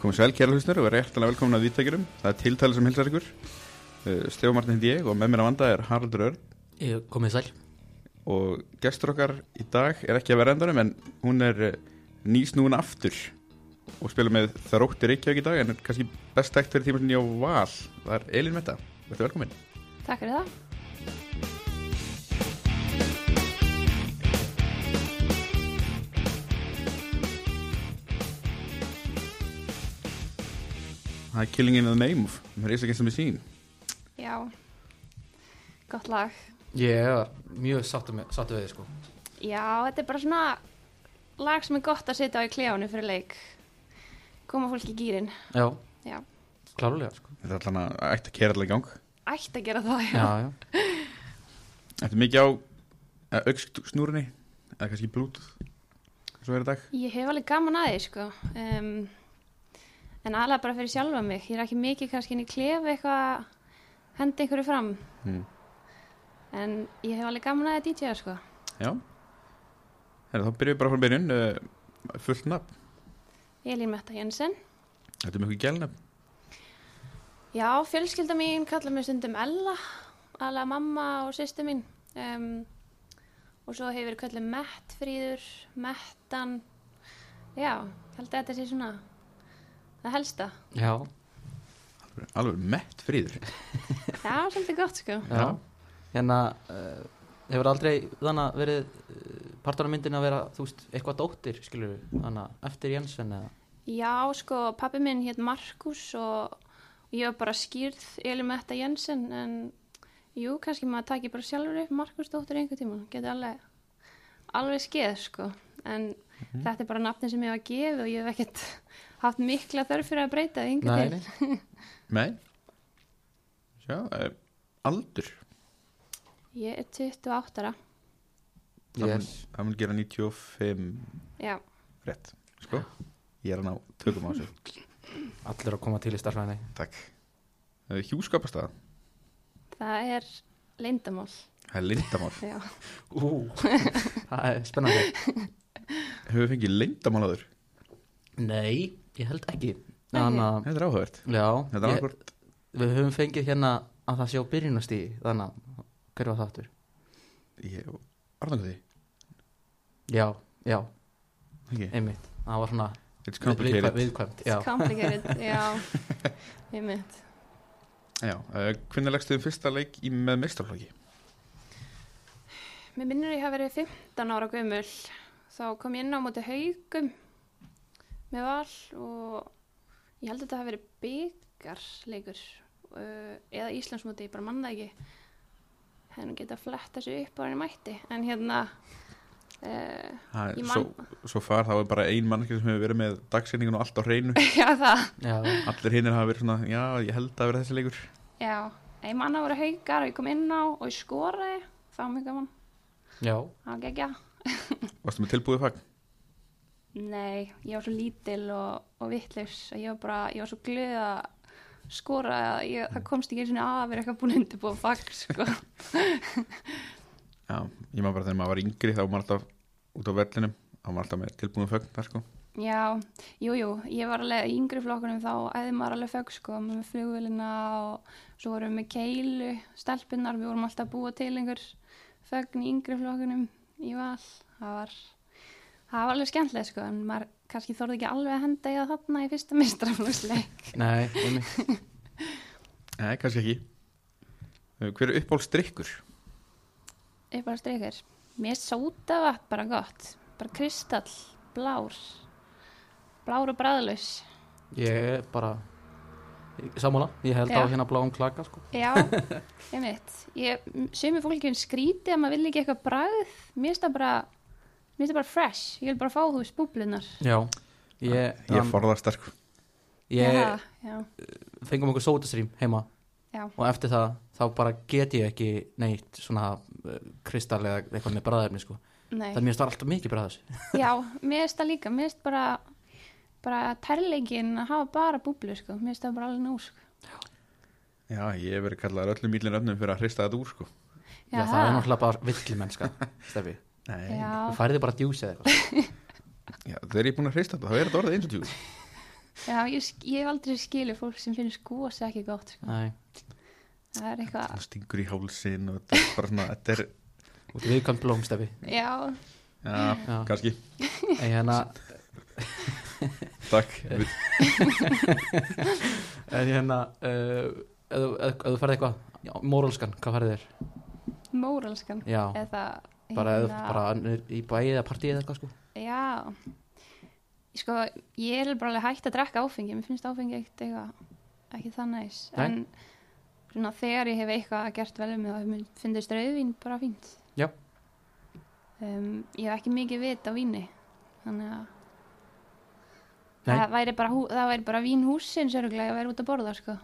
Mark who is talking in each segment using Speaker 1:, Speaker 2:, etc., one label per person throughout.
Speaker 1: komið sæl kæra hlustur og verið eftirlega velkomin að vittækjurum það er tiltalið sem hilsar ykkur Stjóð Martin heiti ég og með mér að vanda er Haraldur Örn
Speaker 2: Ég komið sæl
Speaker 1: og gestur okkar í dag er ekki að vera endanum en hún er eh, nýsnúin aftur og spilur með Þrótti Reykjavík í dag en er kannski best ekt fyrir tíma sinni á val það er Elin Metta, verður velkomin
Speaker 3: Takk fyrir það.
Speaker 1: Það er Killing in the Name of með Risa Gensum í sín
Speaker 3: Já, gott lag.
Speaker 2: Ég er mjög sattu, með, sattu við þið sko
Speaker 3: Já, þetta er bara svona lag sem er gott að setja á í kljánu fyrir leik. Koma fólk í gýrin.
Speaker 2: Já,
Speaker 3: Já,
Speaker 2: klárulega sko
Speaker 1: Þetta er allan að ætti að kera allan í gang
Speaker 3: ætti að gera það, já.
Speaker 2: Já, já,
Speaker 1: Þetta er mikið á auksnúrinni eða kannski Bluetooth eins og er í dag
Speaker 3: Ég hef alveg gaman að því, sko. Um, en aðlega bara fyrir sjálfa mig. Ég er ekki mikið kannski inn í klef eitthvað, hendi einhverju fram.
Speaker 1: Mm.
Speaker 3: En ég hef alveg gaman að því DJ-a, sko.
Speaker 1: Já Herra, Þá byrjum við bara frá byrjun uh, fullt nafn,
Speaker 3: Elín Metta Jensen.
Speaker 1: þetta er mjög gælnafn
Speaker 3: Já, fjölskylda mín kallar mig stundum Ella, aðlega mamma og sýstu mín. Um, og svo hefur verið kallað Mettfríður, Mettan, já, held að þetta sé svona það helsta.
Speaker 2: já,
Speaker 1: alveg mett fríður
Speaker 3: Já, svolítið gott sko.
Speaker 2: já. Hérna, uh, hefur aldrei þannig verið uh, partur af myndin að vera, þú veist, eitthvað dóttir skilur við, þannig að eftir Jensen eða
Speaker 3: Já, sko, pappi minn hétt Markus og ég var bara skýrð Elimetta Jensen, en jú, kannski maður taki bara sjálfur upp Markus dóttur einhver tíma, getur alveg, alveg skeð, sko, en
Speaker 2: Mhm.
Speaker 3: þetta er bara nafnin sem ég var að gefa og ég hef ekkert haft mikla þörf fyrir að breyta því einhver til.
Speaker 2: nei.
Speaker 1: Nei Sjá, uh, aldur
Speaker 3: Ég er 28 ára,
Speaker 1: Það mun-
Speaker 2: Yes.
Speaker 1: Það mun gera 95
Speaker 3: já,
Speaker 1: rétt Sko, ég er að ná tökum á þessu
Speaker 2: Allir að koma til í starfræðinni
Speaker 1: Takk uh, Hjúskapastaða,
Speaker 3: það er leyndamál,
Speaker 1: það er lindamál
Speaker 3: já.
Speaker 2: Ú, það er spennandi
Speaker 1: Hefur við fengið lindamál áður?
Speaker 2: Nei, ég held ekki
Speaker 3: Nei.
Speaker 2: Þannig að,
Speaker 1: Þetta er áhugavert
Speaker 2: já
Speaker 1: Þetta er
Speaker 2: ég-
Speaker 1: annarkvort
Speaker 2: Við höfum fengið hérna að það sé á byrjunastí Þannig að, hver var það aftur?
Speaker 1: Ég var það því
Speaker 2: Já, já,
Speaker 1: Ekki.
Speaker 2: einmitt Það var svona
Speaker 1: It's
Speaker 2: viðkvæmt,
Speaker 1: complicated
Speaker 2: viðkvæmt já.
Speaker 3: Complicated, já, ég mynd.
Speaker 1: Já, uh, Hvernig leggstu þið fyrsta leik í með meistarflokki?
Speaker 3: Mér minnir að ég hafi verið 15 ára gömul þá kom ég inn á móti haugum með val og ég held að þetta hafi verið byggarleikur uh, eða Íslandsmóti, ég bara manna ekki henni geta flett þessu upp á henni mætti en hérna uh,
Speaker 1: Ha,
Speaker 3: Ég
Speaker 1: Svo, svo far þá er bara ein mannskið sem hefur verið með dagsendingun og allt á hreinu
Speaker 3: já það
Speaker 2: Já,
Speaker 1: Allir hinnir hafa verið svona, já, ég held að vera þessi leikur
Speaker 3: já, ég manna voru haugar og ég kom inn á og ég skoraði það var mjög gaman,
Speaker 2: já,
Speaker 3: það var geggja
Speaker 1: Varstu með tilbúið fag?
Speaker 3: Nei, ég var svo lítil og, og vittlaus að ég var bara, ég var svo glöð að skora að ég, það komst ekki einu sinni að að vera eitthvað búin að undirbúa fag, sko.
Speaker 1: Já, ég maður bara þegar maður var yngri þá var maður alltaf út á vellinum þá var maður alltaf með tilbúið fag þar sko
Speaker 3: Já, jú, jú, ég var alveg í yngri flokkunum þá æði maður alveg fögg, sko, með flugvélina og svo vorum við með keilu, stelpunnar, við vorum alltaf að búa til einhver fögn í yngri flokkunum í val. Það var, það var alveg skemmtilega, sko, en maður kannski þorði ekki alveg að henda í það þarna í fyrsta mistraflóksleik.
Speaker 2: nei, einmitt
Speaker 1: Nei, kannski ekki Uh, Hver er uppáhaldsdrykkur?
Speaker 3: Ég bara streykar. Mér er sódavatn bara gott. Bara kristall, blár. Blár og bræðlaus.
Speaker 2: Ég er bara Sammála, ég held
Speaker 3: Já.
Speaker 2: á hérna bláum klaka sko.
Speaker 3: Já, ég veit. Ég, sumi fólkjum skríti að maður vil ekki eitthvað bræð. Mér er það bara, mér er það bara fresh. Ég vil bara fá þú í spúblunar.
Speaker 2: Já Ég,
Speaker 1: Ah, Ég er
Speaker 2: um,
Speaker 1: forðast sterkur
Speaker 2: ég
Speaker 3: Já,
Speaker 2: fengum okkur sótastrím heima
Speaker 3: já,
Speaker 2: og eftir það þá bara get ég ekki neitt svona uh, kristall eða eitthvað með bræðefni sko.
Speaker 3: nei.
Speaker 2: það mér stóð alltaf mikið bræðas
Speaker 3: Já, mér er það líka. Mér er bara, bara tærleikinn að hafa bara búblu, sko. Mér er það bara alveg nú, sko.
Speaker 1: Já, ég hef verið kallaður öllum ílinn öfnum fyrir að hrista þetta úr sko
Speaker 2: Já, það er náttúrulega bara villi mennska Stefi,
Speaker 1: Nei,
Speaker 3: Já,
Speaker 2: þú færði bara djús eða eitthvað
Speaker 1: Já, þegar ég er búin að hrista þetta, þá er þetta orðið eins og tjú
Speaker 3: Já, ég, sk- ég hef aldrei skilu fólk sem finnst gósi ekki gott sko.
Speaker 2: Nei,
Speaker 3: það er eitthvað,
Speaker 1: það stingur í hálsin og þetta er bara svona, þetta er,
Speaker 2: út í viðkvæmt blómstefi
Speaker 3: já,
Speaker 1: já,
Speaker 2: Já,
Speaker 1: kannski,
Speaker 2: en hérna
Speaker 1: takk, við,
Speaker 2: En hérna uh, Ef þú- ef- ef þú ferði eitthvað já, Móralskan, hvað ferði þér?
Speaker 3: móralskan
Speaker 2: Já,
Speaker 3: eða hérna,
Speaker 2: bara, ef, bara niður í bæið eða partíið eða eitthvað sko
Speaker 3: já sko, ég er bara alveg hægt að drekka áfengi mér finnst áfengi eitt eitthvað ekki það næs,
Speaker 2: Nei.
Speaker 3: en svona, þegar ég hef eitthvað gert vel um með það mér finnst rauðvín bara fínt
Speaker 2: Já.
Speaker 3: um, ég hef ekki mikið vit á víni þannig að
Speaker 2: Nei.
Speaker 3: það væri bara, hú- það væri bara vínhúsin sörglega að vera út að borða sko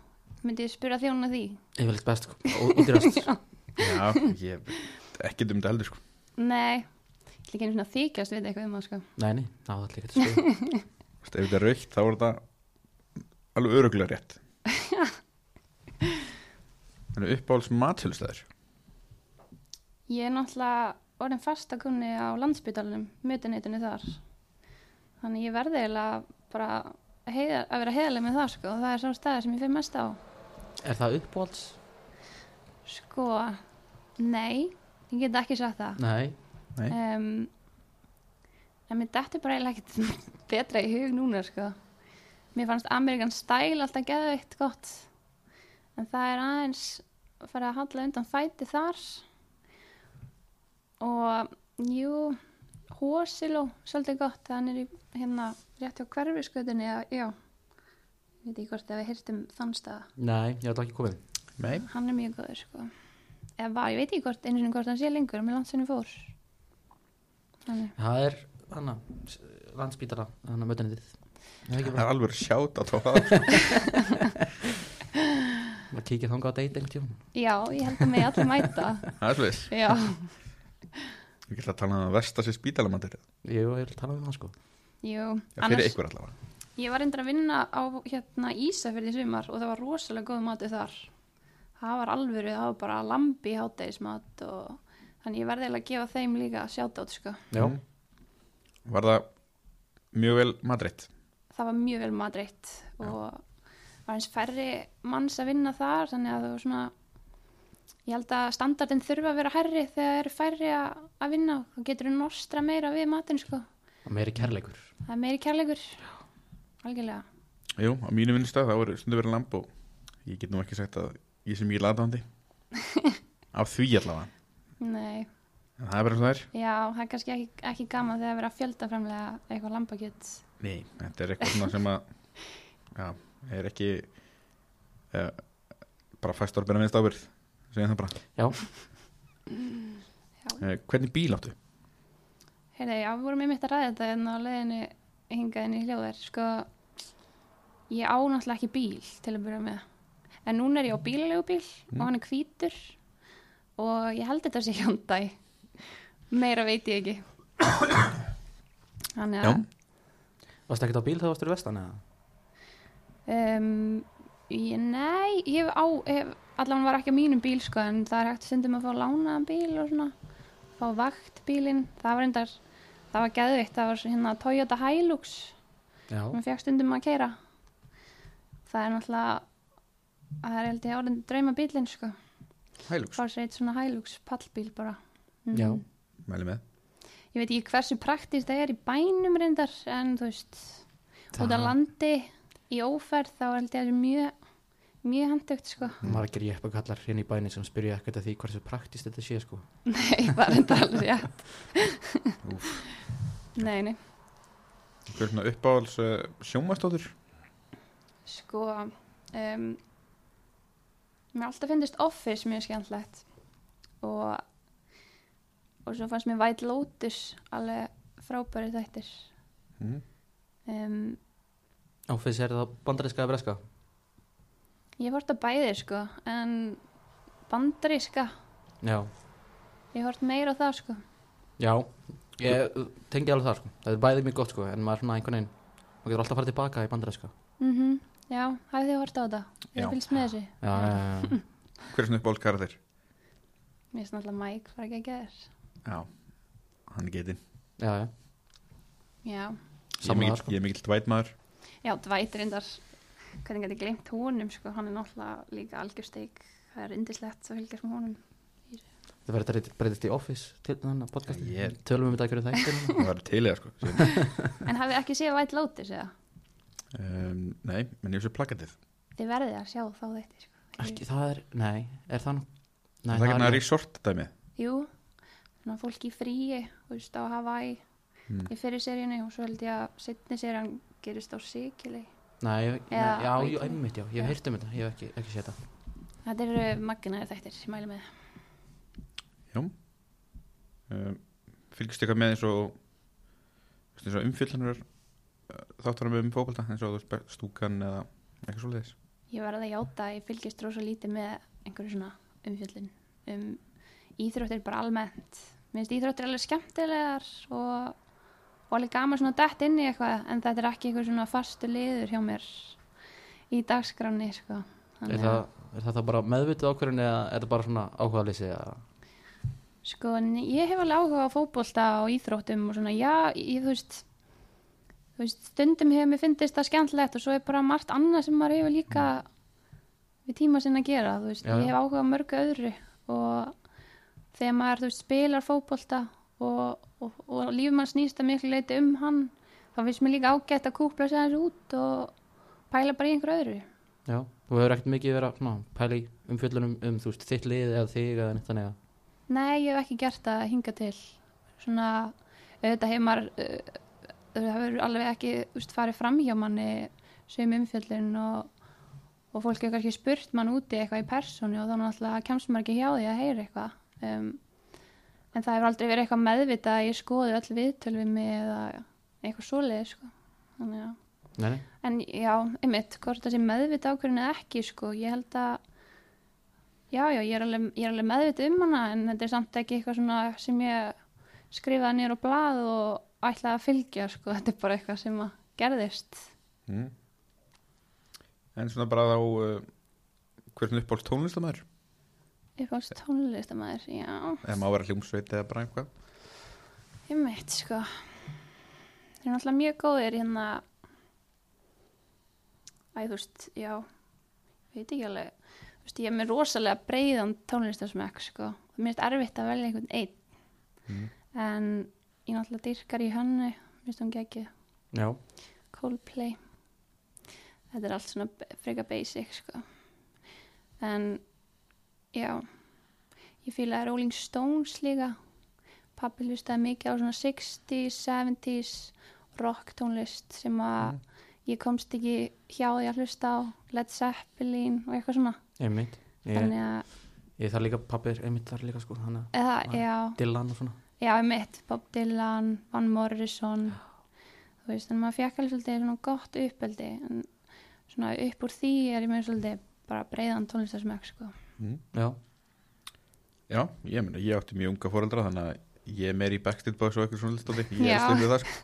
Speaker 3: myndi ég spyrja þjóna því
Speaker 2: Yfirleitt best sko, og útirast
Speaker 1: já, ég veit ekkert um þetta heldur, sko,
Speaker 3: nei, ég vil ekki einu svona þykjast við eitthvað um það sko
Speaker 2: Nei, nei, ná, það er líka þetta sko
Speaker 1: Þú veist, ef þetta er raukt, þá er þetta alveg öruglega rétt, þannig uppáhalds mathjálfstæður,
Speaker 3: Ég er náttúrulega orðin fastakunni á landsbytalanum, mötuneytinu þar. Þannig ég verði eiginlega bara heiðar, að vera heiðarlega með það sko og það er sá staði sem ég fyrir mest á.
Speaker 2: Er það uppbólts?
Speaker 3: Sko, nei, ég get ekki sagt það.
Speaker 2: Nei,
Speaker 1: nei,
Speaker 3: Um, en mér dætti bara eiginlega ekkert betra í hug núna sko. Mér fannst Amerikan stæl alltaf geðveikt gott. En það er aðeins að fara að halla undan fæti þar. Og jú, hósiló, svolítið gott, hann er í, hérna rétt hjá hverfiskötunni, eða, já, ég veit ekki hvort að við hýrstum þann staða.
Speaker 2: nei, ég ætla ekki komið
Speaker 1: nei,
Speaker 3: Hann er mjög góður, sko. Eða var, ég veit ekki hvort, einu sinni hvort hann sé lengur, með landsinni fór. Þannig,
Speaker 2: Það er, hana, s- landsbítara, hana, mötunitið Það er ekki
Speaker 1: það er
Speaker 2: bara,
Speaker 1: alveg að sjáta á það, sko,
Speaker 2: maður kíkja þangað að deyta einhvern tíma
Speaker 3: já, ég held að mig allir mæta,
Speaker 1: það er svolítið,
Speaker 3: já.
Speaker 1: ég ætla að tala um að versta sér spítalamandir,
Speaker 2: Jú, ég vil tala um það sko
Speaker 3: Jú,
Speaker 1: fyrir ykkur allavega,
Speaker 3: Ég var reyndar að vinna á hérna Ísafjörði í sumar og það var rosalega góð matur þar. Það var alvöru, það var bara lambi hátægismat og þannig ég verði eiginlega að gefa þeim líka sjátátt sko.
Speaker 2: Já,
Speaker 1: Mm. var það mjög vel matrætt,
Speaker 3: Það var mjög vel matreitt og var eins færri manns að vinna þar þannig að það var svona, ég held að standardin þurfa að vera herri þegar það eru færri að, að vinna og þá getur þú nostra meira við matin sko.
Speaker 2: það meiri kærleikur
Speaker 3: Það er meiri kærleikur, algjörlega.
Speaker 1: jú, á mínu vinnustæð, það voru stundu verið lamp og ég get nú ekki sagt að ég sem ég laðandi, af því allavega,
Speaker 3: Nei.
Speaker 1: en það er bara eins og það er,
Speaker 3: Já, það er kannski ekki, ekki gaman þegar verið að fjölda framlega eitthvað lambakjöt.
Speaker 1: Nei, þetta er eitthvað svona sem að já, er ekki uh, bara fæstur að byrja minnst ábyrð segjum það bara
Speaker 2: Já,
Speaker 1: uh, Hvernig bíl áttu?
Speaker 3: Heyrðu, já, við vorum einmitt að ræða þetta en á leiðinu hingað inn í hljóðar. Sko, ég á náttúrulega ekki bíl til að byrja með. En núna er ég á bílalegu bíl og hann er hvítur og ég held þetta sé hjóndæ. Meira veit ég ekki. Þannig að...
Speaker 2: varstu ekkert á bíl þegar varstu í vestan eða?
Speaker 3: Um, ég, nei, ég hef á, hef, allan var ekki á mínum bíl sko en það er hægt stundum að fá lánaðan bíl og svona, fá vaktbílinn, það var endar, það var geðvitt, það var svo hérna Toyota Hilux
Speaker 2: Já,
Speaker 3: sem fekk stundum að keira. Það er náttúrulega, það er held ég orðin drauma bílinn sko,
Speaker 1: Hælux,
Speaker 3: fá sér eitt svona Hilux pallbíl bara. Mhm.
Speaker 2: já
Speaker 1: mæli með
Speaker 3: Ég veit ekki hversu praktist það er í bænum reyndar en þú veist, út á
Speaker 2: Það-
Speaker 3: landi í óferð þá held ég að það er mjög mjög handtökt sko
Speaker 2: margir jeppakallar hérna í bæni sem spyrja ekkert að því hversu praktist þetta sé sko
Speaker 3: nei, það er þetta alveg rétt
Speaker 1: Úf.
Speaker 3: nei, nei,
Speaker 1: Hver er svona uppáhalds uh, sjómastóttur?
Speaker 3: sko um, mér alltaf finnist Office mjög skemmtlegt og og svo fannst mér White Lotus alveg frábæri þættir
Speaker 1: Mm.
Speaker 3: um,
Speaker 2: Áfis er það bandarinska eða breska?
Speaker 3: ég hort á bæði sko en bandaríska
Speaker 2: Já,
Speaker 3: ég hort meira á það sko
Speaker 2: já Ég tengi alveg það sko, það er bæðið mjög gott sko en maður er svona einhvern veginn maður getur alltaf farið tilbaka í sko. bandarinska
Speaker 3: mm já, hafið þið hort á það
Speaker 1: Já.
Speaker 3: ég fylgst með þessu
Speaker 2: Já, já, já,
Speaker 1: Hver er svona uppáhalds karakter?
Speaker 3: mér finnst náttúrulega Mike var ekki að geða þér
Speaker 1: Já, hann er getinn
Speaker 2: já, já, já.
Speaker 3: já
Speaker 1: Ég er
Speaker 2: Sammála,
Speaker 1: mikill-
Speaker 2: sko.
Speaker 1: Ég er mikill dvætmaður
Speaker 3: Já, Dwight reyndar, hvernig gæti glemt honum, sko, hann er náttúrulega líka algjörsteik, það er indislegt að fylgjast með honum.
Speaker 2: Það verður þetta breytist í Office til þannig að podcasti.
Speaker 1: Já, ég-
Speaker 2: Tölum við þetta að hverju þættir.
Speaker 1: það var til í það sko síðan.
Speaker 3: En hafið þið ekki séð White Lotus eða?
Speaker 1: um, Nei, menn ég sé plakatið
Speaker 3: Þið verðið að sjá þá þetta, sko.
Speaker 2: Ekki, það er, nei, er það nú? Nei,
Speaker 1: Það er ekki
Speaker 2: er
Speaker 1: að resort dæmi
Speaker 3: Jú, svona fólk í fríi, þú veist, á Hawaii
Speaker 1: Mm.
Speaker 3: í fyrir seríunni og svo held ég að setni serían gerist á Sikili.
Speaker 2: Nei, ég- nei,
Speaker 3: Eða-
Speaker 2: já,
Speaker 3: á
Speaker 2: jú,
Speaker 3: Ítalíu.
Speaker 2: einmitt, já, ég hef heyrt um þetta, ég hef ekki, ekki séð þetta.
Speaker 3: Þetta eru magnaði þættir, ég mæli með.
Speaker 1: um, Fylgist eitthvað með eins og þú veist, eins og umfyllanur þáttunum um fókbalta eins og þú veist, be- stúkan eða eitthvað svoleiðis
Speaker 3: Ég verði að játa að ég fylgjast rosa lítið með einhverju svona umfjöldin um íþróttir bara almennt. Mér finnst íþróttir alveg skemmtilegar og, og alveg gaman svona dætt inn í eitthvað en þetta er ekki eitthvað svona fastu liður hjá mér í dagskráni sko.
Speaker 2: Er
Speaker 3: Þannig
Speaker 2: það, er það þá bara meðvitið ákvörðin eða er það bara svona áhugaðlýsi eða?
Speaker 3: að- Sko, en ég hef alveg áhuga á fótbolta og íþróttum og svona, já, ég, þú veist, þú veist, stundum hefur mér fyndist það skemmtilegt og svo er bara margt annað sem maður hefur líka við tíma sinna að gera, þú veist,
Speaker 2: Mm. Já, já.
Speaker 3: ég hef áhuga á mörgu öðru og þegar maður, þú veist, spilar fótbolta og, og, og lífum mann snýst að miklu leiti um hann, þá finnst mér líka ágætt að kúpla sér aðeins út og pæla bara í einhverju öðru.
Speaker 2: Já, þú hefur ekkert mikið verið að svona, pæla í umfjöllunum um, þú veist, þitt lið eða þig eða neitt þannig að,
Speaker 3: Nei, ég hef ekki gert það hinga til svona, auðvitað hefur maður uh, það hefur alveg ekki úst, farið fram hjá manni sem umfjöldin og, og fólk hefur kannski spurt mann úti eitthvað í persónu og þá náttúrulega kemst maður ekki hjá því að heyra eitthvað um, en það hefur aldrei verið eitthvað meðvitað að ég skoði öll viðtöl við mig eða eitthvað svoleið sko. þannig að
Speaker 2: nei, nei,
Speaker 3: En já, einmitt, hvort það sé meðvita ákvörðin eða ekki, sko, ég held að, já, já, ég er alveg, ég er alveg meðvita um hana, en þetta er samt ekki eitthvað svona sem ég skrifaði nýr á blað og ætlaði að fylgja, sko, þetta er bara eitthvað sem að gerðist.
Speaker 1: mm. En svona bara þá uh, hvernig uppáls tónlistamæður
Speaker 3: Uppáhalds tónlistamæður, já,
Speaker 1: eða má vera hljómsveit eða bara eitthvað
Speaker 3: einmitt, sko. Þeir eru náttúrulega mjög góðir hérna, æ, þú veist, já, ég veit ekki alveg, þú veist, ég er með rosalega breiðan tónlistasmekk, sko, og mér er erfitt að velja einhvern einn.
Speaker 1: mm.
Speaker 3: en ég náttúrulega dyrkar í hönnu minnst hún ekki
Speaker 2: já,
Speaker 3: Coldplay þetta er allt svona b- frekar basic sko. en já ég fýla Rolling Stones líka pappi hlustaði mikið á svona 60s, 70s rock tónlist sem að ég komst ekki hjá því að hlusta á Led Zeppelin og eitthvað svona
Speaker 2: einmitt, ég,
Speaker 3: þannig að,
Speaker 2: ég þarf líka pappir, einmitt þar líka, sko, þannig að,
Speaker 3: eða,
Speaker 2: Já.
Speaker 3: já
Speaker 2: Dylan og svona,
Speaker 3: Já, ég mitt, Bob Dylan, Van Morrison, þú veist, en maður fekk alveg svolítið svona gott uppeldi, en svona upp úr því er ég með svolítið bara breiðan tónlistarsmökk, sko.
Speaker 1: Mm.
Speaker 2: já,
Speaker 1: Já, ég meina, ég átti mjög unga foreldra þannig að ég er meir í Backstreet Boys og eitthvað svona listóti ég
Speaker 3: Já.
Speaker 1: er stundið það sko,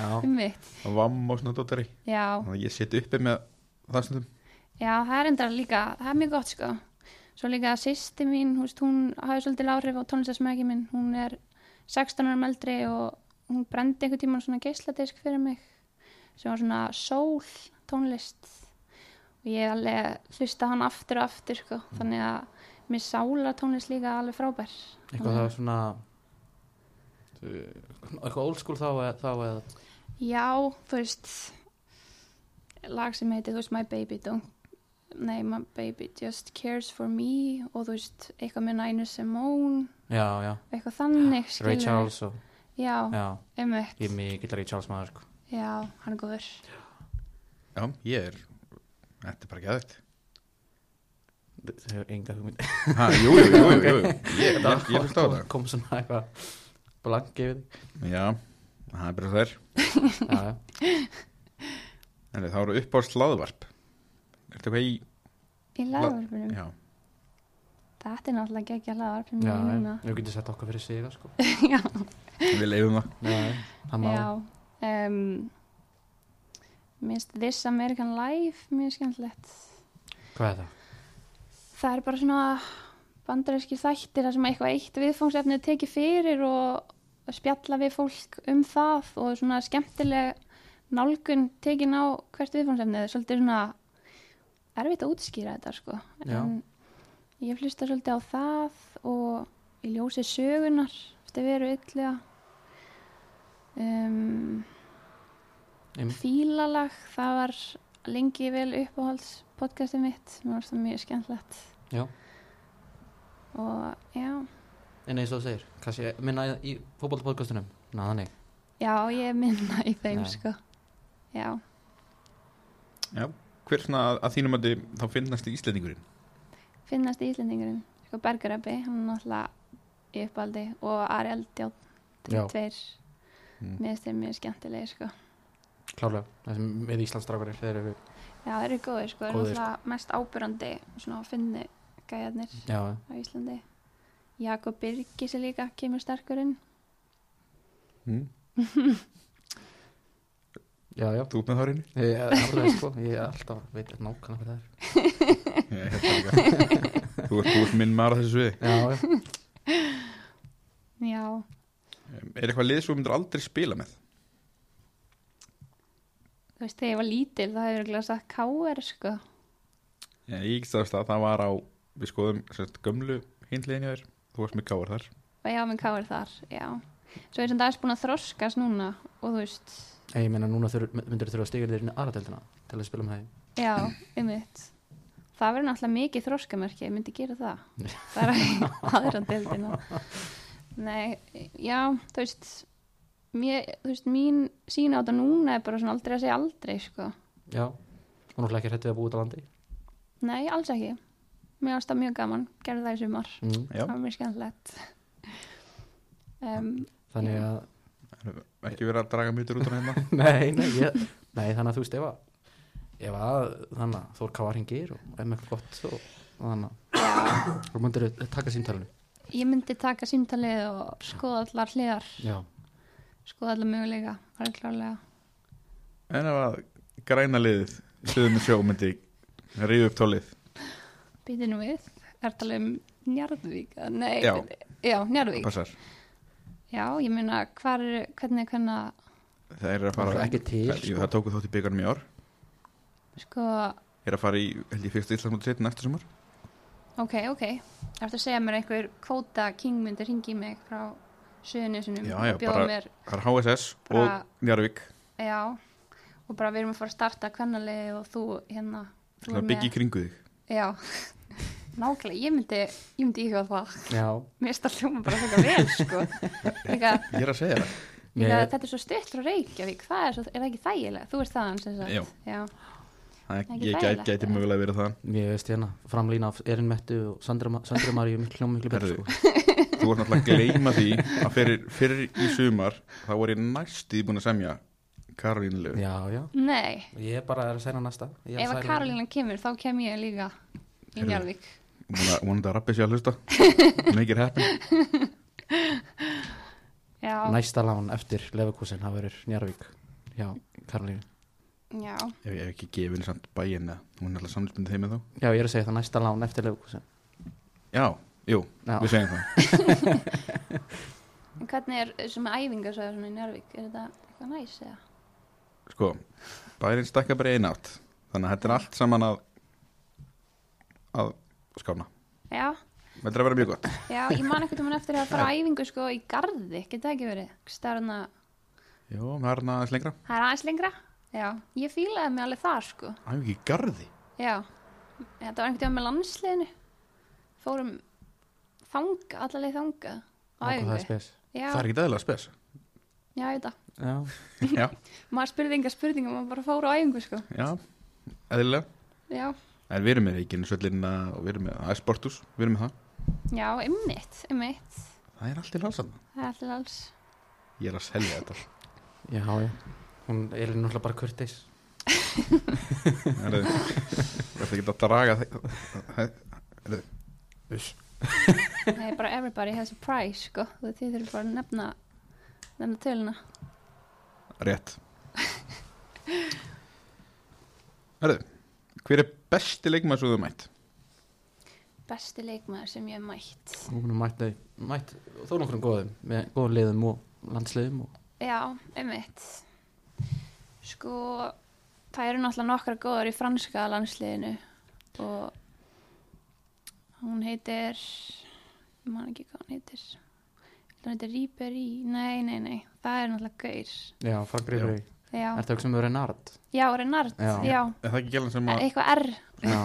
Speaker 2: já,
Speaker 3: Um mitt,
Speaker 1: og vamm og svona dóttari
Speaker 3: já,
Speaker 1: þannig að ég sitt uppi með það stundum
Speaker 3: já, það er enda líka, það er mjög gott, sko. Svo líka sýsti mín, þú veist, hún hafi svolítið áhrif á tónlistarsmökki minn, hún er 16 árum eldri og hún brendi einhvern tímann svona geisladisk fyrir mig, sem var svona soul tónlist og ég er alveg hlusta hann aftur og aftur sko. þannig að mér sála tónlist líka alveg frábær
Speaker 2: eitthvað það er svona, þú- eitthvað old school þá eða, þá eða,
Speaker 3: já, þú veist lag sem heitir, þú veist, My Baby Don't Nei, My Baby Just Cares For Me og þú veist, eitthvað með Nina Simone
Speaker 2: já, já,
Speaker 3: eitthvað þannig,
Speaker 2: Ray
Speaker 3: skilurðu.
Speaker 2: Charles og,
Speaker 3: Já,
Speaker 2: já,
Speaker 3: einmitt
Speaker 2: ég er mikill Ray Charles maður, sko,
Speaker 3: Já, hann er góður
Speaker 1: Já, ég er, þetta er bara geðvægt
Speaker 2: þau hefur enga hugmynd,
Speaker 1: Ha, jú, jú, jú, jú, jú. Ég, ég, ég hlust á
Speaker 2: kom,
Speaker 1: það
Speaker 2: kom svona eitthvað blank yfir þig,
Speaker 1: Já, það er bara þær
Speaker 2: já, já,
Speaker 1: En það eru upp á slaðvarp Ertu eitthvað í,
Speaker 3: Í lagverfinum
Speaker 1: já,
Speaker 3: Þetta er náttúrulega geggja laðvarpin
Speaker 2: já,
Speaker 3: mín núna.
Speaker 2: já, við getum sett okkar fyrir siga, sko,
Speaker 3: já,
Speaker 1: við leiðum það
Speaker 2: já, það má,
Speaker 3: já. Um, minnst This American Life, mjög skemmtilegt.
Speaker 2: hvað er það?
Speaker 3: Það er bara svona bandaríski þættir þar sem eitthvað eitt viðfóngsefni er tekið fyrir og spjalla við fólk um það og svona skemmtileg nálgun tekin á hvert viðfánsefnið er svolítið svona erfitt að útskýra þetta sko
Speaker 2: Já.
Speaker 3: en ég hlusta svolítið á það og ég ljósi sögunar eftir veru yllega um,
Speaker 2: Einmitt.
Speaker 3: fílalag það var lengi vel uppáhalds podcastið mitt, mér varst það mjög skemmtlegt
Speaker 2: Já.
Speaker 3: og já
Speaker 2: en eins og þú segir, kannski eh, minna í fótbollpodcastunum, ná þannig
Speaker 3: já, ég er minna í þeim
Speaker 2: Já.
Speaker 3: sko já
Speaker 1: Já. Hver svona að, að þínum að þá finnast í Íslendingurinn?
Speaker 3: finnast í Íslendingurinn sko Bergerabbi, hann er náttúrulega í uppaldi og Ari Eldján
Speaker 2: Já.
Speaker 3: tveir,
Speaker 1: Mm.
Speaker 3: mér finnst þeir mjög skemmtilegir sko.
Speaker 2: klárlega, þessi með Íslandsdragarir þeir eru,
Speaker 3: já, þeir eru góðir sko, þeir
Speaker 2: Góðir, sko.
Speaker 3: eru náttúrulega mest ábyrrandi svona að finni gæjarnir
Speaker 2: já,
Speaker 3: á Íslandi Jakob Birgis er líka kemur sterkurinn
Speaker 1: Mm.
Speaker 2: já, já
Speaker 1: Þú út með hárinu?
Speaker 2: ég er alveg sko, ég er alltaf veit nákvæmlega hvað það er
Speaker 1: Ég held það líka. Þú ert búinn minn maður á þessu sviði.
Speaker 2: já, já,
Speaker 3: já,
Speaker 1: Um, Er eitthvað lið sem þú myndir aldrei spila með?
Speaker 3: þú veist þegar ég var lítil það hefur ekki sagt K.R. sko
Speaker 1: Ég ég ekki staðast að það var á, við skoðum sérst, gömlu hindliðin hjá þér, þú varst með gáar þar.
Speaker 3: og ég var með K.R. þar, já svo er þetta aðeins búin að þroskast núna og þú veist,
Speaker 2: Nei, ég meina núna þur, myndir þú þurfa að stiga þér inn í aðratöldina til að spila um með
Speaker 3: já, einmitt það verður náttúrulega mikið þroskamerki ég myndi gera það
Speaker 2: það
Speaker 3: bara í aðra deildina Nei, já, þú veist mér, þú veist, mín sína á þetta núna er bara svona aldrei að segja aldrei, sko
Speaker 2: já, og náttúrulega ekki hrætt við að búa út á landi
Speaker 3: Nei, alls ekki Mér varst það mjög gaman, gerði það í sumar
Speaker 2: mm.
Speaker 1: Já.
Speaker 3: Það var mjög skemmtilegt um,
Speaker 2: þannig að
Speaker 1: Ekki verið að draga mjög út á hérna.
Speaker 2: nei, nei, ég, nei, þannig að þú veist ef að, ef að þannig að Þór Káar hringir og er með eitthvað gott og, og þannig
Speaker 3: Já,
Speaker 2: að þú myndir taka símtælinu
Speaker 3: ég myndi taka símtalið og skoða allar hliðar
Speaker 2: já,
Speaker 3: skoða allar möguleika, það er klálega
Speaker 1: En ef að græna liðið, suðum sjó, myndi ríðu upp tólið.
Speaker 3: Býti nú við, er talað um Njarðvík eða- Nei,
Speaker 1: Já.
Speaker 3: já Njarðvík
Speaker 1: Passar.
Speaker 3: Já, ég meina, hvar, er- hvernig, hvernig
Speaker 1: Það er að fara...
Speaker 2: Náttúrulega ekki til,
Speaker 1: Það,
Speaker 2: sko.
Speaker 1: það tóku þátt í byggarnum í ár.
Speaker 3: sko,
Speaker 1: Er að fara í, held ég, fyrsta Íslandsmóti sitt næsta sumar.
Speaker 3: Ok, ok. Ertu að segja mér einhver kvóta king myndi ringi mig frá söðunisunum
Speaker 1: Já, já,
Speaker 3: og bjóða
Speaker 1: bara-
Speaker 3: mér,
Speaker 1: Það er HSS
Speaker 3: Bara-
Speaker 1: og Njarvík.
Speaker 3: já, og bara við erum að fara að starta kvennalegi og þú hérna, þú
Speaker 1: Það byggja í kringu þig.
Speaker 3: Já, nákvæmlega, ég myndi, ég myndi íhuga það.
Speaker 2: já
Speaker 3: Mér finnst það hljóma bara þetta vel, sko. Líka,
Speaker 1: Ég er að segja það.
Speaker 3: líka
Speaker 2: Mér-
Speaker 3: þetta er svo stutt frá Reykjavík, það er, svo, er það ekki þægilega? Þú ert þaðan, sem sagt.
Speaker 1: Já.
Speaker 3: já.
Speaker 1: Það-
Speaker 3: Ekki
Speaker 1: Ég gæti,
Speaker 3: þægilegt.
Speaker 1: gæti mögulega verið það.
Speaker 2: Mér veist hérna, framlýna af Erin Mettu og Sandra Maríu miklu hljóma miklu betur
Speaker 1: Herðu.
Speaker 2: sko.
Speaker 1: Þú vart náttúrulega að gleyma því að fyrir, fyrir í sumar þá var ég næstu búin að semja Karolínu lög.
Speaker 2: Já, já,
Speaker 3: Nei,
Speaker 2: ég bara er að segja næsta Ég er að
Speaker 3: ef að
Speaker 2: sæla-
Speaker 3: Karolina kemur, þá kem ég líka í
Speaker 1: Heyrðu.
Speaker 3: Njarðvík.
Speaker 1: Vonandi að rappi sér að hlusta. Mikið heppin.
Speaker 3: Já,
Speaker 2: Næsta lán eftir Leverkusen, það verður Njarvík Já, Karolínu
Speaker 3: já,
Speaker 1: Ef ég hef ekki gefið henni samt bæinn eða hún er alltaf samlisbundið þeim með þá.
Speaker 2: Já, ég er að segja það næsta lán eftir Leverkusen
Speaker 1: Já, jú,
Speaker 2: Já.
Speaker 1: við segjum það.
Speaker 3: En hvernig er þessum æfingasvæður svona í Njárvík? Er þetta eitthvað næs eða?
Speaker 1: Sko, bærin stakka bara einn átt. Þannig að þetta er allt saman að að skána.
Speaker 3: Já,
Speaker 1: Þetta er að vera mjög gott.
Speaker 3: já, ég man ekkert um hann eftir að fara á æfingu sko í garði, getur það ekki verið? Stærna,
Speaker 1: Jú, það er hann hérna aðeins lengra.
Speaker 3: það er aðeins lengra? Já, ég fílaði mig alveg þar sko,
Speaker 1: Það er ekki í garði.
Speaker 3: já. Þetta var einhvern tíma með landsliðinu, fórum þanga, allalegi þanga á
Speaker 2: Nákvæmlega það er
Speaker 3: æfingu.
Speaker 2: spes
Speaker 3: Já,
Speaker 1: Það er ekki dæðilega spes.
Speaker 3: já, þetta.
Speaker 2: Já,
Speaker 1: Já,
Speaker 3: Maður spurði enga spurninga, maður bara fór á æfingu sko,
Speaker 1: já, eðlilega.
Speaker 3: já.
Speaker 1: En við erum með reikinu svöllinna og við erum með æsportus, við erum með það.
Speaker 3: Já, ymmit, ymmit,
Speaker 1: Það er allt í lásanna.
Speaker 3: það er allir alls.
Speaker 1: Ég er að selja þetta.
Speaker 2: já, já Hún er náttúrulega bara kurteis
Speaker 1: Það er þetta ekki að draga það.
Speaker 2: Uss.
Speaker 3: Nei, bara everybody has a price, sko. Þú þið þurfum bara að nefna, nefna töluna.
Speaker 1: Rétt. Herðu, hver er besti leikmaður svo þú mætt?
Speaker 3: Besti leikmaður sem ég hef mætt.
Speaker 2: Hún er mætt, mætt þó nokkrum góðum með góðum liðum og landsliðum og
Speaker 3: Já, einmitt. Sko, það eru náttúrulega nokkra góðar í franska landsliðinu og hún heitir, ég man ekki hvað hún heitir, hún heitir Ribéry, nei, nei, nei, það er náttúrulega gaur.
Speaker 2: Já, fuck Ribery
Speaker 3: Já,
Speaker 2: Ertu að hugsa um Renard?
Speaker 3: já Renard, já,
Speaker 2: Já.
Speaker 3: já.
Speaker 1: Er það ekki gælan sem að,
Speaker 3: eitthvað R,
Speaker 2: Já,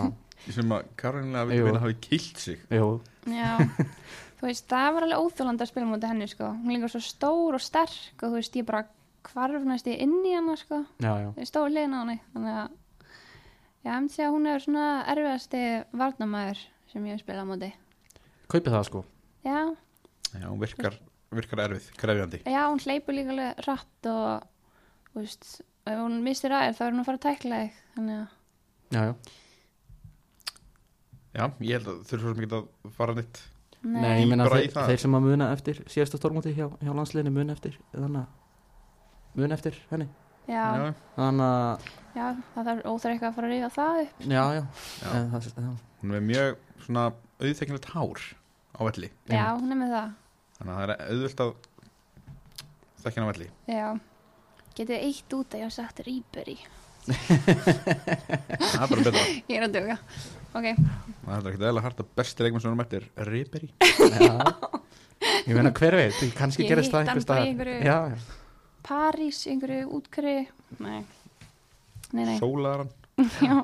Speaker 1: sem að Karolinlega
Speaker 2: Jú.
Speaker 1: vilja meina hafi kilt sig?
Speaker 2: jú
Speaker 3: Já, þú veist, það var alveg óþjólandi að spila mútið henni, sko. Hún er líka svo stór og sterk og þú veist, ég bara hvarf næst ég inn í hana, sko.
Speaker 2: Já, já,
Speaker 3: Ég stóð liðin á henni, þannig að ég hefndi segja að hún er svona erfiðasti varnamæður sem ég hef spilað á móti.
Speaker 2: kaupið það sko
Speaker 3: Já,
Speaker 1: Já, hún virkar, virkar erfið, krefjandi.
Speaker 3: já, hún hleypur líka alveg rætt og, þú veist, ef hún mistir aðeins þá er hún að fara að tækla þig, þannig að,
Speaker 2: Já, já
Speaker 1: Já, ég held að þurfa svo sem ekki að fara nýtt.
Speaker 3: nei,
Speaker 2: Nei, ég meina
Speaker 1: Bara í
Speaker 2: þeir,
Speaker 1: það.
Speaker 2: þeir sem að muna eftir síðasta stormóti hjá, hjá landsliðinu muna eftir þannig að muna eftir henni
Speaker 3: já,
Speaker 2: þannig að,
Speaker 3: já, það þarf óþar eitthvað að fara að ríða það upp.
Speaker 2: já, já,
Speaker 1: Já.
Speaker 2: En, það, já.
Speaker 1: Hún er með mjög svona auðþekkinlegt hár á velli.
Speaker 2: Já.
Speaker 3: Já, hún er með það,
Speaker 1: Þannig að það er auðvöld að þekka hann á velli.
Speaker 3: já. Getið þið eitt út að ég hafa sagt Rýberi.
Speaker 1: Það er bara betra.
Speaker 3: Ég er að döga. Ok,
Speaker 1: Það er ekki eðla harta besti leikmann sem hún mættir Ribery.
Speaker 2: Já. ég meina hver veit, kannski
Speaker 3: Ég
Speaker 2: gerist
Speaker 3: hitti
Speaker 2: það
Speaker 3: hann
Speaker 2: einhvers
Speaker 3: bara í
Speaker 2: staðar.
Speaker 3: einhverju-
Speaker 2: já, já.
Speaker 3: París, einhverju útkri, nei, nei, nei,
Speaker 1: Sólaðar hann.
Speaker 3: já,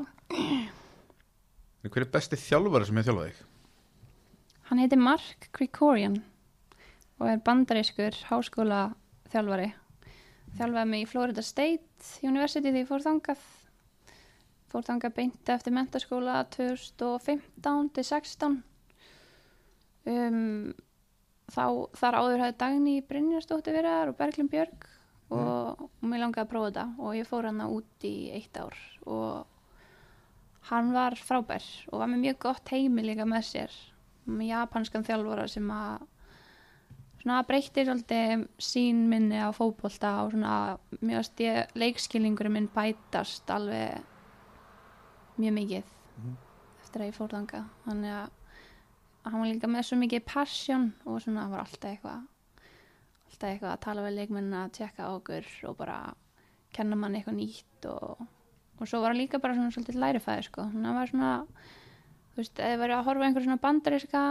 Speaker 1: En Hver er besti þjálfari sem hefur þjálfað þig?
Speaker 3: hann heiti Mark Krikorian og er bandarískur háskóla þjálfari. Þjálfaði mig í Florida State University þegar ég fór þangað, fór þangað beint eftir mentaskóla 2015 til 16. Um, þá, þar áður hafði Dagný Brynjarsdóttir verið þar og Berglind Björg og, og mér langaði að prófa þetta og ég fór hann út í eitt ár og hann var frábær og var með mjög gott heimi líka með sér með japanskan þjálfara sem að svona breytti svolítið sín minni á fótbolta og svona mjög stið leikskilningurinn minn bætast alveg mjög mikið eftir að ég fór þangað þannig að hann var líka með svo mikið passion og svona hann var alltaf eitthvað alltaf eitthvað að tala við leikmennina að tjekka á okkur og bara kenna mann eitthvað nýtt og, og svo var hann líka bara svona svolítið lærifæði sko, Þannig að hann var svona þú veist, ef þið væri að horfa á einhver svona bandaríska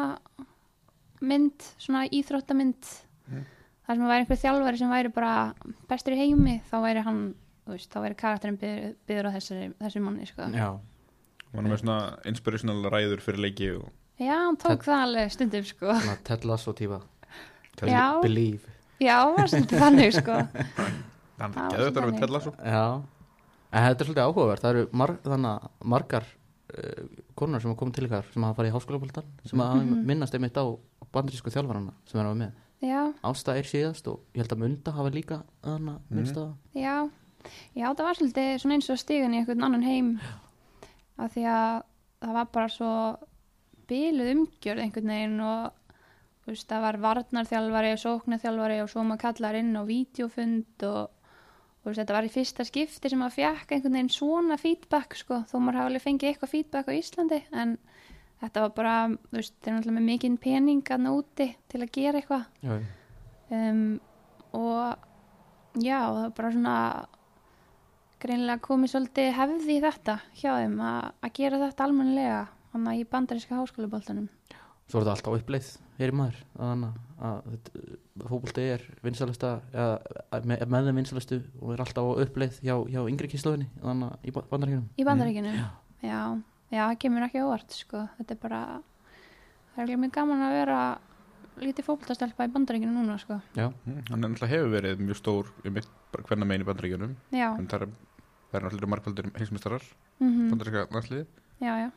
Speaker 3: mynd, svona íþróttamynd þar sem væri einhver þjálfari sem væri bara bestur í heimi, þá væri hann þú veist, þá væri karakterinn byður, byður á þessari, þessu manni, sko.
Speaker 2: já,
Speaker 1: Hún er með svona inspirational ræður fyrir leiki og
Speaker 3: Já, hann tók það alveg stundum, sko.
Speaker 2: svona tellas og tífa
Speaker 1: Ted-
Speaker 3: Já.
Speaker 2: believe,
Speaker 3: Já, hann var stundum þannig, sko.
Speaker 1: hann
Speaker 3: Já,
Speaker 1: getur þetta
Speaker 3: þannig.
Speaker 1: með tella svo.
Speaker 2: já en þetta er svolítið áhugavert, það eru mar, þannig að margar uh, konar sem að koma til ykkar sem hafa farið í háskólabóltan sem að
Speaker 3: Mhm.
Speaker 2: minnast einmitt á bandrísku þjálfarana sem erum við með
Speaker 3: Já,
Speaker 2: Ásta er síðast og ég held að Munda hafa líka þannig að minnst að
Speaker 3: já. Já, það var svolítið svona eins og stígan í einhvern annan heim af því að það var bara svo biluð umgjörð einhvern veginn og þú veist, það var varnarþjálfari og sóknarþjálfari og svo maður kallar inn á vídeofund og þú veist, þetta var í fyrsta skipti sem maður fekk einhvern veginn svona feedback sko, þó maður hafi alveg fengið eitthvað feedback á Íslandi en þetta var bara, þú veist, þeir eru náttúrulega með mikinn pening að úti til að gera eitthvað
Speaker 2: já, já.
Speaker 3: um, og já, það var bara svona greinilega komið svolítið hefði í þetta hjá þeim að, að gera þetta almennilega hann að í bandaríska háskólaboltanum
Speaker 2: Svo er þetta alltaf uppleið, heyri maður þannig að þetta, uh, fótbolti er vinsælasta, eða, að með, með þeim vinsælustu og er alltaf á uppleið hjá, hjá yngri kynsluðinni, þannig að í bandaríkjunum
Speaker 3: í bandaríkinu Mm. já, já, það kemur ekki á óvart sko. þetta er bara það er ekki mjög gaman að vera lítið fótboltastelpa í bandaríkinu núna sko.
Speaker 1: Mm, Hann er náttúrulega hefur verið mjög stór um mitt hvernig megin í bandaríkjunum.
Speaker 3: já,
Speaker 1: En það er, það er náttúrulega margfaldur heimsmyndstarar,
Speaker 3: mm
Speaker 1: bandaríska næstliði.
Speaker 3: já, já,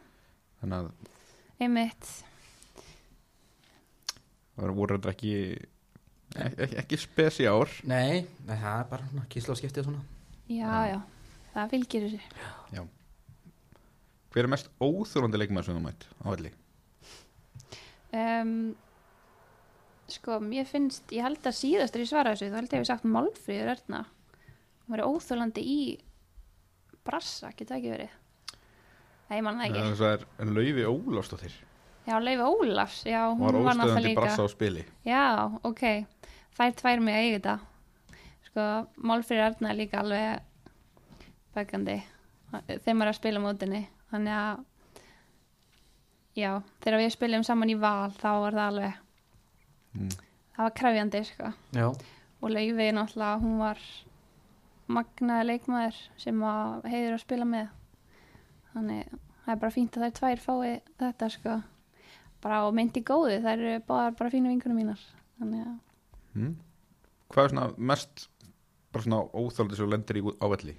Speaker 1: Þannig að
Speaker 3: einmitt
Speaker 1: það voru þetta ekki, ekki, ekki spes í ár.
Speaker 2: Nei, nei, það er bara kynslu á skipti og svona
Speaker 3: já, já, það fylgir þessu
Speaker 1: Hver er mest óþjólandi leikmann sem þú mætt á velli?
Speaker 3: um, sko, mér finnst ég held að síðast er ég svara þessu þá held ég að ég sagt Málfríður Erna hún verið óþólandi í brassa, getur það ekki verið Nei, ég man það ekki.
Speaker 1: Það er Laufi Ólafsdóttir.
Speaker 3: Já, Leifi Ólafs, já,
Speaker 1: Hún
Speaker 3: hún
Speaker 1: var
Speaker 3: var náttúrulega
Speaker 1: óstöðandi
Speaker 3: líka.
Speaker 1: brassa á spili.
Speaker 3: Já, ok, þær tvær mig að eiga þetta. Sko, Málfríður Erna er líka alveg bekkandi þegar maður er að spila á mótinni þannig að já, þegar við spilum saman í val þá var það alveg,
Speaker 1: Mm.
Speaker 3: það var krefjandi sko.
Speaker 2: já,
Speaker 3: og Laufey náttúrulega, hún var magnaði leikmaður sem að heiður að spila með þannig það er bara fínt að þær tvær fái þetta sko bara á myndi góðu, þær eru báðar bara fínu vingunum mínar þannig að
Speaker 1: Mm. Hvað er svona mest bara svona óþáldið sem þú lendir í út- á velli?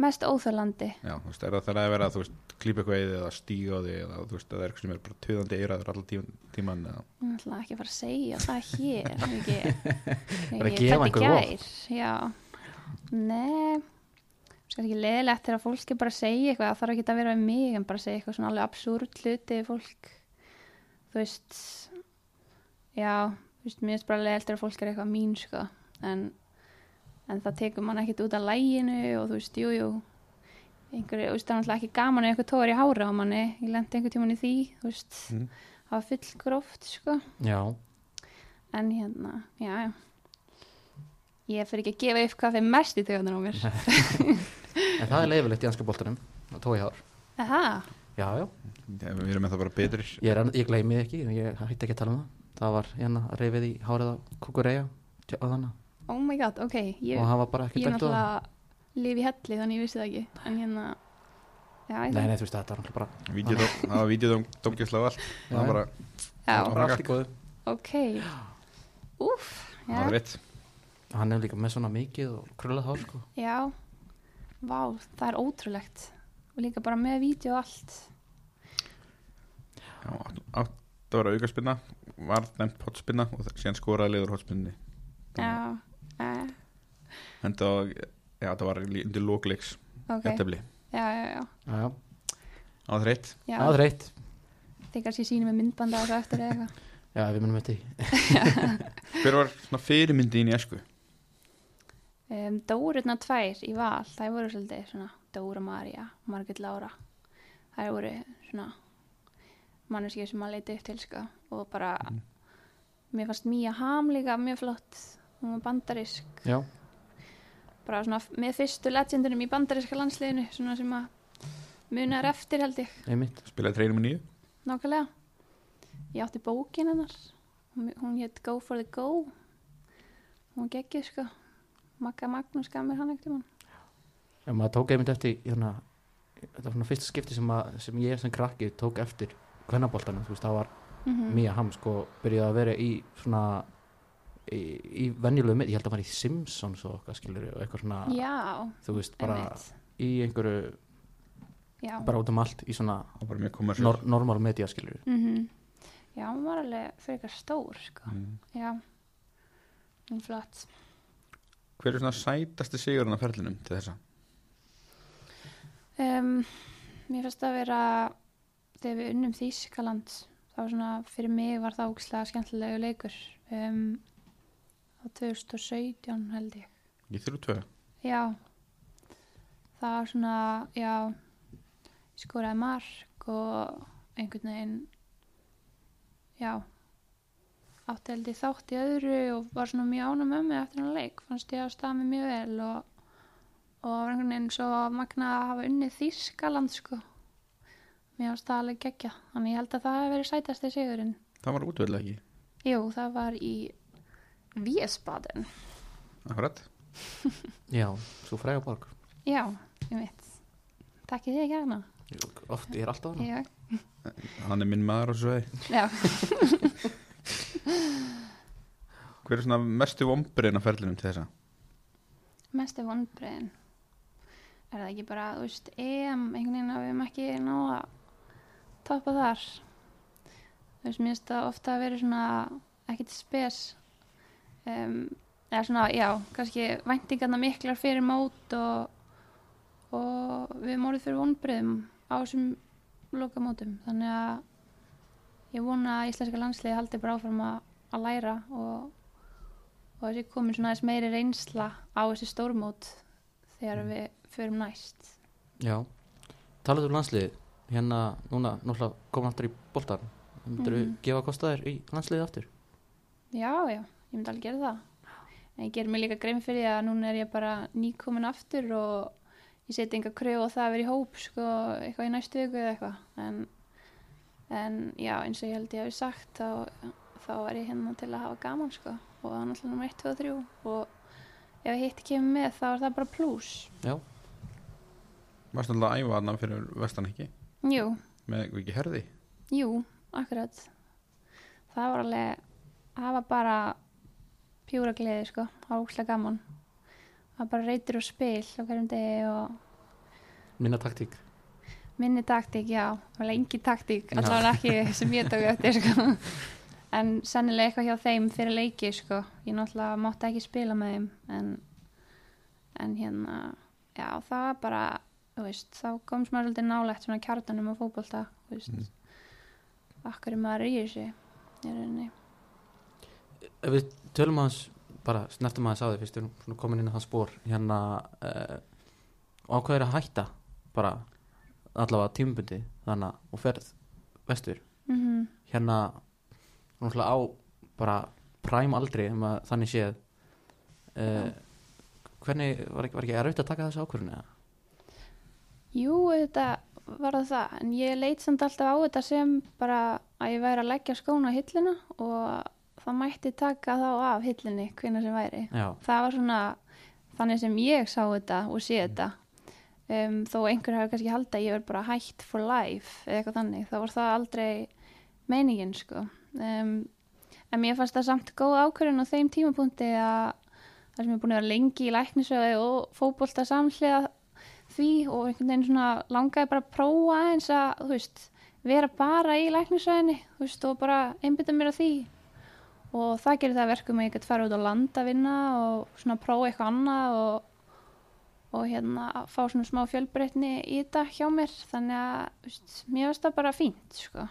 Speaker 3: mest óþjólandi
Speaker 1: Já, þú veist, er það þegar að vera að þú veist klípa eitthvað í þig eða stíga á þig eða þú veist, að það er eitthvað sem er bara töðandi eiraður allan tíman, tíman eða
Speaker 3: Ég ætla ekki að fara að segja það hér er ekki,
Speaker 2: Bara
Speaker 3: ég
Speaker 2: gefa einhverju
Speaker 3: fæddi í gær, Já Nei Það er ekki leðilegt þegar fólk er bara að segja eitthvað það þarf ekki að vera við mig en bara að segja eitthvað svona alveg absúrt hluti við fólk Þú veist Já, þú veist, mér finnst bara leðilegt þegar fólk er eitthvað mín sko en, en það tekur mann ekkit út af læginu og þú veist, jú, jú einhverju, þú veist, það er náttúrulega ekki gaman ef eitthvað tóður í hára á manni, ég lendi einhver tíman í því, þú veist
Speaker 1: Mm.
Speaker 3: það var full gróft, sko
Speaker 2: já,
Speaker 3: en hérna, já, já ég fyrir ekki að gefa upp hvað þeim mest í töðunar á mér
Speaker 2: en það er leifilegt í anska boltanum að tóa í hár,
Speaker 3: Aha,
Speaker 2: já, já
Speaker 1: Já, við erum með það bara betri
Speaker 2: ég, er, enn- ég gleymi því ekki, ég hætti ekki að tala um það það var hérna reyfið í hárið á kukureja á þannig,
Speaker 3: oh my god, ok ég,
Speaker 2: og það var bara
Speaker 3: ég
Speaker 2: ekkert dæmt á það.
Speaker 3: náttúrulega lifi í helli þannig ég vissi það ekki en hérna, já, ég
Speaker 2: nei, nei, þú veist, þetta var náttúrulega bara
Speaker 1: Vídeó, það var vídeodóm, domgjuslega allt
Speaker 2: Já,
Speaker 1: Það var bara,
Speaker 2: það var
Speaker 3: já,
Speaker 2: bara allt í góðu
Speaker 3: ok úf,
Speaker 1: það var
Speaker 3: já,
Speaker 1: rétt
Speaker 2: hann er líka með svona mikið og krullað hár sko.
Speaker 3: já vá, það er ótrúlegt og líka bara með vídeo og allt
Speaker 1: Já, átt- átt að vera aukaspinna var nefnt hotspinna og það- síðan skoraði liður hotspinni
Speaker 3: já, eh, já,
Speaker 1: en það var, já, það var lí- undir lókleiks
Speaker 3: ok já,
Speaker 1: jættefli,
Speaker 3: já, já,
Speaker 2: já, já.
Speaker 1: það var rétt
Speaker 3: já.
Speaker 2: það er reitt
Speaker 3: þið kannski sýnum með myndbanda og svo eftir eða eitthvað
Speaker 2: já, við munum eftir því.
Speaker 1: Hver var svona fyrirmyndin í esku?
Speaker 3: Um, Dórurna tvær í val, það voru svolítið svona Dóra María, Margit Lára. Það voru svona manneskið sem maður leiti upp til sko og bara, mér fannst Mía Ham líka mjög flott, hún var bandarisk,
Speaker 2: já,
Speaker 3: bara svona f- með fyrstu legendunum í bandariska landsliðinu, svona sem að munar eftir held ég,
Speaker 2: einmitt
Speaker 1: Spilaði treinum og nýju?
Speaker 3: nákvæmlega. Ég átti bókin hennar, hún, hún hétt Go for the Go, hún geggið sko, Magga Magnús gaf mér hann ekkert um hann.
Speaker 2: en maður tók einmitt eftir í, hérna, þetta var svona fyrsta skipti sem, að, sem ég sem krakki tók eftir kvennaboltanum, þú veist, það var
Speaker 3: Mm. Mhm.
Speaker 2: Mía Hamm sko byrjaði að vera í svona í, í venjulegu mynd, ég held að var í Simpsons og okkar skilur og eitthvað svona
Speaker 3: Já,
Speaker 2: þú veist, bara
Speaker 3: einmitt.
Speaker 2: í einhverju
Speaker 3: Já,
Speaker 2: bara út um allt í svona
Speaker 1: Það var bara mjög kommersiál
Speaker 2: nor normal media skilur
Speaker 3: Mhm. Já, hún var alveg frekar stór, sko.
Speaker 1: Mm.
Speaker 3: Já, hún er flott.
Speaker 1: Hver er svona sætasti sigurinn á ferlinum til þessa?
Speaker 3: Um, mér finnst að vera, þegar við unnum Þýskaland, það var svona, fyrir mig var það ógislega skemmtilegu leikur. Um, á 2017 held ég.
Speaker 1: Ég þurfu tvö
Speaker 3: Já, það var svona, já, ég skoraði mark og einhvern veginn, já, átti held ég þátt í öðru og var svona mjög ánum með mig eftir hann leik, fannst ég að staða mig mjög vel og, og var einhvern veginn svo magna að hafa unnið Þýskaland, sko. Mér var staða alveg geggja, þannig ég held að það hef verið sætasti sigurinn.
Speaker 1: Það var útvöldlega ekki
Speaker 3: Jú, það var í Viesbaden.
Speaker 1: Akkurat
Speaker 2: já, svo fræga borg
Speaker 3: Já, ég veit. Takk ég þig hérna.
Speaker 2: oft, ég er alltaf hana
Speaker 3: Já,
Speaker 1: Hann er minn maður á þessu vegi
Speaker 3: já.
Speaker 1: Hver er svona mestu vombriðin á ferlinum til þessa?
Speaker 3: mestu vonbreiðin er það ekki bara, þú veist, EM einhvern veginn að við hefum ekki ná að toppa þar þú veist, mér finnst það ofta að vera svona ekkit spes um, eða svona, já, kannski væntingarna miklar fyrir mót og, og við höfum orðið fyrir vonbreiðum á þessum lokamótum, þannig að ég vona að íslenska landsliði haldi bara áfram að, að læra og og þessi komin svona aðeins meiri reynsla á þessi stórmót þegar við förum næst
Speaker 2: já, talaðu um landsliðið hérna, núna, náttúrulega komum aftur í boltan myndir við
Speaker 3: Mhm.
Speaker 2: gefa kostaðir í landsliðið aftur
Speaker 3: já, já, ég myndi alveg gera það en ég ger mig líka grein fyrir því að núna er ég bara nýkomin aftur og ég seti enga kröfu á það að vera í hóp sko, eitthvað í næstu viku eða eitthvað en, en já, eins og ég held ég hafi sagt þá, þá var ég hérna til að hafa gaman sko, og það var náttúrulega nummer 1, 2 og 3 og ef hitt kemur með þá er það bara pluss
Speaker 2: Já,
Speaker 1: Varst alltaf að æfa annan fyrir vestan ekki
Speaker 3: Jú,
Speaker 1: með ekki herði
Speaker 3: jú, akkurat það var alveg það var bara pjúra gleði sko, það var úkslega gaman það var bara reytir og spil á hverjum degi og
Speaker 2: minna taktík
Speaker 3: minni taktík, já það var lengi taktík,
Speaker 2: Já.
Speaker 3: allavega ekki sem ég tók eftir sko en sennilega eitthvað hjá þeim fyrir leiki sko ég náttúrulega mátti ekki spila með þeim en, en hérna já, það var bara þú veist, þá komst maður svolítið nálægt svona kjartanum á fótbolta, þú veist
Speaker 1: Mm.
Speaker 3: akkur er maður í þessu í rauninni
Speaker 2: Ef við tölum aðeins, bara snertum aðeins á því fyrst við erum svona komin inn á það spór hérna uh, ákveður að hætta bara allavega tímubundi þannig að- og ferð vestur
Speaker 3: mm
Speaker 2: hérna náttúrulega á bara præm aldri um að þannig séð uh, hvernig var ekki, var ekki erfitt að taka þessu ákvörðinu eða?
Speaker 3: Jú, þetta var það það, en ég leit samt alltaf á þetta sem bara að ég væri að leggja skóna á hilluna og það mætti taka þá af hillunni hvenna sem væri.
Speaker 2: Já,
Speaker 3: Það var svona þannig sem ég sá þetta og sé þetta. Um, þó einhver hafi kannski haldið að ég verð bara hætt for life eða eitthvað þannig, þá var það aldrei meiningin sko. Um, en mér fannst það samt góð ákvörðun á þeim tímapunkti að það sem ég er búin að vera lengi í læknisöðu og fótbolta samhliða því og einhvern veginn svona langaði bara að prófa eins að, þú veist, vera bara í læknisöðinni, þú veist, og bara einbytta mér að því og það gerir það að verkum að ég get fara út á land að vinna og svona prófa eitthvað annað og, og hérna að fá svona smá fjölbreytni í þetta hjá mér þannig að, þú veist, mér finnst það bara fínt, sko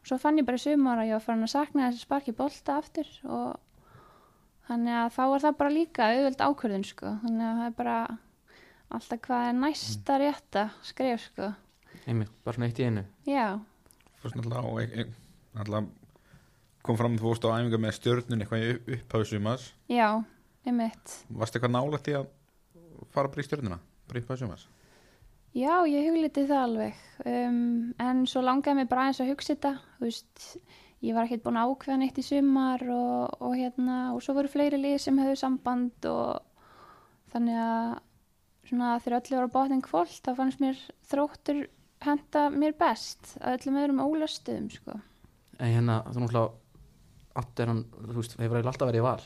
Speaker 3: og svo fann ég bara í sumar að ég var farin að sakna þessi sparki bolta aftur og þannig að þá var það bara líka auðvöld ákvörðun, sko, þannig að það er bara alltaf hvað er næsta rétta skref sko
Speaker 2: einmitt, bara svona eitt í einu
Speaker 3: já,
Speaker 1: Fórst alltaf á e- e- alltaf kom fram þú fórst á æfinga með stjörnun eitthvað í upphafið sumars
Speaker 3: já, einmitt
Speaker 1: Varst eitthvað nálægt í að fara bara í stjörnuna bara í upphafið sumars
Speaker 3: já, ég hugliti það alveg um, en svo langaði mér bara eins að hugsa þetta þú veist, ég var ekkert búin að ákveða neitt í sumar og, og hérna og svo voru fleiri lið sem höfðu samband og þannig að svona þegar öllu voru á botnin kvöld þá fannst mér þróttur henda mér best að öllum öðrum ólastuðum sko
Speaker 2: en hérna þú náttúrulega átt er hann, þú veist, hefur eiginlega alltaf verið í val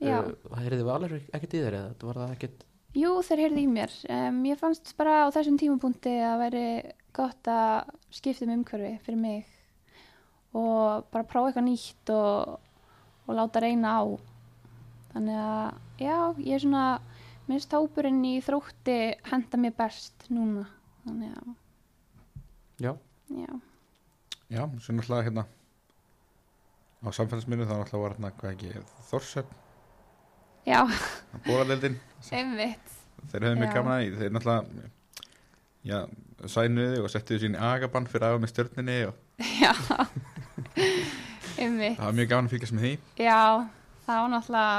Speaker 3: já
Speaker 2: Eh, Það heyrði við alveg ekkert í þér eða Þetta var það ekkert
Speaker 3: Jú, þeir heyrði í mér. Um, ég fannst bara á þessum tímapunkti að veri gott að skipta um umhverfi fyrir mig og bara prófa eitthvað nýtt og, og láta reyna á. Þannig að já, ég er svona, minnst hópurinn í þrótti henda mér best núna. Þannig að,
Speaker 2: Já,
Speaker 3: já.
Speaker 1: Já, svo náttúrulega hérna á samfélagsminu þá náttúrulega var hérna hvað ekki Þorsöfn,
Speaker 3: Já,
Speaker 1: Bóradeldin
Speaker 3: einmitt.
Speaker 1: þeir höfðu mjög
Speaker 3: Já.
Speaker 1: gaman að því, þeir náttúrulega já, sænuði og settu sín agabann fyrir aðeins með stjörnunni og
Speaker 3: Já, einmitt.
Speaker 1: það var mjög gaman að fylgjast með því
Speaker 3: Já, það var náttúrulega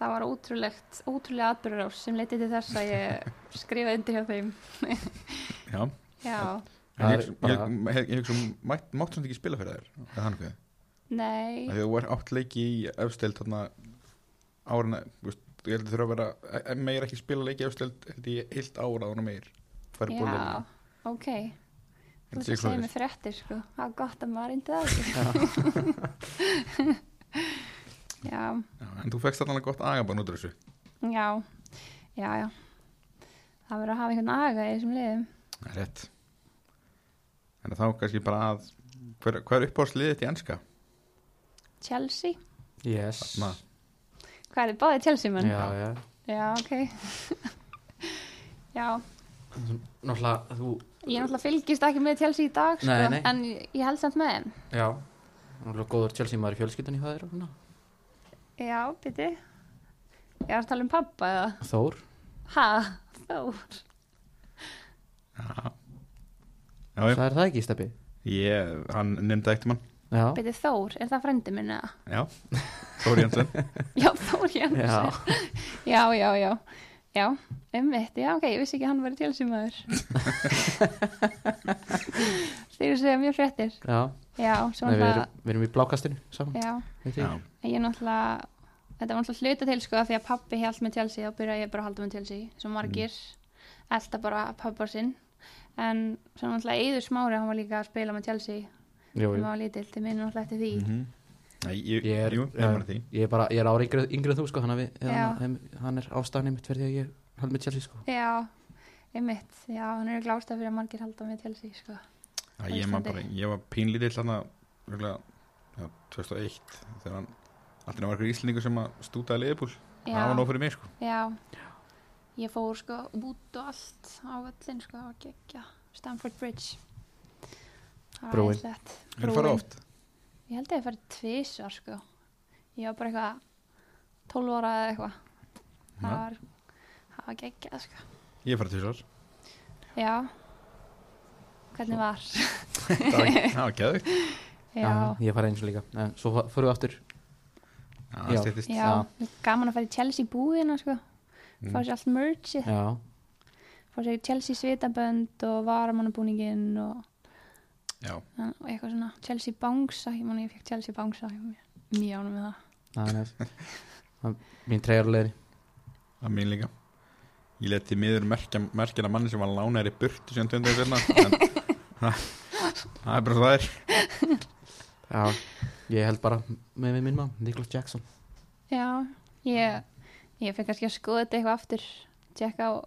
Speaker 3: það var ótrúlegt ótrúlega atbyrður sem leytið til þess að ég skrifaði undir hjá þeim
Speaker 1: Já, en
Speaker 3: Já,
Speaker 2: Það
Speaker 1: ég,
Speaker 2: er
Speaker 1: ég,
Speaker 2: bara-
Speaker 1: ég, ég, ég hugsa, um, mætt- máttu samt ekki spila fyrir þær eða hann hvað,
Speaker 3: nei
Speaker 1: þegar þú var átt leiki í efstild þarna ára ég held að þurfa að vera, e- e- meir ekki spila leiki í efstild, held ég heilt ára ára meir færi
Speaker 3: Já,
Speaker 1: bólaðin
Speaker 3: ok Þú veist að segja mér fréttir sko Það er gott að maður reyndi það ekki. Já,
Speaker 1: En þú fegst þarna gott agabann út úr þessu
Speaker 3: já Já, já Það verður að hafa einhvern aga í þessum liðum
Speaker 1: Það er Rétt En þá kannski bara að hver, hver er uppáhaldsliðið þitt í enska?
Speaker 3: Chelsea,
Speaker 2: yes
Speaker 1: Na,
Speaker 3: hvað er þið báðið Chelsea menn?
Speaker 2: Já, já
Speaker 3: já ok Já,
Speaker 2: Náttúrulega þú
Speaker 3: Ég náttúrulega fylgist ekki með Chelsea í dag sko,
Speaker 2: Nei, nei.
Speaker 3: en ég held samt með þeim.
Speaker 2: Já Náttúrulega góður Chelsea maður í fjölskyldunni hjá þér hérna. og svona
Speaker 3: Já, byrju. Ég var að tala um pappa eða?
Speaker 2: Þór
Speaker 3: Ha, þó.
Speaker 1: Já, já, já.
Speaker 2: Það er það ekki, Steppi
Speaker 1: Ég, hann nefndi eitt mann
Speaker 2: Já
Speaker 3: Byrju Þór, er það frendi minn eða?
Speaker 1: Já, Þóri Jensen
Speaker 3: Já, Þór Jensen.
Speaker 2: Já
Speaker 3: Já, já, já. Já, einmitt, já ok, ég vissi ekki að hann var télsýmaður Þeir segja mjög fréttir
Speaker 2: já,
Speaker 3: Já, svo
Speaker 2: Nei, við,
Speaker 3: náttúrulega
Speaker 2: erum, við erum í blákastinu saman
Speaker 3: Já,
Speaker 2: veit ég.
Speaker 1: Já,
Speaker 3: en ég náttúrulega Þetta var náttúrulega hluta til sko af Því að pappi held með télsý Þá byrjaði ég bara að halda með télsý Svo margir,
Speaker 1: Mm.
Speaker 3: elda bara pappa sinn En svo náttúrulega Eður Smári Hann var líka að spila með télsý
Speaker 2: Jú,
Speaker 3: Þegar
Speaker 2: jú.
Speaker 3: maður lítill, þið minnum náttúrulega eftir því
Speaker 1: Mhm. Nei, ég,
Speaker 2: ég er,
Speaker 1: jú, ég er bara því
Speaker 2: ég er bara ég er ári yngri, yngri en þú sko, hann, við,
Speaker 3: Já.
Speaker 2: hann, hann er ástæðan einmitt verði að ég held með Chelsea sko.
Speaker 3: Já, einmitt, já, hann er glásta fyrir að margir halda með télsý sko.
Speaker 1: Æ, ég, man
Speaker 3: Íslandi.
Speaker 1: bara, ég var pínlítill hann að 2001 þegar hann alltaf var eitthvað íslendingur sem að stútaði liðbúl
Speaker 3: Já.
Speaker 1: það var nóg fyrir mig sko
Speaker 3: Já, ég fór sko út og allt á völlin sko og gegja Stamford Bridge. Það var
Speaker 2: Brúin.
Speaker 3: æðislegt.
Speaker 1: er það fara
Speaker 3: Brúin.
Speaker 1: oft
Speaker 3: Ég held að ég farið tvísar sko. Ég var bara eitthvað 12 ára eða eitthvað. Það
Speaker 1: Ja.
Speaker 3: var, það var geggjað sko.
Speaker 1: ég fara til þessar
Speaker 3: Já, hvernig var?
Speaker 1: það var- það var geðvikt
Speaker 3: Já,
Speaker 2: ég farið eins og líka en svo fa- förum við aftur
Speaker 1: það
Speaker 2: Já.
Speaker 1: stýttist
Speaker 3: já,
Speaker 2: Já.
Speaker 3: gaman að fara í Chelsea búðina sko.
Speaker 1: Mm.
Speaker 3: Fá sér allt merchið.
Speaker 2: já,
Speaker 3: Fá sér Chelsea svitabönd og varamannabúningin og
Speaker 1: já,
Speaker 3: Já, og eitthvað svona Chelsea Bangsa, ég man að ég fekk Chelsea Bangsa ég var mjög- mjög ánum með það
Speaker 2: það er næst Það- mín treyjarleðri
Speaker 1: að mín líka ég leti miður merkja, merkjana manni sem var lánaðir í burtu sem töndu þessarna en það það er bara svo það er
Speaker 2: já, ég held bara með, með minn mann, Niklas Jackson
Speaker 3: já, ég, ég fekk kannski að skoða þetta eitthvað aftur tjekka á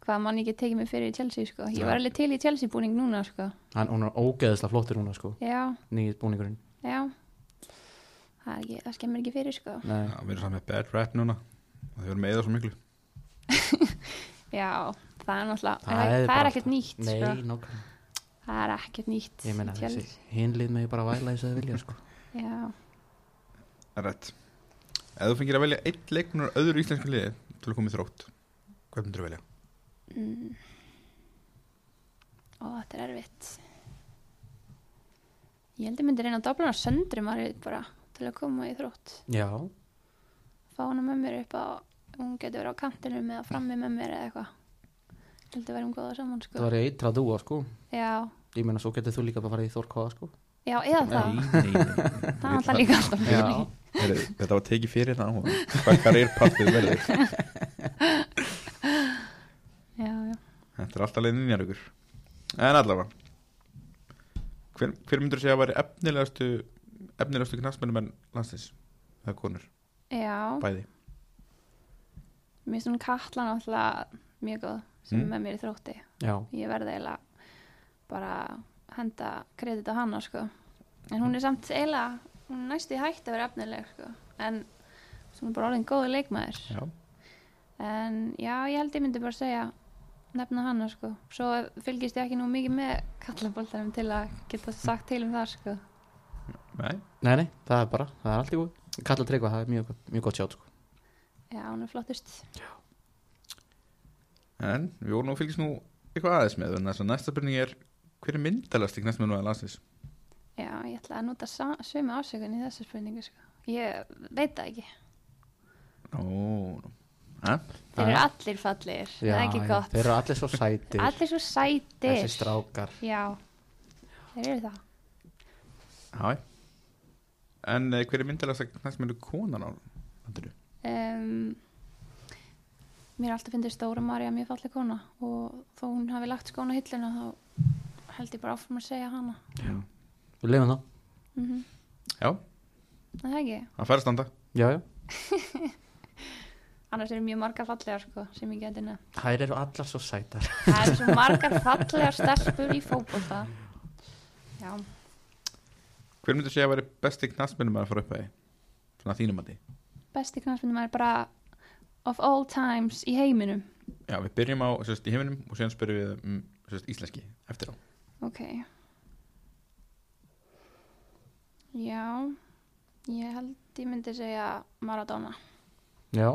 Speaker 3: hvað mann ég get tekið mig fyrir í Chelsea sko. ég
Speaker 1: Já.
Speaker 3: var alveg til í Chelsea búning núna sko.
Speaker 2: hann hún er ógeðislega flottur núna sko
Speaker 3: já,
Speaker 2: nýjir búningurinn
Speaker 3: já það, er ekki, það skemmir ekki fyrir sko.
Speaker 2: Nei.
Speaker 1: Já, við erum saman með bad rap núna og þau erum með það svo miklu
Speaker 3: já, það er náttúrulega
Speaker 2: Það
Speaker 3: það,
Speaker 2: er
Speaker 3: er, það
Speaker 2: bara
Speaker 3: er ekkert nýtt
Speaker 2: Nei,
Speaker 3: sko.
Speaker 2: nákvæmlega
Speaker 3: það er ekkert nýtt
Speaker 2: Ég meina
Speaker 3: í
Speaker 2: þessi
Speaker 3: Chelsea.
Speaker 2: hinlið með bara væla þess að vilja sko
Speaker 3: já,
Speaker 1: Rett. ef þú fengir að velja einn leiknur öðru íslensku liði til að koma í þrótt hvað myndir þú velja?
Speaker 3: Mm. Ó, þetta er erfitt. Ég held ég myndi reyna að dobla hana söndri maður bara til að koma í þrótt.
Speaker 2: Já,
Speaker 3: Fá hana með mér upp á, hún getur verið á kantinum eða frammi með mér eða eitthvað. Ég held að verðum góða saman, sko.
Speaker 2: það var eitra dúa sko
Speaker 3: Já,
Speaker 2: Ég meina svo getur þú líka bara farið í Þórkóða sko
Speaker 3: já, eða það.
Speaker 1: nei, nei.
Speaker 3: Það er alltaf líka alltaf
Speaker 2: Já,
Speaker 1: Heyrðu, Þetta var tekið fyrir það á hann Hvað karriérpappið verður
Speaker 3: Já, já.
Speaker 1: Þetta er alltaf leiðin mér ykkur En allavega Hver, hver myndur segja að væri efnilegastu efnilegastu knastmennum en landsins eða konur,
Speaker 3: Já,
Speaker 1: bæði
Speaker 3: mér finnst hún Katla náttúrulega mjög góð sem
Speaker 1: Mm.
Speaker 3: er með mér í þrótti.
Speaker 2: já,
Speaker 3: ég verði eiginlega bara að henda kredit á hana sko. en hún er samt eiginlega hún er næstu í hætt að vera efnileg sko. en hún er bara orðin góði leikmaður
Speaker 1: Já,
Speaker 3: en já, ég held ég myndi bara segja nefna hana sko. svo fylgist ég ekki nú mikið með kallaboltarum til að geta sagt til um það sko.
Speaker 1: nei,
Speaker 2: nei nei, það er bara, það er allt í góð Kalla Tryggva, það er mjög, gott- mjög gott sjátt sko
Speaker 3: já, hún er flottust
Speaker 1: en við vorum nú að fylgjast nú eitthvað aðeins með en þess að næsta spurning er hver er myndalasti knastmennum en landsins
Speaker 3: já, ég ætla að nota sa- sömu ásökun í þessu spurningu sko. ég veit það ekki
Speaker 1: Ó, hæ?
Speaker 3: þeir eru allir fallir, það er ekki gott
Speaker 2: Þeir eru allir svo sætir
Speaker 3: allir svo sætir
Speaker 2: Þessi strákar
Speaker 3: Já, þeir eru það.
Speaker 1: Hæ? En eh, hver er myndalasti knastmennu konan á landinu?
Speaker 3: Um, mér er alltaf fyndið Stóra Marja mjög falleg kona og þó hún hafi lagt skóna hilluna þá held ég bara áfram að segja hana.
Speaker 1: Já,
Speaker 2: Við lefum það
Speaker 3: Mm
Speaker 1: Já
Speaker 3: Það er ekki.
Speaker 1: það fær að standa
Speaker 2: Já, já
Speaker 3: Annars eru mjög margar fallegar sko sem ég geti nefnt.
Speaker 2: Þær eru allar svo sætar
Speaker 3: Það eru svo margar fallegar stelpur í fótbolta. Já,
Speaker 1: Hver myndur segja að væri besti knastmennum að fara upp að því? Svona að þínum að því
Speaker 3: besti knallmyndum er bara of all times í heiminum.
Speaker 1: Já, við byrjum á sérst, í heiminum og síðan spyrjum við um sérst, íslenski eftir á
Speaker 3: Ok. Já, ég held ég myndi segja Maradona.
Speaker 2: Já,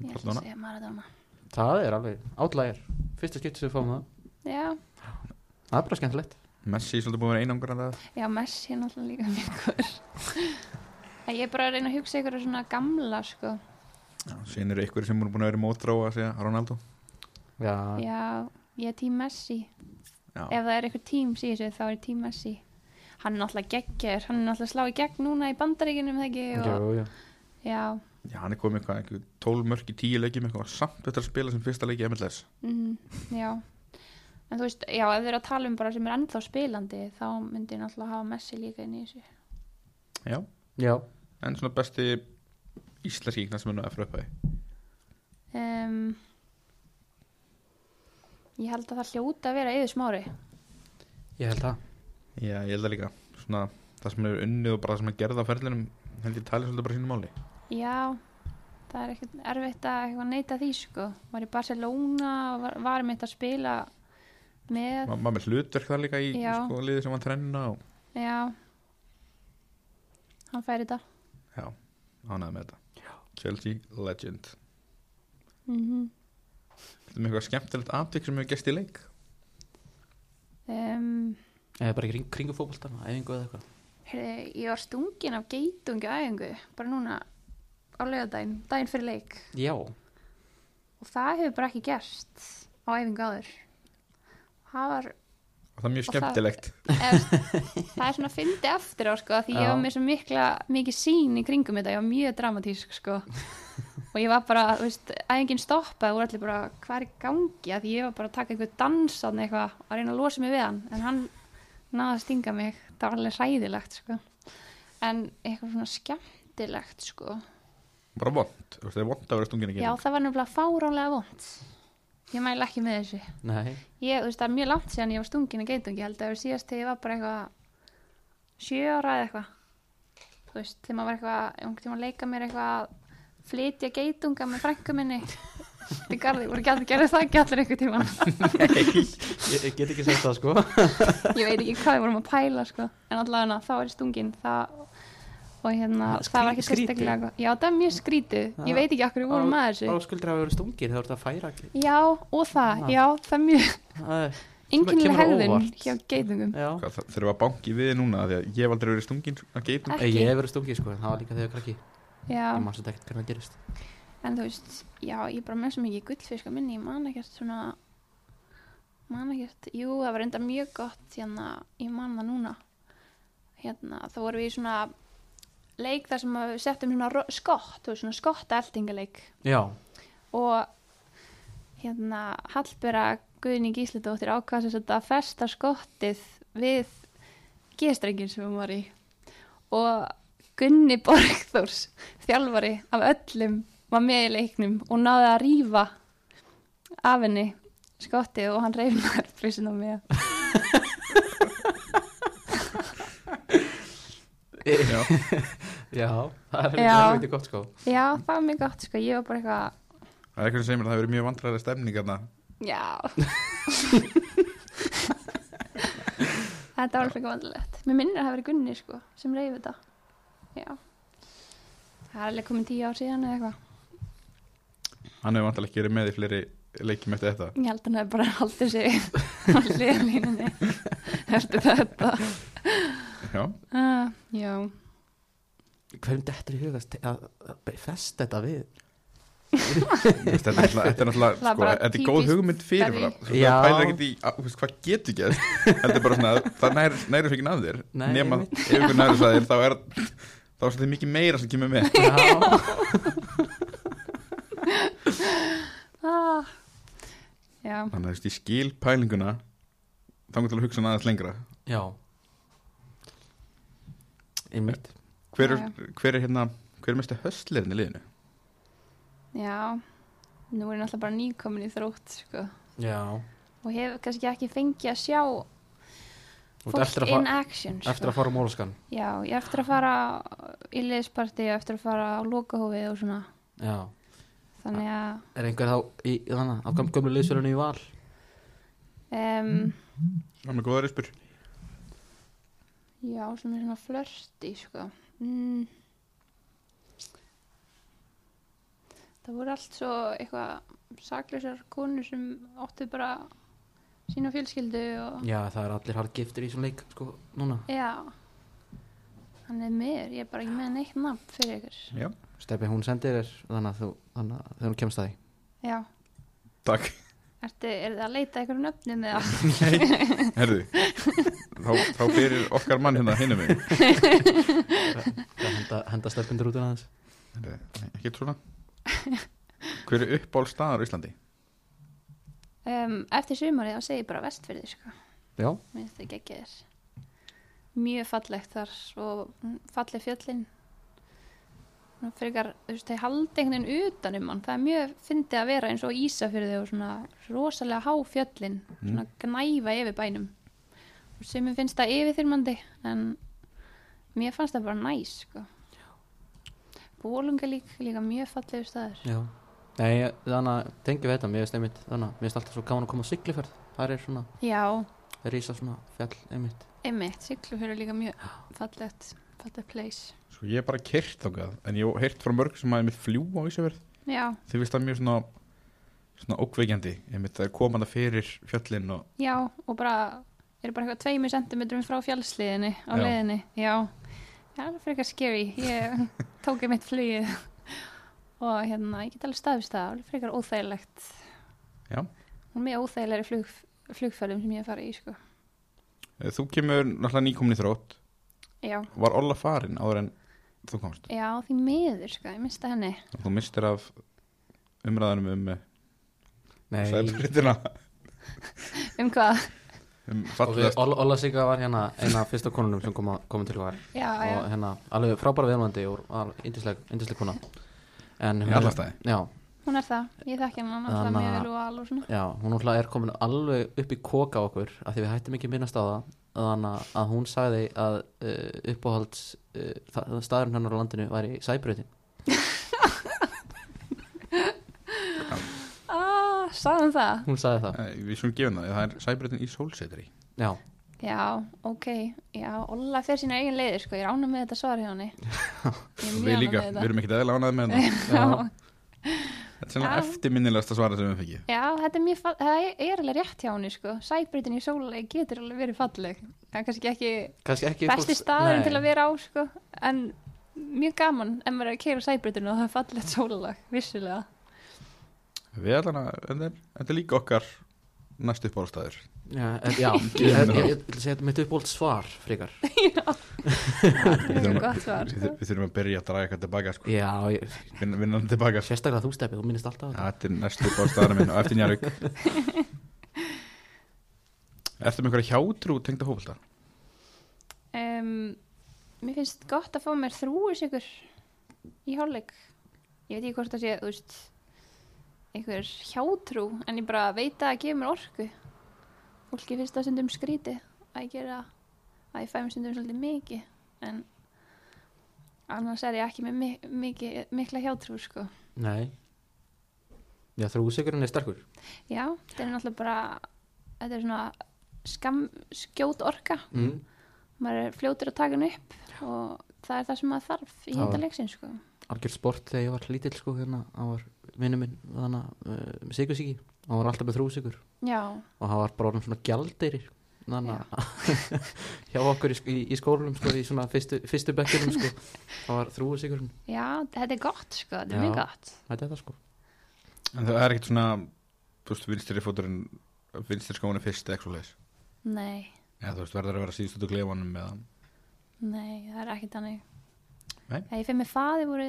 Speaker 3: Ég ætla
Speaker 1: Maradona.
Speaker 3: að segja Maradona.
Speaker 2: það er alveg átlægir Fyrsta skipti sem við fáum það
Speaker 3: Já,
Speaker 2: Það er bara skemmtilegt
Speaker 1: Messi er svolítið búin að vera einangur að það
Speaker 3: já, Messi er náttúrulega líka mjög góður. En ég er bara að reyna að hugsa ykkur svona gamla, sko.
Speaker 1: Sen eru ykkur sem eru búin að vera í mótrá að segja Ronaldo
Speaker 2: já,
Speaker 3: Já, ég er tím Messi
Speaker 1: Já,
Speaker 3: Ef það er eitthvað teams í þessu þá er tím Messi Hann er náttúrulega geggjör, hann er náttúrulega að slá í gegn núna í bandaríkinum þegar ekki og,
Speaker 2: jú, jú.
Speaker 3: Já,
Speaker 1: Já hann er komið eitthvað, eitthvað 12 mörg í 10 leikjum eitthvað samt eftir að spila sem fyrsta leiki MLS
Speaker 3: mm, já En þú veist, já, ef við erum að tala um bara sem er ennþá spilandi þá myndi ég náttúrulega hafa Messi líka inn í þessu
Speaker 1: Já,
Speaker 2: já,
Speaker 1: en svona besti íslenski knastmennu að fröpa
Speaker 3: um, Ég held að það hljóta að vera yður smári
Speaker 2: ég held það
Speaker 1: Já, ég held að líka svona það sem er unnið og bara það sem er gerð á ferlinum held ég talið svolítið bara sínu máli
Speaker 3: Já, það er ekkert erfitt að eitthvað neyta því sko. Var í Barcelona og var, var mitt að spila með,
Speaker 1: Ma- maður með hlutverk þar líka í
Speaker 3: Já.
Speaker 1: sko, liði sem hann trenna og
Speaker 3: já, hann fær þetta.
Speaker 1: já, ánæði með þetta Chelsea Legend
Speaker 3: Mm
Speaker 1: Þetta er með eitthvað skemmtilegt atvik sem hefur gæst í leik
Speaker 3: um,
Speaker 2: eða bara í kring, kringu fótboltana, æfingu eða eitthvað
Speaker 3: heyrðu, ég var stungin af geitungi á æfingu, bara núna á laugardaginn, daginn fyrir leik.
Speaker 2: já,
Speaker 3: Og það hefur bara ekki gerst á æfingu áður. Það var,
Speaker 1: og það er mjög
Speaker 3: Og það-
Speaker 1: skemmtilegt
Speaker 3: eða, það er svona fyndi eftir á sko, því ég
Speaker 2: Já.
Speaker 3: var með svo mikla, mikið sín í kringum þetta, ég var mjög dramatísk sko. og ég var bara, þú veist, æfingin stoppaði og voru allir bara, hvað er í gangi að því ég var bara að taka einhver dansan eitthvað og reyna að losa mig við hann, en hann náði að stinga mig, það var alveg hræðilegt sko. en eitthvað svona skemmtilegt sko.
Speaker 1: bara vond, þú veist, það er vond að vera stungin ekki
Speaker 3: já, það var nefnilega fáránlega vond ég mæla ekki með þessu
Speaker 2: nei
Speaker 3: Ég, þú veist, það er mjög langt síðan ég var stungin að geitungi, ég held að það var síðast þegar ég var bara eitthvað sjö ára eða eitthvað. Þú veist, þegar maður var eitthvað, einhvern tíma að leika mér eitthvað að flytja geitunga með frænku minni. Þetta er garði, voru ekki allir gerði það ekki allir einhvern tíma.
Speaker 2: ég, ég get ekki sagt það sko
Speaker 3: Ég veit ekki hvað við vorum að pæla, sko. En allavega þá er ég stungin, það, og hérna,
Speaker 2: Það er
Speaker 3: það var ekki
Speaker 2: skrítið.
Speaker 3: sérstaklega eitthvað. Já, það er mjög skrítið.
Speaker 2: Já.
Speaker 3: Ég veit ekki okkur við vorum að þessu.
Speaker 2: áskuldur að vera stungir þegar þú ert að færa ekki
Speaker 3: Já, og það,
Speaker 2: Ah.
Speaker 3: já, það er mjög,
Speaker 2: það,
Speaker 3: enginlega
Speaker 2: kemur á
Speaker 3: hegðun
Speaker 2: óvart.
Speaker 3: hjá geitungum.
Speaker 2: já
Speaker 1: Hvað, það þurfa að banki við núna af því að ég hef aldrei verið stungin að geitum
Speaker 3: Ekki.
Speaker 2: Ég hef verið stungið sko, en það var líka þegar ég var krakki
Speaker 3: Já.
Speaker 2: Ég manns að ekkert hvernig það gerist
Speaker 3: En þú veist, já, ég er bara með svo mikið gullfiska minni, ég man ekkert svona, man ekkert, jú, það var enda mjög gott, hérna, ég man það núna, hérna, þá vorum við í svona leik þar sem að við settum svona ro- skott, þú veist, svona skottaeltingaleik
Speaker 2: Já,
Speaker 3: og hérna, Hallbera Guðni Gíslidóttir ákvæðs að setja að festa skottið við gestrengin sem hún var í og Gunni Borgþórs þjálfari af öllum var með í leiknum og náði að rýfa af henni skottið og hann reyfnar frisin á mig
Speaker 1: Já,
Speaker 2: já, það er
Speaker 3: Já.
Speaker 2: mjög veitir gott sko
Speaker 3: já það var mjög gott sko, ég var bara eitthvað
Speaker 1: það er eitthvað sem segir mér að það hefur verið mjög vandræðilega stemning þarna.
Speaker 3: já þetta var alveg vandilegt mér minnir að það hafi verið Gunni sko sem reyfi þetta já það er alveg komin tíu ár síðan eða eitthvað
Speaker 1: Hann hefur vantilega ekki verið með í fleiri leikjum eftir þetta
Speaker 3: Ég held að hann hefði bara haldið sig á hliðalínunni eftir þetta.
Speaker 1: Já,
Speaker 3: Uh, já,
Speaker 2: Hverjum dettur í hugast að að festa þetta við
Speaker 1: Þú veist, þetta er náttúrulega- þetta er náttúrulega
Speaker 3: Það er
Speaker 1: sko,
Speaker 3: bara
Speaker 1: þetta er góð
Speaker 3: típist
Speaker 1: hugmynd fyrir
Speaker 3: Benny.
Speaker 1: það
Speaker 2: Já.
Speaker 1: það pælir ekkert í að, þú veist, hvað getur gæst þetta er bara svona að það næri, næri svo ekki að þér
Speaker 2: Nei,
Speaker 1: nema
Speaker 2: einmitt.
Speaker 1: ef ykkur næri svo að þér þá er þá er svolítið mikið meira sem kemur með
Speaker 2: Já,
Speaker 3: ah, já,
Speaker 1: þannig að þú veist, ég skil pælinguna þá til að hugsa hann aðeins lengra
Speaker 2: já Einmitt
Speaker 1: hver,
Speaker 3: Já,
Speaker 1: er, hver er hérna hver er mestu höstliðin í liðinu?
Speaker 3: já. Nú er ég náttúrulega bara nýkomin í þrótt, sko.
Speaker 2: Já,
Speaker 3: Og hef kannski ekki fengið að sjá
Speaker 2: þú ert
Speaker 3: fólk
Speaker 2: eftir að,
Speaker 3: in
Speaker 2: fa
Speaker 3: action, sko.
Speaker 2: eftir að fara á mólaskan
Speaker 3: Já, ég er eftir að fara í liðsparti og eftir að fara á lokahófið og svona.
Speaker 2: Já,
Speaker 3: Þannig að,
Speaker 2: er einhver þá í þannig á göm- gömlu liðsfélunni í val
Speaker 3: um,
Speaker 1: Það er með góða rispur
Speaker 3: já, sem er svona flörti, sko. Mm. það voru allt svo eitthvað sakleysar konur sem áttu bara sína fjölskyldu og
Speaker 2: Já, það er allir hardgiftir í svona leik sko núna
Speaker 3: já hann er meður, ég er bara ekki með neitt nafn fyrir ykkur
Speaker 1: Já,
Speaker 2: Steppi hún sendir er þannig að þú þannig að þegar hún kemst að því
Speaker 3: já.
Speaker 1: Takk,
Speaker 3: Ertu, er það að leita einhverjum nöfnum eða?
Speaker 1: herðu þá, þá fyrir okkar mann hérna hinum mig
Speaker 2: Það henda, henda steppindur út en aðeins
Speaker 1: Heyrðu, Ekki svona Hver er uppból staðar á Íslandi?
Speaker 3: Um, eftir sumarið þá segi ég bara vestfyrði sko.
Speaker 2: Já,
Speaker 3: Mér finnst það ekki þér. Mjög fallegt þar og mm, falleg fjöllin. Nú Frekar, þú veist, þeir haldi einhvern veginn utan um hann. Það er mjög fyndið að vera eins og Ísafyrði og svona rosalega há fjöllin,
Speaker 1: Mm. Hmm?
Speaker 3: svona gnæfa yfir bænum. Og sem finnst það yfirþyrmandi, en mér fannst það bara næs, sko. Bólunga líka, líka mjög fallegur staður.
Speaker 2: já Nei, ég- þannig að tengjum við þetta, mér veist einmitt þannig að mér veist alltaf svo gaman að koma á sigluferð Það er svona,
Speaker 3: Já,
Speaker 2: rísa svona fjall einmitt
Speaker 3: einmitt, Siglufjörður er líka mjög fallegt, fallegt place.
Speaker 1: Sko ég er bara kert þangað En ég hef heyrt frá mörg sem að einmitt fljú á Ísafjörð
Speaker 3: Já,
Speaker 1: Þið finnst það mjög svona svona ókveikjandi einmitt það er komanda fyrir fjöllin og
Speaker 3: Já, og bara er bara eitthvað tveimur sentimetrum frá fjallsliðinni á
Speaker 1: Já.
Speaker 3: leiðinni, já það er alveg frekar scary, ég tók ég mitt flugið og hérna, ég get alveg staðist það, alveg frekar óþægilegt
Speaker 1: Já.
Speaker 3: og mjög óþægilegri flug, flugferðum sem ég hef farið í, sko
Speaker 1: Eh, þú kemur náttúrulega nýkomin í þrótt
Speaker 3: já,
Speaker 1: Var Olla farin áður en þú komst?
Speaker 3: já, því miður, sko, ég mista henni
Speaker 1: Þú mistir af umræðanum um eh,
Speaker 2: Nei,
Speaker 1: sæbrutina
Speaker 3: um hvað,
Speaker 1: um
Speaker 2: og við,
Speaker 1: fallegast
Speaker 2: Olla- Olla Sigga var hérna eina af fyrsta konunum sem kom, að- kom til okkar
Speaker 3: já, já,
Speaker 2: og hérna, alveg frábæra viðmandi og indisleg kona en
Speaker 1: í alla staði
Speaker 2: já,
Speaker 3: hún er það ég þekki henni náttúrulega
Speaker 2: Þannig
Speaker 3: mjög
Speaker 2: að-
Speaker 3: vel og alveg svona
Speaker 2: já, hún náttúrulega er komin alveg upp í koka á okkur af því við hættum ekki að minnast á það þannig að hún sagði að uh, uppáhalds uh, þa- staðurinn hennar á landinu væri sæbröðin
Speaker 3: ah, sagðum það,
Speaker 2: hún sagði það,
Speaker 1: Eh, Við svona gefum það, það er sæbrutin í sólsetri
Speaker 2: já,
Speaker 3: já, ok já, Olla fer sína eigin leiðir, sko, ég rána með þetta svar hjá henni Ég er mjög
Speaker 1: Við
Speaker 3: ánægð
Speaker 1: líka,
Speaker 3: með þetta.
Speaker 1: við erum ekkert eðla ánæði með það
Speaker 3: Já,
Speaker 1: Þetta er svona
Speaker 3: Já.
Speaker 1: eftirminnilegasta svara sem við fikk
Speaker 3: já, þetta er mjög fall, það er alveg rétt hjá henni sko, sæbritin í sóluleik getur alveg verið falleg, það er kannski ekki
Speaker 2: kannski ekki
Speaker 3: besti staðurinn til að vera á sko, en mjög gaman ef maður er að keira sæbritinu og það er fallegt sóluleik, vissulega.
Speaker 1: Við ætlum að, þetta er- þetta er líka okkar næstu uppbólstaður
Speaker 2: já, eh, já ég, ég, ég, ég vil segja þetta er mitt uppáhalds svar frekar
Speaker 3: Það er mjög gott svar
Speaker 1: Við
Speaker 3: sko.
Speaker 1: þur- við þurfum að byrja að draga eitthvað tilbaka sko.
Speaker 2: já, ég,
Speaker 1: Vin- vinna hann tilbaka sko.
Speaker 2: sérstaklega þú stefið, þú minnist alltaf á þetta
Speaker 1: Þetta er næstu uppbólstaðurinn minn og eftir njarvík Ertu með einhverja hjátrú tengda hófaldar?
Speaker 3: Um, mér finnst gott að fá mér þrúis ykkur í hálfleik, ég veit ekki hvort það sé, þú veist, einhver hjátrú, en ég bara veit að það gefur mér orku. Fólki finnst það stundum skríti að ég gera að ég fæ mér stundum svolítið mikið, en annars er ég ekki með mi- mikið, mikla hjátrú, sko.
Speaker 2: nei já, þrúsigurinn er sterkur
Speaker 3: Já, þetta er náttúrulega bara, þetta er svona skam, skjót orka,
Speaker 2: mm.
Speaker 3: maður er fljótur að taka hann upp og það er það sem maður þarf í
Speaker 2: Já.
Speaker 3: hindalegsin, sko.
Speaker 2: algjör sport þegar ég var lítill sko hérna, hann var vinnu minn þannig að uh, sigursíki, hann var alltaf með þrúsigur
Speaker 3: Já,
Speaker 2: og hann var bara orðin svona gjaldeyrir þannig að hjá okkur í, sk- í, í skólum sko, í svona fyrstu, fyrstu bekkinum sko, hann var þrúsigur
Speaker 3: Já, þetta er gott sko, þetta er
Speaker 2: Já.
Speaker 3: mjög gott.
Speaker 2: þetta er það sko
Speaker 1: En það er ekkert svona Þú veist, vinstri fóturinn Vinstri skóinu fyrst eða eitthvað leis
Speaker 3: Nei,
Speaker 1: Eða þú veist, verður að vera síðust út úr klefanum eða
Speaker 3: nei, það er ekki þannig.
Speaker 1: Nei.
Speaker 3: Ef ég fyrir með faði voru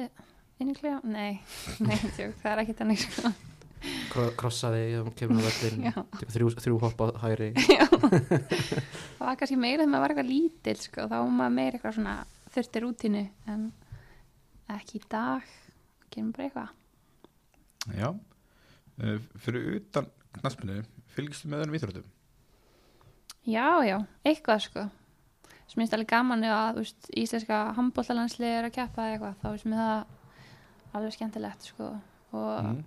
Speaker 3: inn í klefa, nei, nei, tjók, það er ekki þannig sko.
Speaker 2: Kro- krossaði, ég kemur á völlin
Speaker 3: Já.
Speaker 2: tekur þrjú, þrjú hoppa hægri
Speaker 3: Já. það var kannski meira þegar maður var eitthvað lítill sko, þá var maður meira eitthvað svona þurftir útínu, en ekki í dag, gerum bara eitthvað.
Speaker 1: Já Eh, Fyrir utan knaspinu Fylgistu með öðrum íþróttum?
Speaker 3: Já, já, eitthvað sko sem minnst alveg gaman ef að úst, íslenska handbóltalandslið er að keppa eða eitthvað þá finnst mér það alveg skemmtilegt sko og,
Speaker 1: Mm.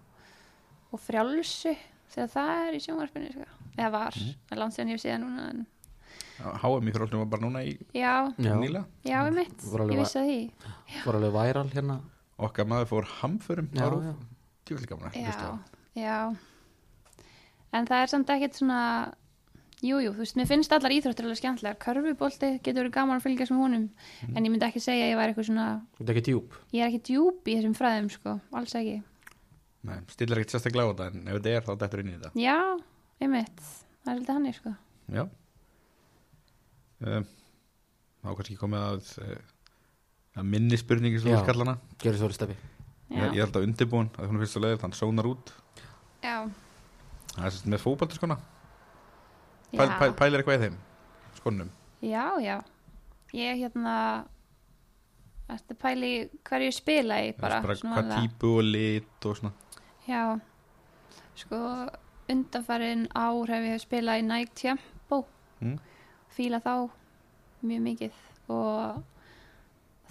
Speaker 3: og frjálsu þegar það er í sjónvarpinu sko. eða var,
Speaker 1: Mm.
Speaker 3: það er langt sér en ég sé það núna en...
Speaker 1: HM í þróttum var bara núna í
Speaker 3: já,
Speaker 2: Já,
Speaker 1: nýla
Speaker 3: já, ég mitt,
Speaker 2: Var alveg
Speaker 3: ég vissi það því
Speaker 2: var alveg væral hérna
Speaker 1: Okkar maður fór hamförum
Speaker 2: já,
Speaker 1: ára
Speaker 2: já.
Speaker 1: Tjókli gaman að hlusta á.
Speaker 3: já, já en það er samt ekkert svona Jú, jú, þú veist, mér finnst allar íþróttir alveg skemmtilegar. Körfubolti getur verið gaman að fylgjast með honum, en ég myndi ekki segja að ég væri eitthvað svona,
Speaker 2: Þetta er ekki djúp.
Speaker 3: ég er ekki djúp í þessum fræðum, sko, alls ekki.
Speaker 1: Nei, stillar ekkert sérstaklega á þetta en ef þetta er þá dættur inn í þetta
Speaker 3: Já, einmitt, það er svolítið hannig, sko.
Speaker 1: Já um, Þá er kannski komið að, uh, að minni spurningi sem
Speaker 2: Já.
Speaker 1: þú skallar hana
Speaker 2: Gjörðu svo listafi.
Speaker 1: ég,
Speaker 3: Já,
Speaker 1: ég er alltaf undirbúin að hún er fyrst að leiðið þannig sónar út
Speaker 3: já,
Speaker 1: Það er sérst með fótbaltur skona
Speaker 3: já,
Speaker 1: pæl, pæl, Pælir eitthvað í þeim skonum
Speaker 3: já, já. Ég, hérna, ertu pæli hverju ég spila í bara,
Speaker 1: bara, bara
Speaker 3: svona
Speaker 1: Hvað
Speaker 3: aðalega?
Speaker 1: típu og lit og svona
Speaker 3: Já, sko undanfærin ár hef ég spilað í Nike Tempo
Speaker 1: Mm.
Speaker 3: fíla þá mjög mikið og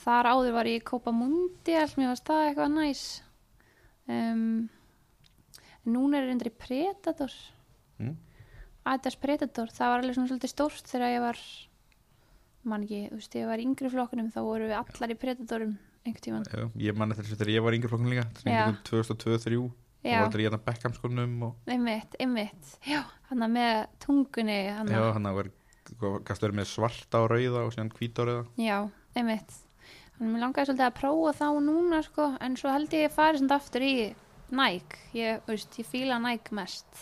Speaker 3: þar áður var ég í Copa Mundial mér varst það eitthvað næs um, en núna er ég reyndar í Predator
Speaker 1: Mm.
Speaker 3: Adidas Predator, það var alveg svona svolítið stórt þegar ég var mann ekki, þú veist, þegar ég var í yngri flokkunum þá voru við allar í Predatorum einhvern tímann
Speaker 1: Já, Ég manna þessu þegar ég var yngri flokkun líka
Speaker 3: Já.
Speaker 1: 2002-2003 og
Speaker 3: Já,
Speaker 1: var þetta í þetta Beckham skonum og
Speaker 3: einmitt, einmitt já, hann með tungunni hann
Speaker 1: Já, hann var kannski verið með svarta og rauða og síðan hvíta og rauða
Speaker 3: Já, einmitt. Þannig mér langaði svolítið að prófa þá núna sko, en svo held ég að fari samt aftur í Nike. Ég, þú veist, ég fíla Nike mest.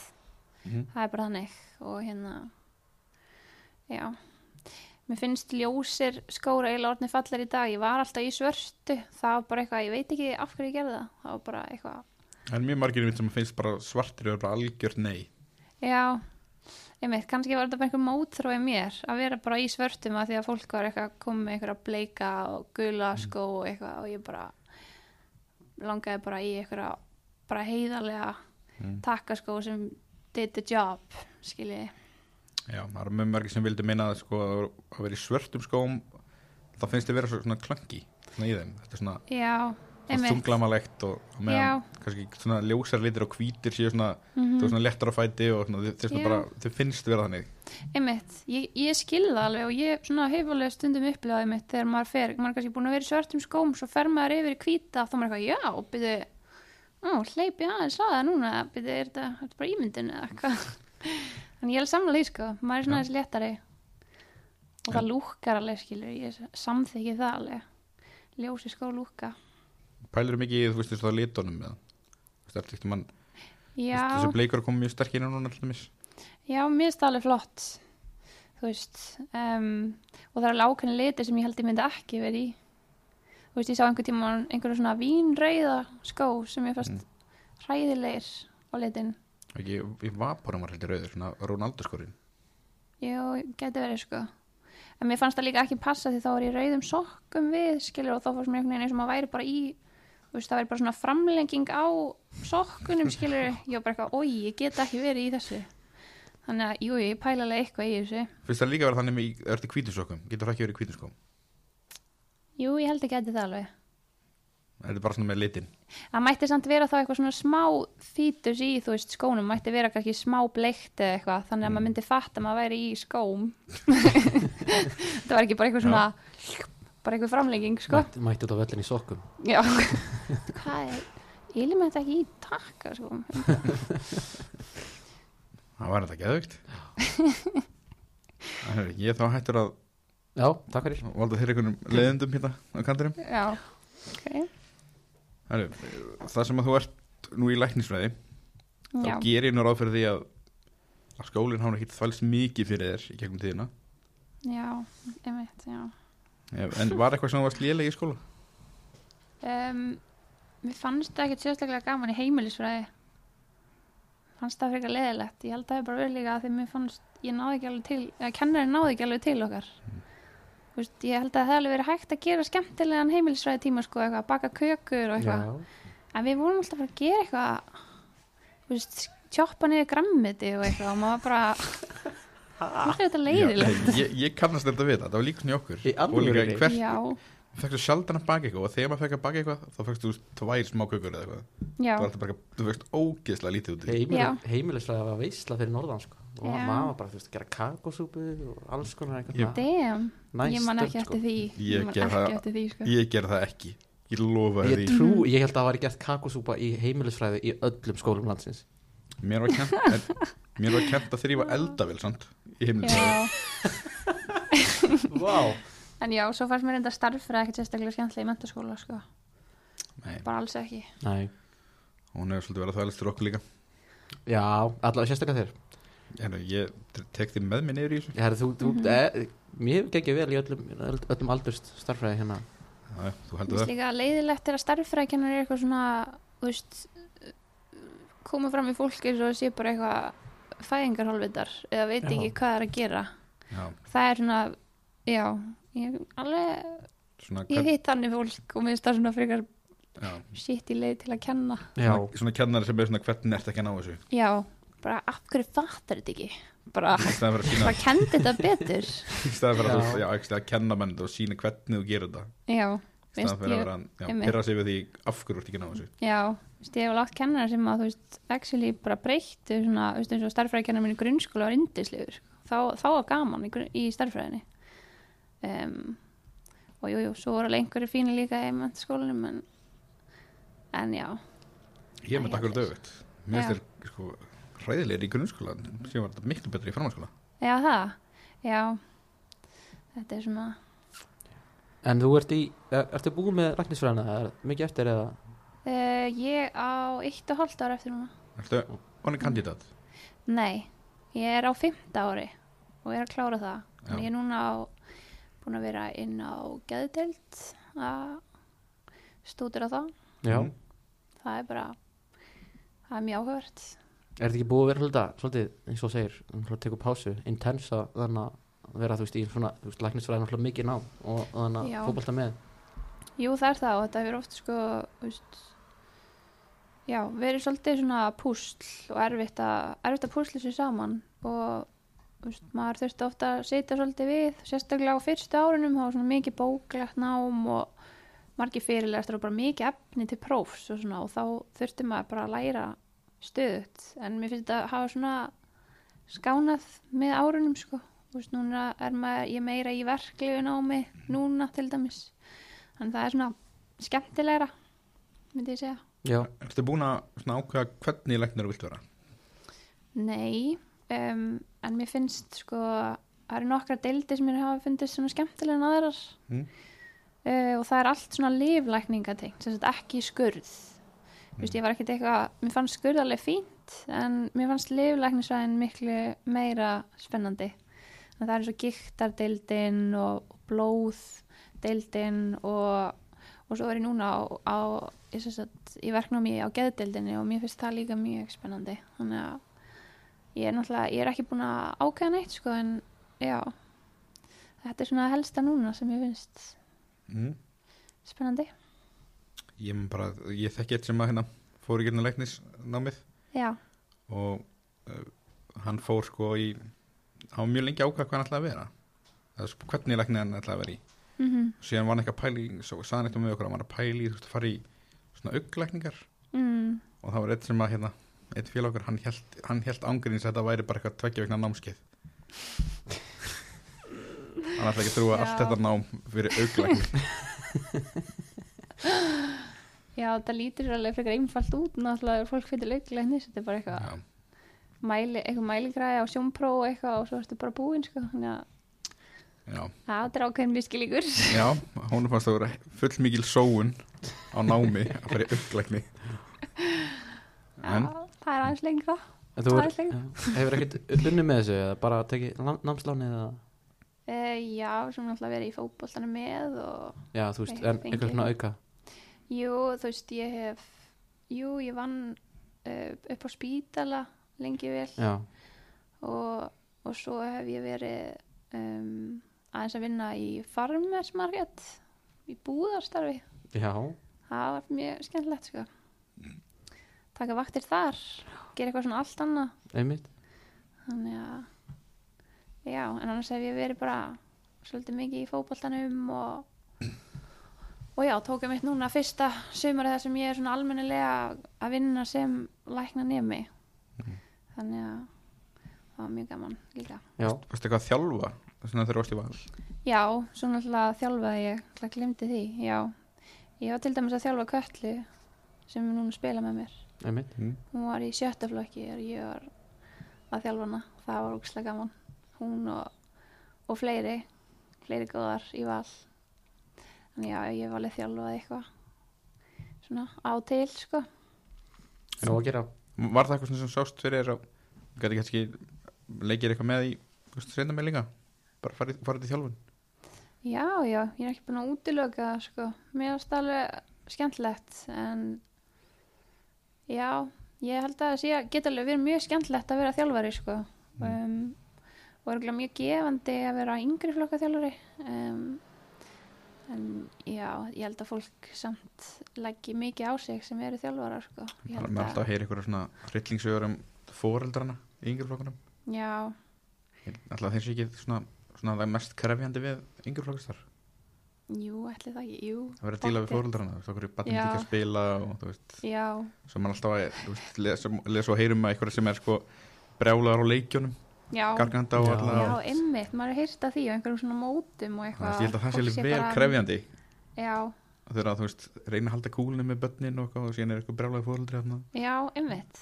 Speaker 1: Mhm.
Speaker 3: Það er bara þannig og hérna, já. Mér finnst ljósir skóra eiginlega orðni fallar í dag. Ég var alltaf í svörstu. Það var bara eitthvað, ég veit ekki af hverju ég gerði það. Það var bara eitthvað
Speaker 1: En mjög margir mitt sem finnst bara svartir er bara algjört nei.
Speaker 3: Já, einmitt, kannski var þetta bara einhver mótrói mér að vera bara í svörtum að því að fólk var eitthvað komið með einhverja bleika og gula skó og eitthvað og ég bara langaði bara í einhverja bara heiðarlega
Speaker 1: Mm.
Speaker 3: takkaskó sem did the job, skiljiði.
Speaker 1: Já, það eru mjög margir sem vildi minna að sko að vera í svörtum skóm þá finnst þið vera svo- svona klangi svona í þeim. Þetta er svona
Speaker 3: Já, einmitt.
Speaker 1: þunglamalegt og og meðan kannski svona ljósar litir og hvítir séu svona,
Speaker 3: Mm
Speaker 1: mm. svona lettar á fæti og svona, þau- þau, svona
Speaker 3: Já.
Speaker 1: bara, þau finnst vera þannig.
Speaker 3: Einmitt, ég, ég skil það alveg og ég svona hef alveg stundum upplegaði mitt þegar maður fer, maður er kannski búin að vera í svörtum skóm svo fer maður yfir í hvíta þá maður er eitthvað, já, byrju ó, hleyp ég aðeins að það núna byrju, er þetta er þetta bara ímyndin eða eitthvað en ég er alveg samlega í sko, maður er svona
Speaker 1: Já.
Speaker 3: aðeins léttari og það lúkkar alveg skilur, ég samþykki það alveg ljósi skó lúkka
Speaker 1: Pælur mikið í þú veist þess að litunum eða? Þú veist, eftir mann,
Speaker 3: Já,
Speaker 1: þessu bleikur kom mjög sterkir núna til dæmis.
Speaker 3: já, mér er það alveg flott þú veist um, og það er alveg ákveðin litir sem ég held ég myndi ekki verið í þú veist, ég sá einhver tíma einhverju svona vínrauða skó sem ég fast
Speaker 1: Mm.
Speaker 3: hræðilegir á litin
Speaker 1: Ekki, í vaporum var heldur rauður, svona Rónaldur skorinn.
Speaker 3: jú, geti verið sko en mér fannst það líka ekki passa því þá var ég í rauðum sokkum við, skilur, og þá fannst mér einhvern veginn eins og maður væri bara í þú veist, það væri bara svona framlenging á sokkunum, skilur, ég var bara eitthvað oi, ég get ekki verið í þessu þannig að, jú, ég pæla alveg eitthvað í þessu
Speaker 1: Finnst það líka vera þannig með, er þetta hvítum sokkum? Getur það ekki verið í hvítum skóm?
Speaker 3: jú, ég held ég geti það alveg
Speaker 1: Er þetta bara svona með litin?
Speaker 3: Það mætti samt vera þá eitthvað svona smá fítus í, þú veist, skónum, mætti vera kannski smá bleikt eða eitthvað, þannig að maður myndi fatta að maður væri í skóm. það var ekki bara eitthvað svona, bara eitthvað framlenging, sko.
Speaker 2: Mætti, mætti út á völlin í sokkum.
Speaker 3: Já. Hvað er, ég lið með þetta ekki í takka, sko.
Speaker 1: Það var þetta geðvögt Ég er þá hættur að
Speaker 2: Já, takk fyrir.
Speaker 1: valda þér einhvernum leiðendum hérna á kantinum
Speaker 3: Já, ok.
Speaker 1: Herru, Það sem að þú ert nú í læknisfræði þá
Speaker 3: Já,
Speaker 1: gerir ég nú ráð fyrir því að, að skólinn hann ekki þvælst mikið fyrir þér í gegnum tíðina
Speaker 3: já, einmitt, já.
Speaker 1: Ef- En var eitthvað sem þú varst léleg í skóla?
Speaker 3: Um, mér fannst það ekkert sérstaklega gaman í heimilisfræði fannst það frekar leðilegt ég held að það er bara verið líka að því mér fannst ég náði ekki alveg til, eða kennarinn náði ekki alveg til okkar
Speaker 1: Mm.
Speaker 3: Þú veist, ég held að það hefði alveg verið hægt að gera skemmtilegan heimilisfræði tíma sko, eitthvað, baka kökur og eitthvað en við vorum alltaf bara að gera eitthvað þú veist, tjóppa niður grammiti og eitthvað og maður var bara það er þetta leiðilegt
Speaker 1: Já, ég, ég kannast þetta við það, það var líka svona í okkur
Speaker 2: Í
Speaker 1: Og líka
Speaker 2: alvörunni?
Speaker 1: hvert,
Speaker 3: já,
Speaker 1: fækstu sjaldan að baka eitthvað og þegar maður fekk að baka eitthvað þá fækstu tvær smá kökur eða eitthvað
Speaker 3: já,
Speaker 1: Það var alltaf bara, þú fækst ógeðslega lítið út í því.
Speaker 2: Heimil,
Speaker 3: Já.
Speaker 2: heimilislega var veisla fyrir norðan sko. og
Speaker 3: Já.
Speaker 2: maður var bara þú veist að gera kakosúpu og alls konar
Speaker 1: Ég-
Speaker 2: eitthvað
Speaker 3: damn ég man ekki
Speaker 2: sko.
Speaker 3: eftir því
Speaker 1: sko. Ég
Speaker 3: ég man
Speaker 1: ger það-
Speaker 3: ekki eftir því sko.
Speaker 1: Ég ger það ekki, ég lofa
Speaker 2: Ég
Speaker 1: því
Speaker 2: trú, ég held að það var gert kakosúpa í heimilisfræði í öllum skólum landsins
Speaker 1: Mér var kent, en, mér var kent að þrýfa eldavél samt í himnum.
Speaker 3: Já.
Speaker 2: Vá
Speaker 3: En já, svo fannst mér enda starffræði ekkert sérstaklega skemmtilega í mentaskóla, sko.
Speaker 1: Nei,
Speaker 3: Bara alls ekki.
Speaker 2: Nei,
Speaker 1: hún hefur svolítið verið að þvælast fyrir okkur líka.
Speaker 2: já, allavega sérstaklega þér
Speaker 1: Hérna, ég tek þið með mér niður í þessu.
Speaker 2: Herra, þú, þú,
Speaker 3: Mhm.
Speaker 2: e, Mér hefur gengið vel í öllum, öllum aldurst starfræði hérna
Speaker 1: Já, já, þú
Speaker 3: Mér
Speaker 1: heldur
Speaker 3: finnst
Speaker 1: það.
Speaker 3: líka leiðilegt þegar starffræðkennar er eitthvað svona, þú veist, koma fram í fólki eins og það sé bara eitthvað fæðingarhálfitar eða veit
Speaker 2: Já.
Speaker 3: ekki hvað það er að gera.
Speaker 1: Já,
Speaker 3: Það er svona, já, ég, alveg,
Speaker 1: svona,
Speaker 3: ég
Speaker 1: hvern,
Speaker 3: hitt þannig fólk og mér finnst það svona frekar
Speaker 1: já,
Speaker 3: shit í leið til að kenna.
Speaker 2: Já,
Speaker 1: svona, svona kennar sem er svona hvernig ert ekki að ná þessu.
Speaker 3: Já, bara af hverju fattar þetta ekki? Bara,
Speaker 1: Í staðan fyrir að sína,
Speaker 3: bara kendi þetta betur.
Speaker 1: í staðan fyrir að,
Speaker 2: Já.
Speaker 1: þú- já, ekki að kenna menn og sína hvernig þú gerir þetta. Í
Speaker 3: Já,
Speaker 1: staðan fyrir að vera, já,
Speaker 3: einmitt. Ah,
Speaker 1: pyrra sig við því af hverju ert ekki að ná þessu.
Speaker 3: Já, þú veist, ég hef látt kennar sem að, þú veist, actually bara breyttu svona, þú veist, eins og starffræðikennar minn í grunnskóla var indislegur. Þá, þá var gaman í, grunn- í starffræðinni. Um, og jú, jú, svo voru alveg einhverju fínir líka í mentaskólanum, en, en já,
Speaker 1: Ég er með
Speaker 3: Æ,
Speaker 1: akkur
Speaker 3: heldur.
Speaker 1: döfitt. Mér
Speaker 3: Já.
Speaker 1: finnst þér, sko, hræðilegir í grunnskóla, sem var þetta miklu betri í framhanskóla.
Speaker 3: já það, já, þetta er svona,
Speaker 2: en þú ert í, er, ertu búin með læknisfræðina, er mikið eftir eða
Speaker 3: uh, ég á eitt og hálft ára eftir núna.
Speaker 1: Ertu, hann er kandidat.
Speaker 3: Nei, ég er á fymta ári og er að klára það.
Speaker 1: Já.
Speaker 3: En ég er núna á, búin að vera inn á geðdelt að stúdira það.
Speaker 2: Já,
Speaker 1: Mhm.
Speaker 3: Það er bara, það er mjög áhugavert.
Speaker 2: er þetta ekki búið að vera hluta, svolítið eins og þú segir, um, svona tekur pásu, intensa þannig að vera, þú veist, í svona, þú veist, læknisfræðina alltaf mikið nám og og þannig
Speaker 3: Já.
Speaker 2: að fótbolta með
Speaker 3: Jú, það er það og þetta hefur oft sko, þú veist, já, verið svolítið svona púsl og erfitt að, erfitt að púsla sér saman og þú veist, maður þurfti ofta að sitja svolítið við, sérstaklega á fyrstu árunum, þá var svona mikið bóklegt nám og margir fyrirlestur og bara mikið efni til prófs og svona og þá þurfti maður bara að læra stöðut en mér finnst þetta að hafa svona skánað með árunum sko, þú veist, núna er maður, ég er meira í verklegu námi núna til dæmis Þannig það er svona skemmtilegra, myndi ég segja.
Speaker 2: Já,
Speaker 1: Ertu búin að svona ákveða hvernig læknir þú vilt vera?
Speaker 3: Nei, um, en mér finnst sko, það eru nokkra deildi sem mér hafa fundist svona skemmtilega en aðrar
Speaker 1: Mm.
Speaker 3: uh, og það er allt svona liflækningatengt, sem sagt ekki skurð. Þú veist, ég var ekkert eitthvað, mér fannst skurð alveg fínt, en mér fannst liflæknisvæðin miklu meira spennandi. En það er eins og giktardeildin og blóðdeildin og, og svo er ég núna á, á ég sem sagt, ég verknum ég á geðdeildinni og mér finnst það líka mjög spennandi. Þannig að ég er náttúrulega, ég er ekki búin að ákveða neitt sko en já þetta er svona það helsta núna sem ég finnst
Speaker 1: Mm.
Speaker 3: spennandi,
Speaker 1: Ég, mun bara, ég þekki eitt sem að hérna fór í gerna læknisnámið
Speaker 3: já,
Speaker 1: og uh, hann fór sko í, hann var mjög lengi ákvað hvað hann ætlaði að vera. Eða, sko, hvernig læknir hann ætlaði að vera í.
Speaker 3: mm
Speaker 1: Og síðan var hann eitthvað pæli, svo saðan eitthvað með okkur að hann var að pæli, þú veist, að fara í svona auglækningar
Speaker 3: mm,
Speaker 1: og það var eitt sem að hérna, eitt félag okkur, hann held, hann held ángurins að þetta væri bara eitthvað tveggja vegna námskeið. hann ætlaði ekki að þrúa allt
Speaker 3: Já.
Speaker 1: þetta nám fyrir auglækning.
Speaker 3: já þetta lítur svo alveg frekar einfalt út náttúrulega þegar fólk fyrir leiklegnis þetta er bara eitthvað,
Speaker 1: Já.
Speaker 3: mæli, eitthvað mæligræði á sjónpró og eitthvað og svo ertu bara búinn sko þannig að
Speaker 1: Já,
Speaker 3: já, þetta er ákveðin miskilíkur
Speaker 1: Já, hún fannst að vera full mikil sóun á námi að fara í upplækni
Speaker 3: já,
Speaker 1: En
Speaker 3: það er aðeins lengra
Speaker 2: en þú er,
Speaker 3: Það er
Speaker 2: já, hefur ekkert unnið með þessu eða bara tekið nám- námslán eða
Speaker 3: uh, já, sem náttúrulega verið í fótboltana með og
Speaker 2: Já, þú veist,
Speaker 3: Nei,
Speaker 2: en
Speaker 3: fengið.
Speaker 2: einhver svona auka
Speaker 3: Jú, þú veist, ég hef, jú, ég vann uh, upp á spítala lengi vel
Speaker 2: Já,
Speaker 3: og, og svo hef ég verið um, aðeins að vinna í farmersmarkett, í búðarstarfi.
Speaker 2: já,
Speaker 3: Það var mjög skemmtilegt, sko. Taka vaktir þar, gera eitthvað svona allt annað.
Speaker 2: einmitt
Speaker 3: Þannig að, já, en annars hef ég verið bara svolítið mikið í fótboltanum og, og já, tók ég mitt núna fyrsta sömari þar sem ég er svona almennilega að vinna sem lækna nemi. Þannig að það var mjög gaman líka.
Speaker 2: Já,
Speaker 1: varstu eitthvað að þjálfa svona þegar þú varst í val
Speaker 3: Já, svo náttúrulega þjálfaði ég, það glemdi því, já. Ég var til dæmis að þjálfa köllu sem er núna að spila með mér.
Speaker 2: einmitt
Speaker 1: Mm.
Speaker 3: hún var í sjötta flokki og ég var að þjálfa hana það var úkslega gaman hún og, og fleiri fleiri góðar í val þannig já, ég var alveg þjálfað eitthvað svona á til sko
Speaker 2: Nó að gera
Speaker 1: Var það eitthvað svona sem sást fyrir þér að gæti kannski leikir eitthvað með í senda með líka? Bara farið, farið til þjálfun?
Speaker 3: já, já, ég er ekki búin að útiloka það sko mér varst alveg skemmtilegt en já, ég held að það sé að geta alveg verið mjög skemmtilegt að vera þjálfari sko
Speaker 1: Mm.
Speaker 3: um, og er mjög gefandi að vera yngri flokka þjálfari um, en já, ég held að fólk samt læggi mikið á sig sem eru þjálfarar sko. Ég held
Speaker 1: Mér er alltaf að heyra eitthvað svona hryllingsögur um fóreldrana í yngurflokkunum.
Speaker 3: já,
Speaker 1: Alltaf þeir sé ekki svona, svona það mest krefjandi við yngurflokkastar.
Speaker 3: jú, ætli það ekki, jú
Speaker 1: Það verður að díla við
Speaker 3: Pottþétt.
Speaker 1: fóreldrana, þú veist, okkur er batnum
Speaker 3: Já.
Speaker 1: ekki að spila og þú veist,
Speaker 3: já,
Speaker 1: svo mann alltaf að þú veist, lesa, lesa og heyrum að eitthvað sem er sko brjálaðar á leikjónum,
Speaker 3: já,
Speaker 1: garganda og
Speaker 2: Já.
Speaker 1: alltaf.
Speaker 3: já, einmitt, maður er heyrt að því á einhverjum svona mótum
Speaker 1: Þannig
Speaker 3: og eitthvað
Speaker 1: að ég held að það sé
Speaker 3: Fólk
Speaker 1: alveg vel
Speaker 3: bara-
Speaker 1: krefjandi
Speaker 3: já,
Speaker 1: þegar að þú veist, reyna að halda kúlunum með börnin og, eitthvað og síðan er eitthvað brjálaði fóröldri þarna.
Speaker 3: já, einmitt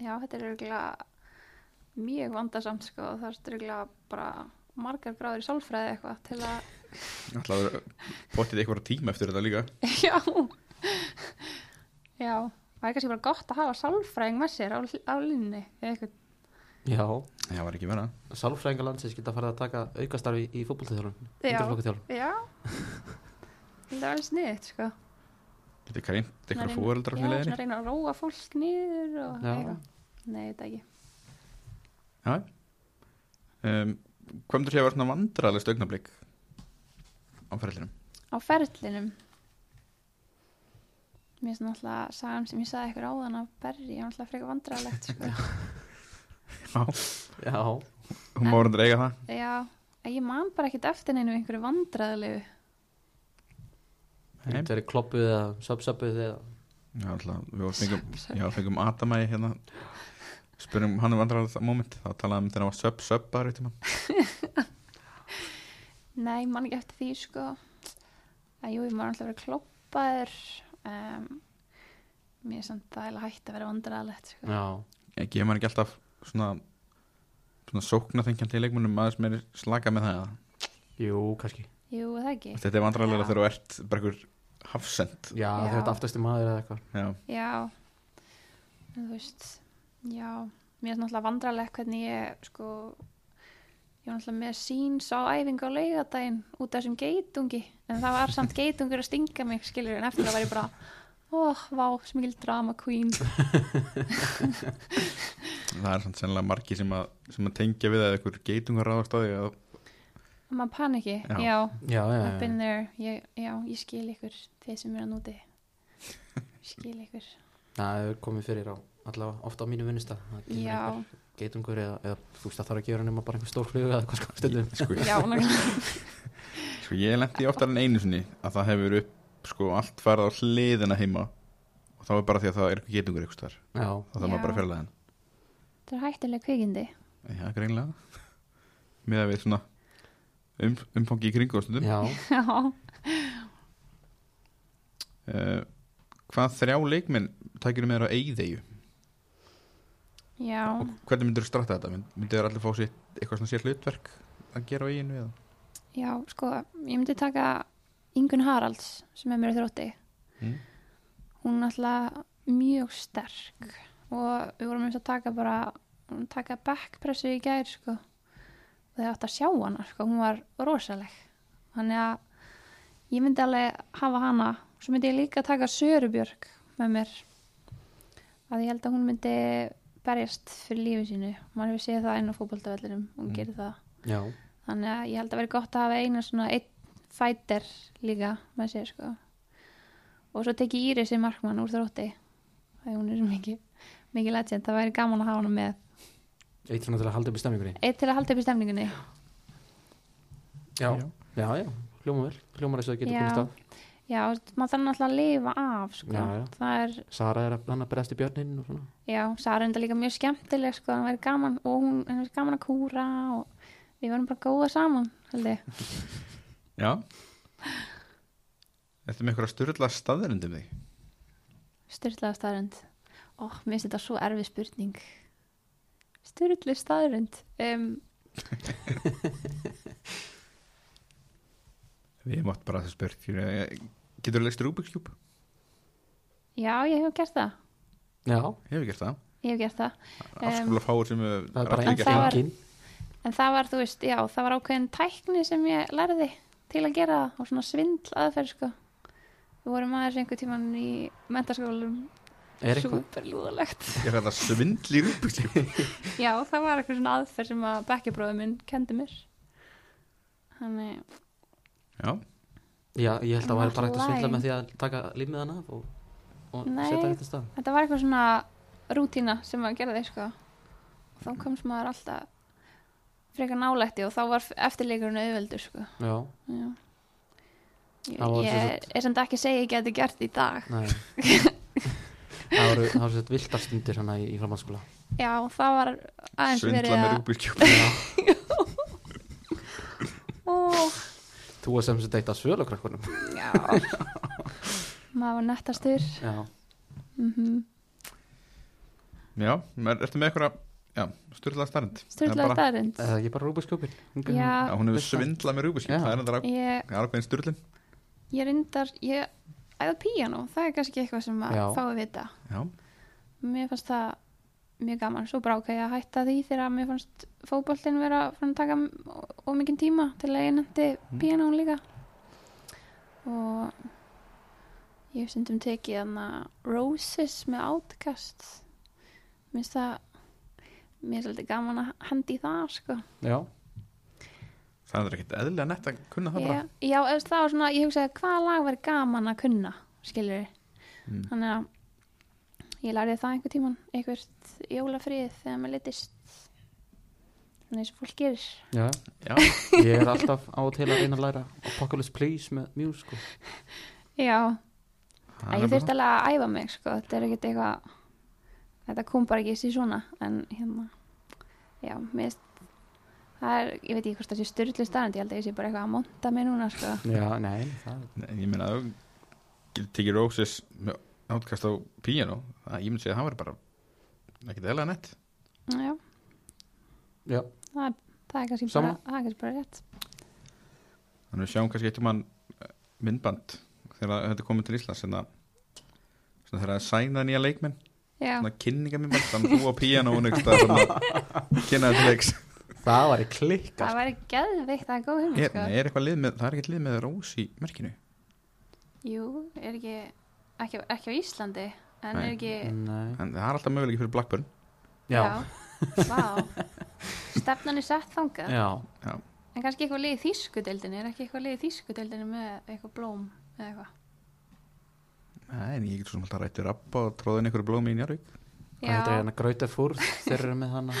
Speaker 3: já, þetta er örgulega mjög vandasamt sko, það er örgulega bara margar gráður í sálfræði eitthvað til að
Speaker 1: Alltaf að potið eitthvað tíma eftir þetta líka.
Speaker 3: Já Já, það er kannski bara gott að hafa sálfræðing með sér á, á línni eða eitthvað
Speaker 2: Já,
Speaker 1: Það var ekki vera.
Speaker 2: sálfræðingar landsins geta farið að taka aukastarfi í fótboltaþjálfun
Speaker 3: Já.
Speaker 2: Ungarflokkaþjálfun
Speaker 3: Já Það er alveg sniðið sko
Speaker 1: Þetta er kænt
Speaker 3: Svona
Speaker 1: eitthvað
Speaker 3: reyna-
Speaker 1: fóröldrar með
Speaker 3: Já, svona
Speaker 1: leðinni.
Speaker 3: reyna að róa fólk niður og
Speaker 2: Já.
Speaker 3: eitthvað Nei, þetta ekki
Speaker 1: Já. Um, hvað myndur sé að vera svona vandrarlega stögnablik á ferðlinum?
Speaker 3: Á ferlinum Mér finnst náttúrulega sagan sem ég saði eitthvað áðan af Berri, ég er náttúrulega frekar vandræðalegt sko.
Speaker 1: Já,
Speaker 2: Já,
Speaker 1: hún má reyndar eiga það.
Speaker 3: Já, en ég man bara ekkert eftir neinu einhverju vandræðalegu
Speaker 1: Nei.
Speaker 2: þetta er kloppuð eða subsubbuð eða
Speaker 1: Já, alltaf, við vorum- fengum, já, fengum Adamæi hérna, spurum hann um vandrarlega moment, þá talaðum við þegar hann var söp, söp bara eitt um hann.
Speaker 3: Nei, ég man ekki eftir því sko að jú, ég maður alltaf verið kloppaður um, mér er samt það eiginlega hægt að vera vandræðalegt sko.
Speaker 2: Já,
Speaker 1: Ekki, ég maður ekki alltaf svona, svona sóknarþengjandi í leikmunum aðeins meiri slaka með það. eða?
Speaker 2: jú, kannski
Speaker 3: Jú, er það ekki
Speaker 1: Þetta er vandrarlega
Speaker 3: Já.
Speaker 1: þegar þú ert bara einhver hafsend.
Speaker 2: Já,
Speaker 3: Já.
Speaker 2: þetta aftasti maður eða eitthvað
Speaker 1: Já,
Speaker 3: Já, en þú veist já, mér er náttúrulega vandræðalegt hvernig ég sko ég var náttúrulega með síns á æfingu á laugadaginn út af þessum geitungi en það var samt geitungur að stinga mig skilur en eftir það var ég bara óh, vá, sem mikil drama queen
Speaker 1: það er svona sennilega margi sem að, sem að tengja við að einhver geitungar ráðast á því að
Speaker 3: maður paniki,
Speaker 1: Já.
Speaker 3: já
Speaker 2: Já, já,
Speaker 3: I've been
Speaker 2: já,
Speaker 3: there, ég, já, ég skil ykkur þeir sem eru að núti skil ykkur,
Speaker 2: það hefur komið fyrir á allavega ofta á mínu vinnustaf
Speaker 3: Já.
Speaker 2: Geitungur eða, eða þú veist að þarf að gera nema bara einhver stór flugu eða eitthvað sko stundum
Speaker 1: sko,
Speaker 3: já, nákvæmlega
Speaker 1: Sko ég lendi oftar en einu sinni að það hefur upp sko allt farið á hliðina heima og þá er bara því að það er eitthvað getungur ykkur þar
Speaker 2: Já,
Speaker 1: þá þarf maður
Speaker 3: Já.
Speaker 1: bara að fjarlæða hann
Speaker 3: það er hættilega kvikindi
Speaker 1: Já, ja, greinlega með að við svona um, umfangi í kringu á stundum
Speaker 2: já,
Speaker 3: já,
Speaker 1: uh, Hvað þrjá leikminn tækir með þér á eigðeyju
Speaker 3: já
Speaker 1: og hvernig myndir þú stratta þetta? Mynd- Myndir þú allir fá sér eitthvað svona sér hlutverk að gera á eiginu eða?
Speaker 3: já, sko, ég myndi taka Ingun Haralds sem er mér í þrótti
Speaker 1: Mm.
Speaker 3: hún er alltaf mjög sterk og við vorum eins að taka bara hún taka backpressu í gær sko. og þegar átt að sjá hana sko. hún var rosaleg þannig að ég myndi alveg hafa hana svo myndi ég líka taka Sörubjörg með mér að ég held að hún myndi berjast fyrir lífi sínu maður hefur séð það inn á fótboltavellinum
Speaker 1: Mm.
Speaker 3: hún gerir það
Speaker 2: já,
Speaker 3: þannig að ég held að vera gott að hafa eina svona einn fæter líka með sér sko og svo teki Íris í markmann úr þrótti það hún er svo mikið mikið legend, það væri gaman að hafa hana með
Speaker 2: eitt svona til að halda upp í stemningunni
Speaker 3: eitt til að halda upp í stemningunni
Speaker 2: Já, já, já, hljóma vel, hljóma þess að geta komist á
Speaker 3: já, maður þarf náttúrulega að lifa af sko.
Speaker 2: Já, já.
Speaker 3: það er,
Speaker 2: Sara er að hann að berjast í björnin og svona
Speaker 3: já, Sara er enda líka mjög skemmtileg sko, það væri gaman og hún, henni væri gaman að kúra og við varum bara góða saman held ég,
Speaker 1: Já Þetta með eitthvað að styrla staðurindum um þig
Speaker 3: styrlaða staðrend Ó, mér finnst þetta svo erfið spurning. Sturlu staðrönd. Um,
Speaker 1: Við mátt bara að það spurt Getur þú leist Rubik's Cube?
Speaker 3: já, ég hef gert það.
Speaker 2: Já,
Speaker 1: Ég hef gert það
Speaker 3: Ég hef gert það.
Speaker 1: Afskaplega fáur sem hefur-
Speaker 2: það er bara
Speaker 1: allir
Speaker 3: En
Speaker 1: gert
Speaker 3: það
Speaker 1: það.
Speaker 3: var-
Speaker 2: engin
Speaker 3: En það var, þú veist, já, það var ákveðin tækni sem ég lærði til að gera það og svona svindl aðferð, sko. Við vorum aðeins einhver tíman í mentaskólum,
Speaker 2: Er eitthvað
Speaker 3: superlúðalegt.
Speaker 1: Er þetta svindl í Rubik's Cube?
Speaker 3: Já, það var eitthvað svona aðferð sem að bekkjabróður minn kendi mér. Þannig,
Speaker 1: Já,
Speaker 2: Já, ég held að það væri bara hægt að svindla
Speaker 3: Online.
Speaker 2: með því að taka límið hana af og, og
Speaker 3: Nei.
Speaker 2: setja þetta stað
Speaker 3: þetta var eitthvað svona rútína sem maður gerði, sko. Og þá komst maður alltaf frekar nálætti og þá var eftirleikurinn auðveldur, sko.
Speaker 2: Já,
Speaker 3: Já.
Speaker 2: Það
Speaker 3: Ég,
Speaker 2: var sem
Speaker 3: ég er samt ekki að segja að ég geti gert í dag.
Speaker 2: nei Það voru, það voru sett viltar stundir hana í, í framhaldsskóla
Speaker 3: Já, það var aðeins verið
Speaker 1: svindla með
Speaker 3: að...
Speaker 1: Rubik's Cube
Speaker 3: Ó,
Speaker 2: Þú var sem sett eitt að svölu krakkunum
Speaker 3: já. maður var nettastur.
Speaker 2: Já,
Speaker 3: Mm
Speaker 1: Já, menn, ertu með eitthvað Já, styrlaða starrend
Speaker 3: Sturlaði staðrind.
Speaker 2: eða ekki Eh, bara rúbuskjópin
Speaker 1: Já,
Speaker 3: Já,
Speaker 1: hún hefur svindlað með Rubik's Cube
Speaker 2: Já.
Speaker 1: Það er þetta rák-
Speaker 3: ég...
Speaker 1: það er ákveðin styrlin
Speaker 3: Ég reyndar, ég æða píanó, það er kannski eitthvað sem að
Speaker 2: Já.
Speaker 3: fái við þetta.
Speaker 1: Já,
Speaker 3: Mér fannst það mjög gaman, svo bráka ég að hætta því þegar mér fannst fótboltin vera fann að taka ómikinn tíma til að ég nefndi
Speaker 1: Mm.
Speaker 3: píanón líka. Og ég hef stundum tekið hana Roses með Outcast. Mér finnst það, mér er svolítið gaman að hendi í það, sko.
Speaker 2: Já,
Speaker 1: það er þetta ekkert eðlilega nett að kunna það bara
Speaker 3: Já, já eða það var svona, ég hugsaði hvaða lag væri gaman að kunna, skilur
Speaker 1: Mm.
Speaker 3: Þannig að ég lærði það einhver tíman, einhvert jólafrið þegar maður litist. Þannig eins og fólk gerir.
Speaker 2: já
Speaker 1: Já,
Speaker 2: Ég er alltaf á og til að reyna að læra Apocalypse Please með Muse sko.
Speaker 3: Já,
Speaker 1: það er
Speaker 3: að ég
Speaker 1: nefnilega-
Speaker 3: þurfti alveg að æfa mig, sko. Þetta er ekkert eitthvað, þetta kom bara ekki í sig svona, en hérna, já, mér finnst, það er, ég veit ekki hvort það sé styrlu staðandi, ég held að ég sé bara eitthvað að monta mig núna, sko.
Speaker 2: Já, nei, það er
Speaker 1: Nei, ég meina, ef þú getur tekið Roses með átkast á piano, það ég myndi segja að það var bara ekkert eðlega nett.
Speaker 3: Já,
Speaker 2: Já,
Speaker 3: það er kannski bara,
Speaker 2: Sammála.
Speaker 3: það er kannski bara rétt.
Speaker 1: Þannig við sjáum kannski eitt um hann myndband þegar þetta er komið til Íslands, en það svona þegar það er sæna nýja leikmenn,
Speaker 3: Já.
Speaker 1: svona kynningamyndband, þannig þú á piano og neitt að svona kynna þetta leiks.
Speaker 2: það var í klikka
Speaker 3: Það væri geðveikt, það er góð hugmynd,
Speaker 1: Er,
Speaker 3: sko.
Speaker 1: nei, er eitthvað lið með, það er ekkert lið með Rós í merkinu.
Speaker 3: Jú, er ekki, ekki, ekki á Íslandi, en
Speaker 1: Nei.
Speaker 3: er ekki,
Speaker 2: Nei
Speaker 1: En það er alltaf möguleiki fyrir Blackburn.
Speaker 2: Mm, Já,
Speaker 3: vá, stefnan er sett þangað.
Speaker 2: já,
Speaker 3: En kannski eitthvað liðið þýskudeldinu, er ekki eitthvað liðið þýskudeldinu með eitthvað blóm eða eitthvað.
Speaker 1: Nei, en ég get svo sem alltaf rættur upp og tróðin einhverju blómi í Njarvík.
Speaker 2: hvað heitir hérna Grauta Fúrð Þeir eru með hana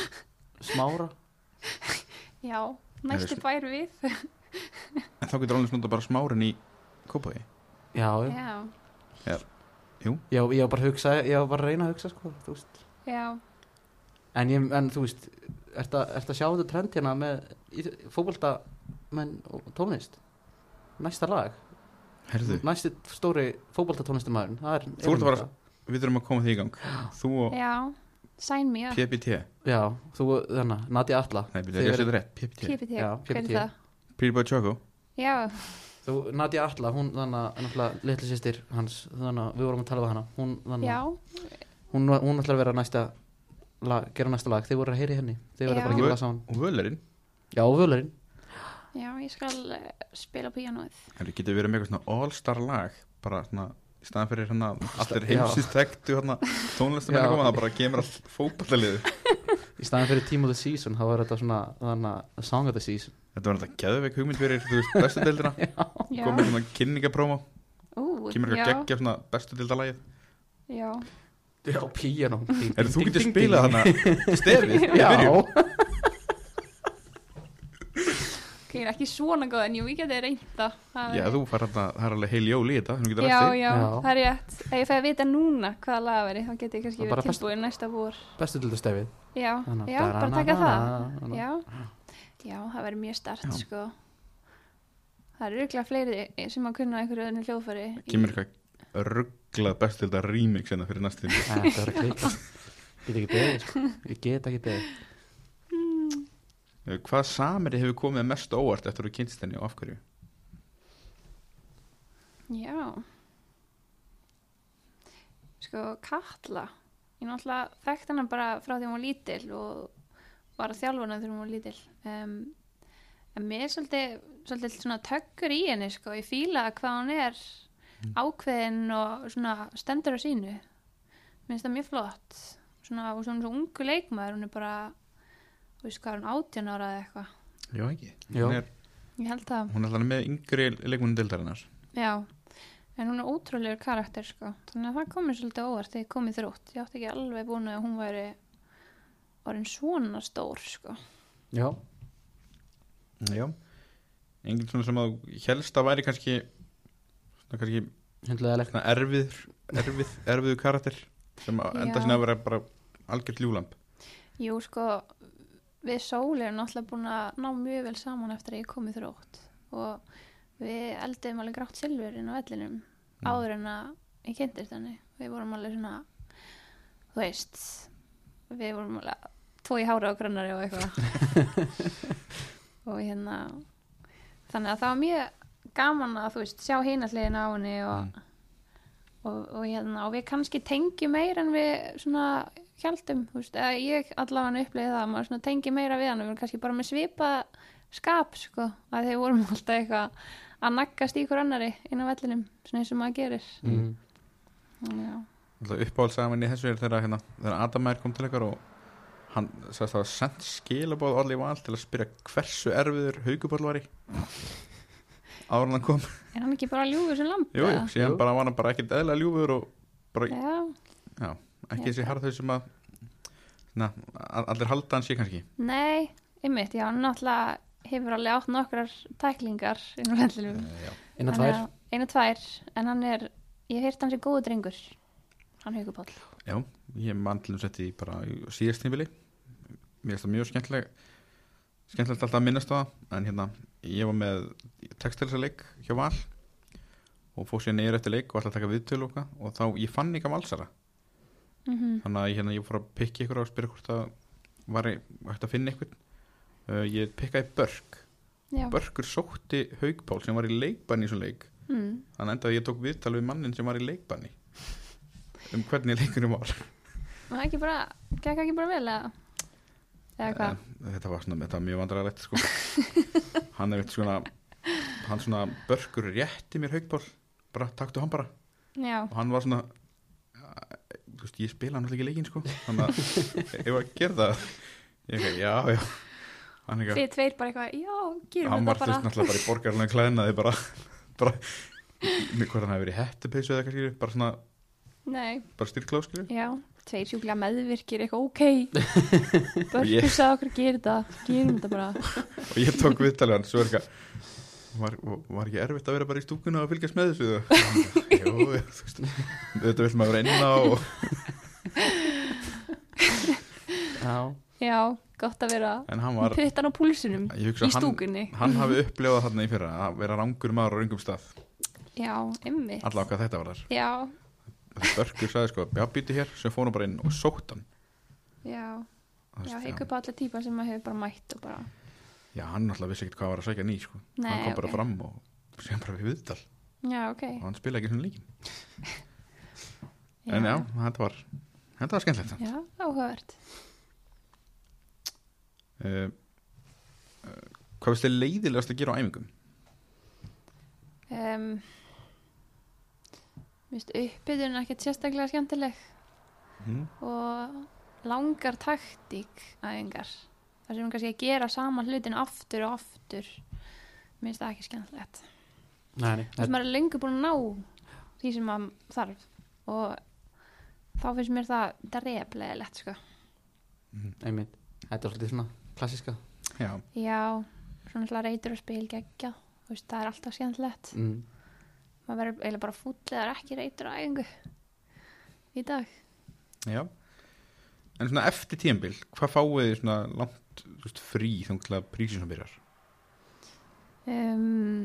Speaker 2: smára
Speaker 3: já, næstu
Speaker 1: Nei,
Speaker 3: bær við.
Speaker 1: En þá getur alveg svona bara smárin í kópaði.
Speaker 2: Já, já,
Speaker 3: já,
Speaker 2: já, ég var bara að hugsa Ég var bara að reyna að hugsa, sko, þú veist
Speaker 3: já,
Speaker 2: En, ég, en þú veist, ert að, ert að sjá þetta trend hérna með fókbalta menn og tónlist Næsta lag,
Speaker 1: Herðu,
Speaker 2: næsti stóri fókbalta tónlistamæðurinn Það er
Speaker 1: Þú ert að fara- við þurfum að koma því í gang. Þú og
Speaker 3: já, sign me up,
Speaker 1: PPT.
Speaker 2: Já, þú, þannig, Nadia Atla
Speaker 1: Nei, byrja,
Speaker 2: Þið
Speaker 1: ég
Speaker 2: verið-
Speaker 1: seti rétt, PPT
Speaker 3: PPT,
Speaker 2: Já,
Speaker 3: hver er
Speaker 2: PPT.
Speaker 3: það?
Speaker 1: Pretty Boy Choco
Speaker 3: Já,
Speaker 2: Þú, Nadia Atla, hún þannig náttúrulega litli sýstir hans, þannig að við vorum að tala við hana hún, þannig,
Speaker 3: já,
Speaker 2: hún, hún ætlar að vera næsta lag, gera næsta lag, þeir voru að heyri henni þeir voru
Speaker 3: Já.
Speaker 2: bara að gefa það saman
Speaker 1: og völerinn
Speaker 2: Já, og völarinn,
Speaker 3: já, ég skal uh, spila píanóið.
Speaker 1: Það getur verið með eitthvað svona all-star lag bara svona, í staðan fyrir hérna allir
Speaker 2: Já.
Speaker 1: heimsins þekktu hérna tónlistamenn
Speaker 2: Já.
Speaker 1: að koma, það bara kemur allt fótballaliðu
Speaker 2: í staðan fyrir Team of the Season þá er þetta svona, þannig að Song of the Season
Speaker 1: Þetta var þetta geðveik hugmynd fyrir, þú veist, bestu deildina
Speaker 3: Já,
Speaker 1: komið svona kynningaprómo,
Speaker 3: ú,
Speaker 1: kemur
Speaker 3: já,
Speaker 1: eitthvað geggja svona bestu deildalagið
Speaker 3: já,
Speaker 2: Já, piano
Speaker 1: Er þú getur spilað þarna stefið? í
Speaker 2: Já,
Speaker 1: byrjun?
Speaker 3: ok, ég er ekki svona góð en jú, ég geti reynda.
Speaker 1: Já, þú fær hérna, það er alveg heil jól í þetta, þú getur
Speaker 3: já,
Speaker 1: lært þig
Speaker 3: já,
Speaker 2: Já.
Speaker 3: það er rétt ef ég fæði að vita núna hvaða lag veri þá geti ég
Speaker 2: Það
Speaker 3: kannski
Speaker 2: er bara
Speaker 3: verið
Speaker 2: best-
Speaker 3: tilbúin næsta vor
Speaker 2: bestu til þetta stefið
Speaker 3: já,
Speaker 2: Þannig að
Speaker 3: já, bara taka það
Speaker 2: da-na-na-na-na.
Speaker 3: já, já, það veri mjög stert
Speaker 1: Já.
Speaker 3: sko það eru ykkurlega fleiri sem að kunna einhverju öðnu hljóðfæri í-
Speaker 1: Kemur eitthvað rugglað bestildar remix hérna fyrir næstu tíma
Speaker 2: Nei, Þetta er að klika Ég get ekki beðið, sko. ég get ekki beðið
Speaker 1: Eh, Hvað sameri hefur komið mest á óvart eftir að þú kynst henni og af hverju?
Speaker 3: Já Sko, Katla Ég náttúrulega þekkt hana bara frá því hún var lítil og var að þjálfa hana þegar hún var lítil um, En mér er svolítið, svolítið svona tökkur í henni sko, ég fíla hvað hún er ákveðin og svona stendur á sínu minnst það mjög flott svona, og svona svo ungu leikmaður hún er bara, þú veist hvað er hún 18 ára eða eitthvað,
Speaker 1: Já ekki
Speaker 2: Jó.
Speaker 1: Hún er,
Speaker 3: ég held það
Speaker 1: hún er alltaf með yngri leikmunum dildarinnar
Speaker 3: Já, en hún er ótrúlegur karakter sko, þannig að það komið svolítið á óvart þegar ég komið þrótt, ég átti ekki alveg búin að hún væri orðin svona stór sko
Speaker 2: Já,
Speaker 1: Já Engin svona sem að þú helst að væri kannski svona kannski
Speaker 2: hundlega
Speaker 1: svona erfið erfið, erfiðu karakter sem að enda
Speaker 3: Já.
Speaker 1: sinna að vera bara algjört ljúlamp
Speaker 3: Jú sko, við Sól erum náttúrulega búin að ná mjög vel saman eftir að ég komið þrótt og við eldum alveg grátt silfur inn á vellinum
Speaker 1: Mm.
Speaker 3: áður en að ég kynntist henni, við vorum alveg svona, þú veist, við vorum alveg tvo í hára og grannari og eitthvað og hérna, þannig að það var mjög gaman að þú veist, sjá hinasliðin á henni og
Speaker 1: Mm.
Speaker 3: og, og, hérna, og við kannski tengjum meira en við svona hjaldum þú veist, eða ég allavega upplifði það að maður svona tengi meira við hann við erum kannski bara með svipa skap sko, að þeir vorum alltaf eitthvað að naggast í hver annari inn á vellinum svona eins og maður gerir
Speaker 2: mm.
Speaker 3: Þannig, já.
Speaker 1: Alltaf uppáhaldsaman í þessu er þegar, hérna, þegar Adamær kom til ykkar og hann sagðist að sent skilabóð allir val til að spyrja hversu erfiður hauguball var í áður en hann kom
Speaker 3: er hann ekki bara ljúfur sem lampa?
Speaker 1: Jú, jú, síðan
Speaker 2: Jú.
Speaker 1: bara var hann bara ekkert eðla ljúfur og bara
Speaker 3: já,
Speaker 1: ekki þessi harðau sem að na, a- allir halda hann sé kannski
Speaker 3: nei, einmitt já, hann náttúrulega hefur alveg átt nokkrar tæklingar inn á vellinum
Speaker 1: Eh, Já,
Speaker 2: Einna
Speaker 3: Þannig
Speaker 2: tvær
Speaker 3: að- eina tvær, en hann er ég hef heyrt hann sem góðu drengur hann haugur pál
Speaker 1: Já, ég man til um sett í bara í síðast tímbili Mér finnst það mjög skemmtileg skemmtilegt alltaf að minnast á það en hérna, ég var með textilsaleik hjá Val og fór sér neyður eftir leik og alltaf að taka viðtölu og, eitthvað og þá, ég fann eitthvað valsara
Speaker 3: mm
Speaker 1: þannig að ég, hérna, ég fór að pikki ykkur og spyrja hvort það var hægt að finna ykkur uh, ég pikkaði Börk
Speaker 3: já,
Speaker 1: Börkur sótti Haugpál sem var í leikbanni í svona leik
Speaker 3: mm.
Speaker 1: þannig endaði ég tók viðtal við mannin sem var í leikbanni um hvernig leikunum var
Speaker 3: Það ekki bara, gekk ekki bara vel eða, eða hvað?
Speaker 1: Eh, þetta var svona, þetta var mjög vandrarlegt sko. hann er eitt svona hann svona börkur rétti mér haugból bara taktu hann bara
Speaker 3: Já,
Speaker 1: og hann var svona eh, þú veist, ég spila hann alltaf ekki leikinn sko. þannig að ég var að gera það ég ekki, já, já hann, ekki,
Speaker 3: þið tveir bara eitthvað, já, gerum
Speaker 1: hann
Speaker 3: þetta
Speaker 1: var þess
Speaker 3: bara.
Speaker 1: náttúrulega bara í borgarlega klæðnaði bara, bara með hvort hann hefði verið hettupeysu eða kannski bara svona,
Speaker 3: Nei,
Speaker 1: bara styrklá skilju
Speaker 3: já, tveir sjúklega meðvirkir, eitthvað, ok,
Speaker 1: Ég-
Speaker 3: börkur sagði okkur, gerum þetta, gerum þetta bara.
Speaker 1: og ég tók viðtalið hann svo er eitthvað var, var ekki erfitt að vera bara í stúkuna og fylgjast með þessu Og hann bara, jú, jú, þú veist þetta vil maður reyna og...
Speaker 2: Já,
Speaker 3: Já, gott að vera
Speaker 1: en hann var,
Speaker 3: var... puttan á púlsinum
Speaker 1: ég hugsa
Speaker 3: í
Speaker 1: að hann,
Speaker 3: stúkunni.
Speaker 1: hann hafi upplefað þarna í fyrra að vera rangur maður á röngum stað
Speaker 3: Já, emmi.
Speaker 1: allavega hvað þetta var þar
Speaker 3: Já,
Speaker 1: Börkur sagði sko, já býti hér, sem fór hann bara inn og sótt hann
Speaker 3: já,
Speaker 1: Það
Speaker 3: já,
Speaker 1: veist,
Speaker 3: heikur upp á alla típa sem maður hefur bara mætt og bara,
Speaker 1: já, hann náttúrulega vissi ekkert hvað var að sækja ný sko. hann
Speaker 3: nei,
Speaker 1: kom bara
Speaker 3: ok.
Speaker 1: fram og sem bara við viðtal
Speaker 3: Já, ok.
Speaker 1: og hann spilaði ekki svona líkin en já, þetta var þetta var skemmtilegt
Speaker 3: Já, áhugavert.
Speaker 1: uh, eh, hvað finnst þið leiðilegast að gera á æfingum?
Speaker 3: um, Vist uppbytun ekkert sérstaklega skemmtileg
Speaker 1: Hmm?
Speaker 3: og langar taktík aðingar þar sem kannski að gera sama hlutin aftur og aftur minnst það ekki skemmtilegt
Speaker 2: nei, nei
Speaker 3: þess að maður er lengur búin að ná því sem maður þarf og þá finnst mér það þetta er replega lett sko
Speaker 2: einmitt Þetta er svolítið svona klassiska
Speaker 1: Já,
Speaker 3: já, svona hlað reytur og spil geggja þú veist, það er alltaf skemmtilegt
Speaker 2: mm.
Speaker 3: maður verður eiginlega bara fúll eða er ekki reytur á æfingu í dag
Speaker 1: já En svona eftir tíðanbíl, hvað fáið þið svona langt þú veist, frí þunglega prísin sem byrjar?
Speaker 3: um,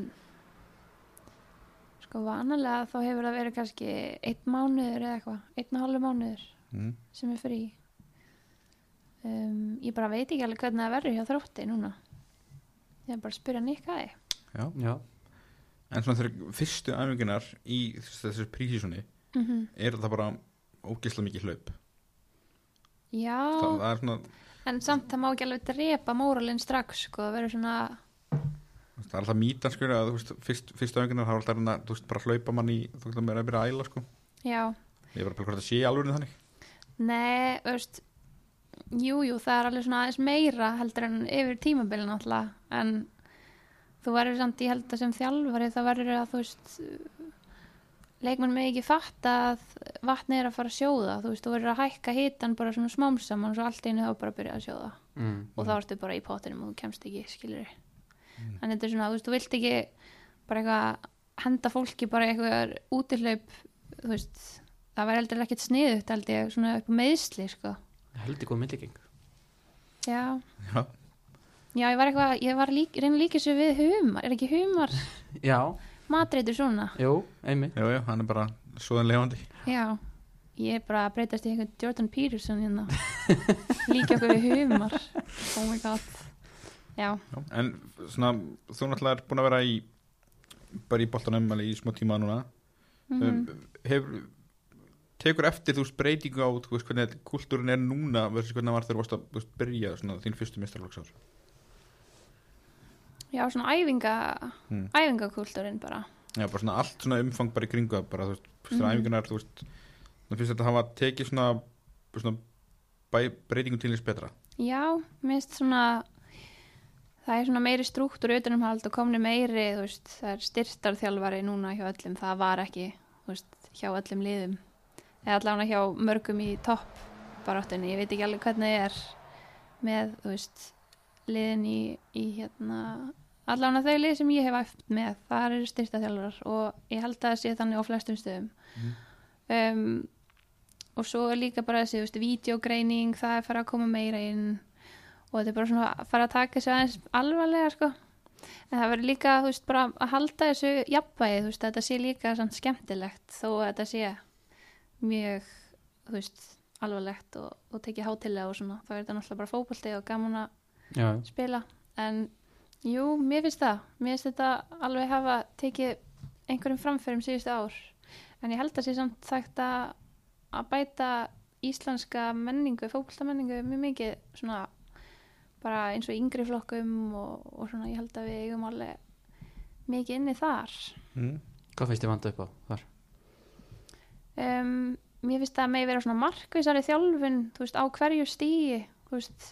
Speaker 3: sko Sko vanalega þá hefur það verið kannski einn mánuður eða eitthvað, einn og hálfu mánuður
Speaker 1: Mm.
Speaker 3: sem er frí. Um, ég bara veit ekki alveg hvernig það verður hjá þrótti núna. Ég er bara að spyrja Nikka þig.
Speaker 1: Já.
Speaker 2: Já.
Speaker 1: En svona þegar fyrstu æfingunar í þessu prísísunni
Speaker 3: Mm -hmm.
Speaker 1: er það bara ógeðslega mikið hlaup.
Speaker 3: Já,
Speaker 1: Það, það er svona,
Speaker 3: en samt það má ekki alveg drepa móralinn strax, sko, það verður svona,
Speaker 1: það er alltaf mítan sko að þú veist, fyrst, fyrstu æfingunar þá er alltaf hérna, þú veist, bara hlaupa mann í, þú veist, það er að byrja að æla sko.
Speaker 3: já,
Speaker 1: Ég er bara að byrja hvort það sé í alvörinu þannig.
Speaker 3: Nei, veist Jújú, jú, það er alveg svona aðeins meira heldur en yfir tímabilið náttúrulega en þú verður samt ég held að sem þjálfari þá verður að þú veist leikmann með ekki fatta að vatni er að fara að sjóða þú veist, þú verður að hækka hitan bara svona smám saman og svo allt í einu þá bara að byrja að sjóða
Speaker 2: Mm.
Speaker 3: og þá ertu bara í pottinum og þú kemst ekki skilur
Speaker 1: Mm.
Speaker 3: þannig þetta er svona, þú veist, þú vilt ekki bara eitthvað henda fólki bara í eitthvað útihlaup þú veist, það væri heldur ekkert sniðugt held ég, svona upp á meðsli sko.
Speaker 2: Heldur góð myndlíking.
Speaker 3: já,
Speaker 1: Já.
Speaker 3: já, ég var eitthvað ég var lík, reyna að líka þessu við humar er ekki humar
Speaker 2: Já,
Speaker 3: matreitur svona
Speaker 2: jú, einmitt.
Speaker 1: Já, já, hann er bara svoðan lefandi.
Speaker 3: já, ég er bara að breytast í eitthvað Jordan Peterson hérna líka okkur við humar oh my god já,
Speaker 1: Já. En svona, þú náttúrulega er búin að vera í, bara í boltanum alveg í smá tíma núna.
Speaker 3: mhm
Speaker 1: um, hefur tekur eftir þú veist breytingu á þú veist hvernig kultúrin er núna versus hvernig það var þegar þú varst að þú veist, byrja svona þín fyrstu mistralóksár
Speaker 3: já, svona æfinga Hmm.
Speaker 1: Mm.
Speaker 3: æfingakúltúrin bara
Speaker 1: já bara svona allt svona umfang bara í kringu það bara þú veist fyrstu
Speaker 3: Mhm.
Speaker 1: æfingunar þú veist það finnst þetta hafa tekið svona, svona bæ, breytingum til þess betra
Speaker 3: Já, minnst svona það er svona meiri struktúr utanumhald og komni meiri, þú veist, það er styrtarþjálfari núna hjá öllum, það var ekki þú veist, hjá öllum liðum eða allavega hjá mörgum í topp baráttunni, ég veit ekki alveg hvernig það er með, þú veist liðin í, í hérna allavega þau lið sem ég hef æft með það eru styrtarþjálfarar og ég held að það sé þannig á flestum stöðum um, og svo er líka bara þessi, þú veist, videogreining það er farið að koma meira inn og þetta er bara svona að fara að taka þessu aðeins alvarlega, sko en það verður líka, þú veist, bara að halda þessu jafnvægi, þú veist, að þetta sé líka samt skemmtilegt þó að þetta sé mjög, þú veist alvarlegt og, og tekið hátilega og svona, þá er þetta náttúrulega bara fótbolti og gaman að
Speaker 2: Já,
Speaker 3: spila en jú, mér finnst það mér finnst þetta alveg hafa tekið einhverjum framförum síðustu ár en ég held að sé samt þægt að að bæta íslenska menningu, fókbaltamenningu mjög mikið svona bara eins og í yngri flokkum og, og svona ég held að við eigum alveg mikið inni þar Hmm.
Speaker 1: mm.
Speaker 2: hvað finnst þið vanda upp á þar?
Speaker 3: um, mér finnst það að megi vera svona markvísari þjálfun þú veist, á hverju stíi þú veist,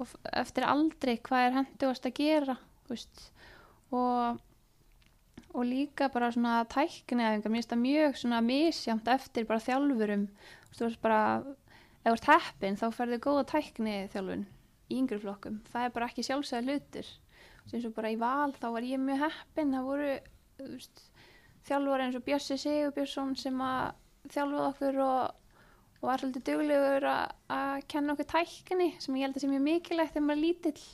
Speaker 3: og f- eftir aldri hvað er hendugast að gera þú veist, og og líka bara svona tækniæfingar mér finnst það mjög svona misjamt eftir bara þjálfurum þú veist, þú veist bara, ef þú ert heppin þá ferðu góða tækni þjálfun í yngri flokkum, það er bara ekki sjálfsæða hlutur Þú veist, eins og bara í val þá var ég mjög heppin, það voru þú veist, þjálfur eins og Bjössi Sigurbjörnsson sem að þjálfað okkur og, og var svolítið duglegur að- að kenna okkur tækni sem ég held að sé mjög mikilvægt þegar maður er lítill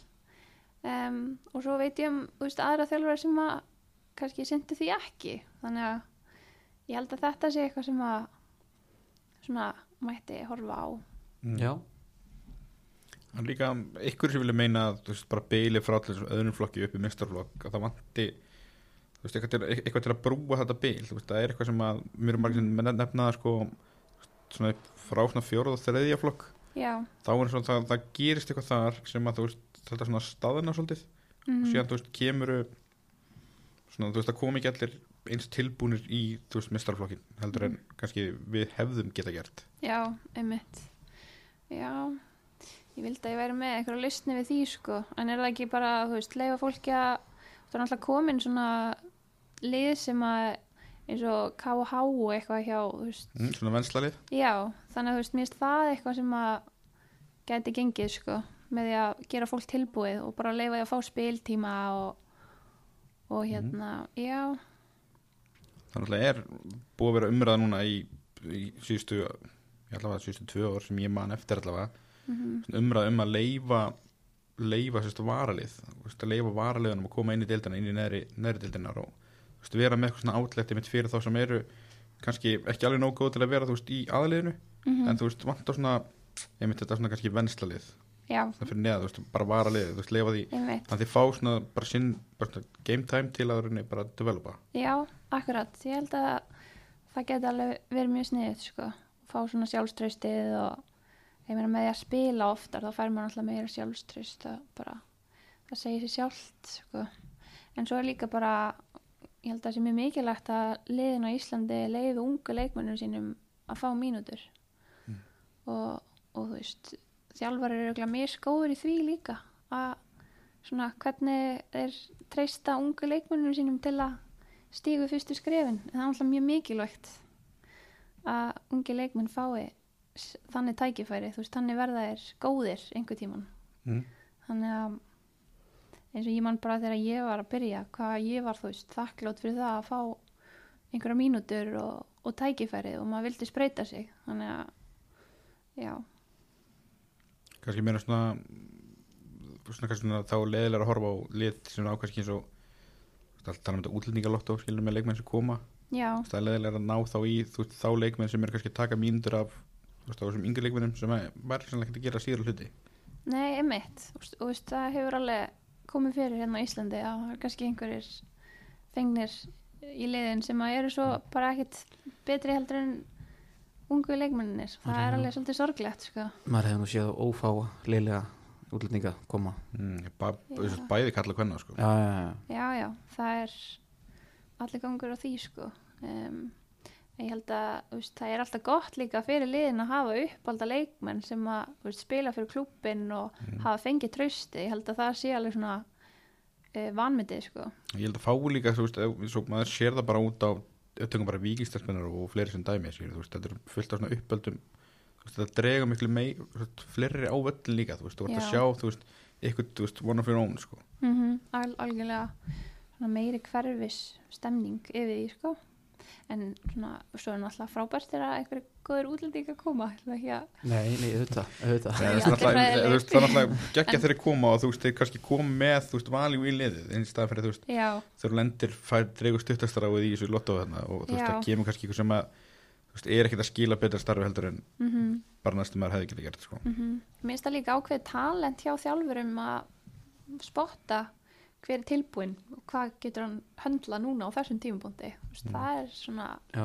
Speaker 3: um, og svo veit ég um þú veist, aðra þjálfara sem að kannski syndu því ekki þannig að ég held að þetta sé eitthvað sem að svona mætti horfa á Hmm.
Speaker 2: Já,
Speaker 1: en líka ykkur sem vilja meina að þú veist bara beili frá allir þessum öðrum flokki upp í mistralók að það vanti þú veist eitthvað til, eitthvað til að brúa þetta bil þú veist það er eitthvað sem að mér er margir sem nefna það sko svona frá svona fjóruð og þriðja flokk
Speaker 3: já,
Speaker 1: þá er svona það, það gerist eitthvað þar sem að þú veist þetta svona staðina svolítið
Speaker 3: mm,
Speaker 1: síðan þú veist kemur svona þú veist það kom ekki allir eins tilbúnir í þú veist mistarflokkin heldur en kannski við hefðum geta gert
Speaker 3: já einmitt já ég vildi að ég væri með eitthvað listni við því sko en er það ekki bara, þú veist, leifa fólki að það er náttúrulega komin svona lið sem að eins og KH og eitthvað hjá þú veist,
Speaker 1: mm. svona vennslalið
Speaker 3: já, þannig að þú veist, mér finnst það eitthvað sem að gæti gengið sko, með því að gera fólk tilbúið og bara leifa því að fá spiltíma og, og hérna já,
Speaker 1: þannig að er búið að vera umræða núna í, í síðustu ég allavega síðustu tvö ár sem ég man eftir allavega
Speaker 3: mhm,
Speaker 1: svona umræða um að leifa leifa sérst varalið þú veist, að leifa varaliðunum að koma inn í deildina inn í neðri, neðri deildinar og þú veist, vera með eitthvað svona átlætti mitt fyrir þá sem eru kannski ekki alveg nógu góð til að vera þú veist, í aðliðinu en þú veist, vantar svona einmitt þetta svona kannski venslalið
Speaker 3: já,
Speaker 1: það fyrir neða, þú veist, bara varalið, þú veist, leifa því
Speaker 3: einmitt
Speaker 1: að þið fá svona bara sinn bara svona game time til að rauninni bara developa
Speaker 3: já, akkurat, ég held að það geti alveg verið mjög sniðið sko, fá svona sjálfströstið og ég meina með því að spila oftar þá fær maður alltaf meira sjálfströst það bara, það segir sér sjálft sko, en svo er líka bara ég held að það sé mjög mikilvægt að liðin á Íslandi leiðu ungu leikmönnum sínum að fá mínútur og, og þú veist þjálfar eru örugglega mjög skóður í því líka að svona hvernig þeir treysta ungu leikmönnum sínum til að stígu fyrstu skrefin það er alltaf mjög mikilvægt að ungi leikmenn fái s- þannig tækifæri, þú veist, þannig verða þeir góðir einhver tíman
Speaker 1: mm.
Speaker 3: þannig að eins og ég man bara þegar ég var að byrja hvað ég var þú veist þakklót fyrir það að fá einhverja mínútur og, og tækifærið og maður vildi spreita sig þannig að já,
Speaker 1: kannski meira svona svona kannski svona þá leiðilega að horfa á lit svona á kannski eins og þú veist, allt tala um þetta útlendingalotto skilur með leikmenn sem koma
Speaker 3: já,
Speaker 1: Þú veist, það er leiðilega að ná þá í þú veist, þá leikmenn sem er kannski að taka mínútur af þú veist, á þessum yngri leikmennum sem er- væri sannlega ekkert að gera síðar hluti
Speaker 3: nei, emitt og þú veist, það hefur alveg komið fyrir hérna á Íslandi að það eru kannski einhverjir fengnir í liðin sem að eru svo bara ekkit betri heldur en ungu leikmenninir, það er alveg svolítið sorglegt sko,
Speaker 2: maður hefði nú séð ófáa leilega útlendinga koma
Speaker 1: mm, ba
Speaker 3: Já.
Speaker 1: þú veist, bæði kalla hvenna sko.
Speaker 2: já, já, já,
Speaker 3: Já, já, það er allir gangur á því sko um, ég held að þú veist, það er alltaf gott líka fyrir liðin að hafa uppalda leikmenn sem að þú veist, spila fyrir klubbin og hafa fengið trausti, ég held að það sé alveg svona uh, vanmyndið sko
Speaker 1: ég held að fá líka þú veist, ef- svo, maður sér það bara út á ef tökum bara vikingstærspennar og fleiri sem dæmi skilur, þú veist, þetta er fullt af svona uppöldum þú veist, þetta drega miklu mei þú veist, fleiri á völlin líka, þú veist, þú vart að
Speaker 3: Já.
Speaker 1: sjá þú veist, ykkur, þú veist, one of your own sko.
Speaker 3: mm Al algjörlega svona meiri hverfis stemning yfir því sko en svona, svo er náttúrulega frábært þegar einhverju góður útlendinga koma ég ætla ekki að
Speaker 2: nei, nei, auðvitað, auðvitað.
Speaker 1: Það er
Speaker 3: Já,
Speaker 1: svona
Speaker 3: þetta er
Speaker 1: alltaf-
Speaker 3: hræðilegt.
Speaker 1: þú veist, það er alltaf geggja þeirri koma og þú veist, þeir kannski koma með, þú veist, valjú í liðið, einn stað fyrir, þú veist,
Speaker 3: já,
Speaker 1: þegar þú lendir fær dreigur stuttastráið í þessu lotto þarna og þú veist,
Speaker 3: Já.
Speaker 1: það kemur kannski ykkur sem að, þú veist, er ekkert að skila betra starfi heldur en
Speaker 3: mhm
Speaker 1: bara næstum maður hefði getið gert, sko.
Speaker 3: Mm -hmm. Mér finnst það líka ákveðið talent hjá þjálfurum að spotta hver er tilbúinn og hvað getur hann höndla núna á þessum tímapunkti. Þú veist, Það er svona,
Speaker 2: já,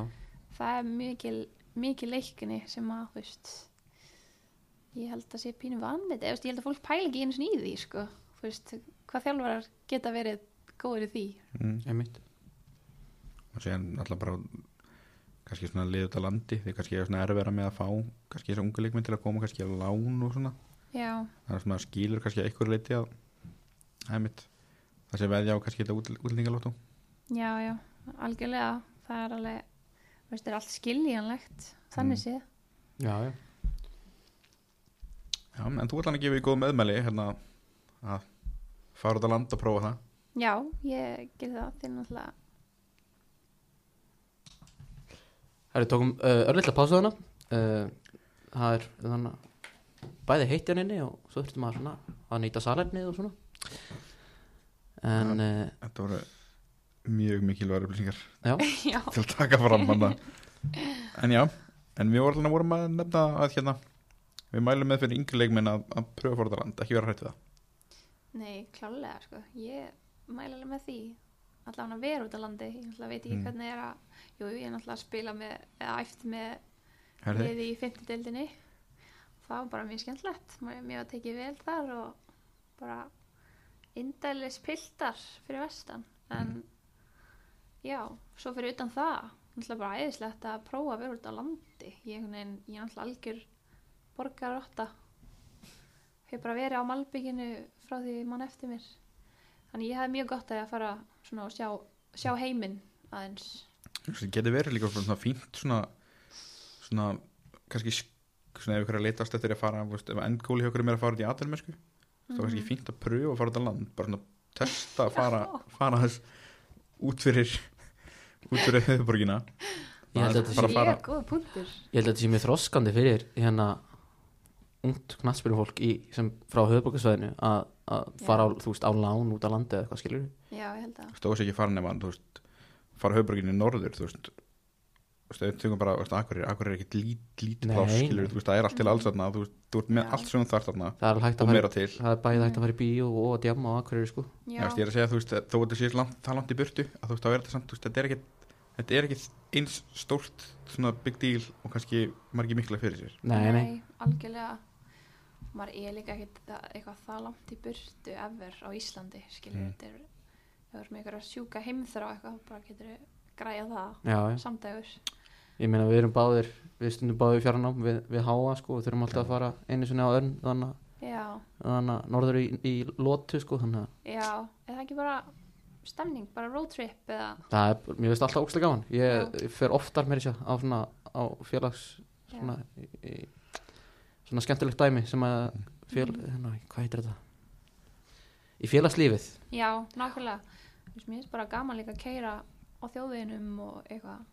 Speaker 3: það er mikil, mikil leikni sem að, þú veist, ég held að sé pínu vanviti. Ég held að fólk pæla ekki einu sinni í því, sko. Þú veist, hvað þjálfarar geta verið góður í því.
Speaker 1: Mm.
Speaker 2: einmitt
Speaker 1: og séðan alltaf bara kannski svona liðið út á landi þeir kannski er svona erfæra með að fá kannski þessi ungu leikmynd til að koma kannski að lán og svona
Speaker 3: Já,
Speaker 1: það er svona skilur kannski að einhver leiti að það er mitt það sé veðja á kannski þetta útlendingalóttu
Speaker 3: já, já, algjörlega. Það er alveg, þú veist, það er allt skiljanlegt, þannig
Speaker 1: Mm.
Speaker 3: séð.
Speaker 2: já, já.
Speaker 1: Já, en þú ætlaði að gefa í góð meðmæli hérna að fara út á land og prófa það
Speaker 3: Já, ég gerði það, því náttúrulega
Speaker 2: Herri, tókum uh, örlítla pásu þarna uh, Það er þannig bæði heitt hérna inni og svo þurftum maður svona að nýta salernið og svona En uh,
Speaker 1: Þetta voru mjög mikilvægur upplýsingar
Speaker 2: já,
Speaker 3: Já,
Speaker 1: til að taka fram hana En já, en við vorum, vorum að nefna að hérna við mælum með fyrir yngri leikminn að, að pröfa að fara út á land, ekki vera hrætt við það
Speaker 3: nei, klálega sko. Ég mæla alveg með því allan að vera út á landi, ég náttúrulega veit ekki
Speaker 1: Mm.
Speaker 3: hvernig er að, jú, ég er náttúrulega að spila með, eða æft með
Speaker 1: Herði.
Speaker 3: liði í fymti deildinni það var bara mjög skemmtlegt mér mér var tekið vel þar og bara indælis piltar fyrir vestan en já, svo fyrir utan það náttúrulega bara æðislegt að prófa að vera út á landi ég, einhvern veginn, ég er náttúrulega algjör borgarotta hefur bara verið á Malbygginu frá því mann eftir mér þannig ég hefði mjög gott af því að fara svona og sjá, sjá heiminn aðeins
Speaker 1: það getur verið líka svona fínt svona, svona kannski sk- svona ef ykkur er að leitast eftir að fara þú veist, ef endgóli hjá ykkur er meira að fara út í aðdelmesku þá er
Speaker 3: Mhm.
Speaker 1: kannski fínt að pröfa að fara út á land bara svona testa að fara, fara þess út fyrir út fyrir höfuborgina
Speaker 2: Ég held að þetta
Speaker 1: bara
Speaker 2: sé-
Speaker 1: að fara
Speaker 3: ég er góða punktur
Speaker 2: ég held að þetta sé mjög þroskandi fyrir hérna ungt knattspyrum fólk í, sem frá höfðbókasvæðinu að að fara á, þú veist, á lán út á landi eða eitthvað skilur
Speaker 3: já, ég held að
Speaker 1: stóðs ekki að fara nema þú veist fara höfbröginni norður þú veist þú veist, þau tökum bara, þú veist, akkur er, akkur er ekki lít, lítið
Speaker 2: Nei.
Speaker 1: pláss, skilur, þú veist, það er allt til alls þarna, þú veist, þú ert með
Speaker 3: Já.
Speaker 1: allt sem þú þarf þarna
Speaker 2: það er
Speaker 1: og
Speaker 2: hægt að fara
Speaker 1: meira til,
Speaker 2: það er bæði hægt að fara í bíó og að djamma og akkurir sko
Speaker 1: Já, veist, ég er að segja þú veist, að þó að þetta sé langt, það langt í burtu að þú veist, þá er þetta samt, þú veist, þetta er ekki þetta er ekki eins stórt svona big deal og kannski margir mikla fyrir sér
Speaker 2: nei, nei,
Speaker 3: algjörlega maður er líka ekkit það, eitthvað það langt í burtu ever á Íslandi skilur
Speaker 1: Mm.
Speaker 3: þetta er það er með eitthvað sjúka heimþrá eitthvað bara getur græja það
Speaker 2: já, já
Speaker 3: samdægur
Speaker 2: Ég meina við erum báðir, við stundum báðir í fjarnám við, við háa sko, við þurfum alltaf að fara einu sinni á örn, þannig að-
Speaker 3: já,
Speaker 2: þannig að norður í, í lótu sko, þannig að
Speaker 3: já, er það ekki bara stemning, bara road trip eða
Speaker 2: það er, mér finnst alltaf ógstlega gaman ég
Speaker 3: Já.
Speaker 2: fer oftar meira sér á svona á félags, svona í, í, svona skemmtilegt dæmi sem að fél, hérna, hvað heitir þetta í félagslífið
Speaker 3: já, nákvæmlega Þú veist, mér finnst bara gaman líka að keira á þjóðveginum og eitthvað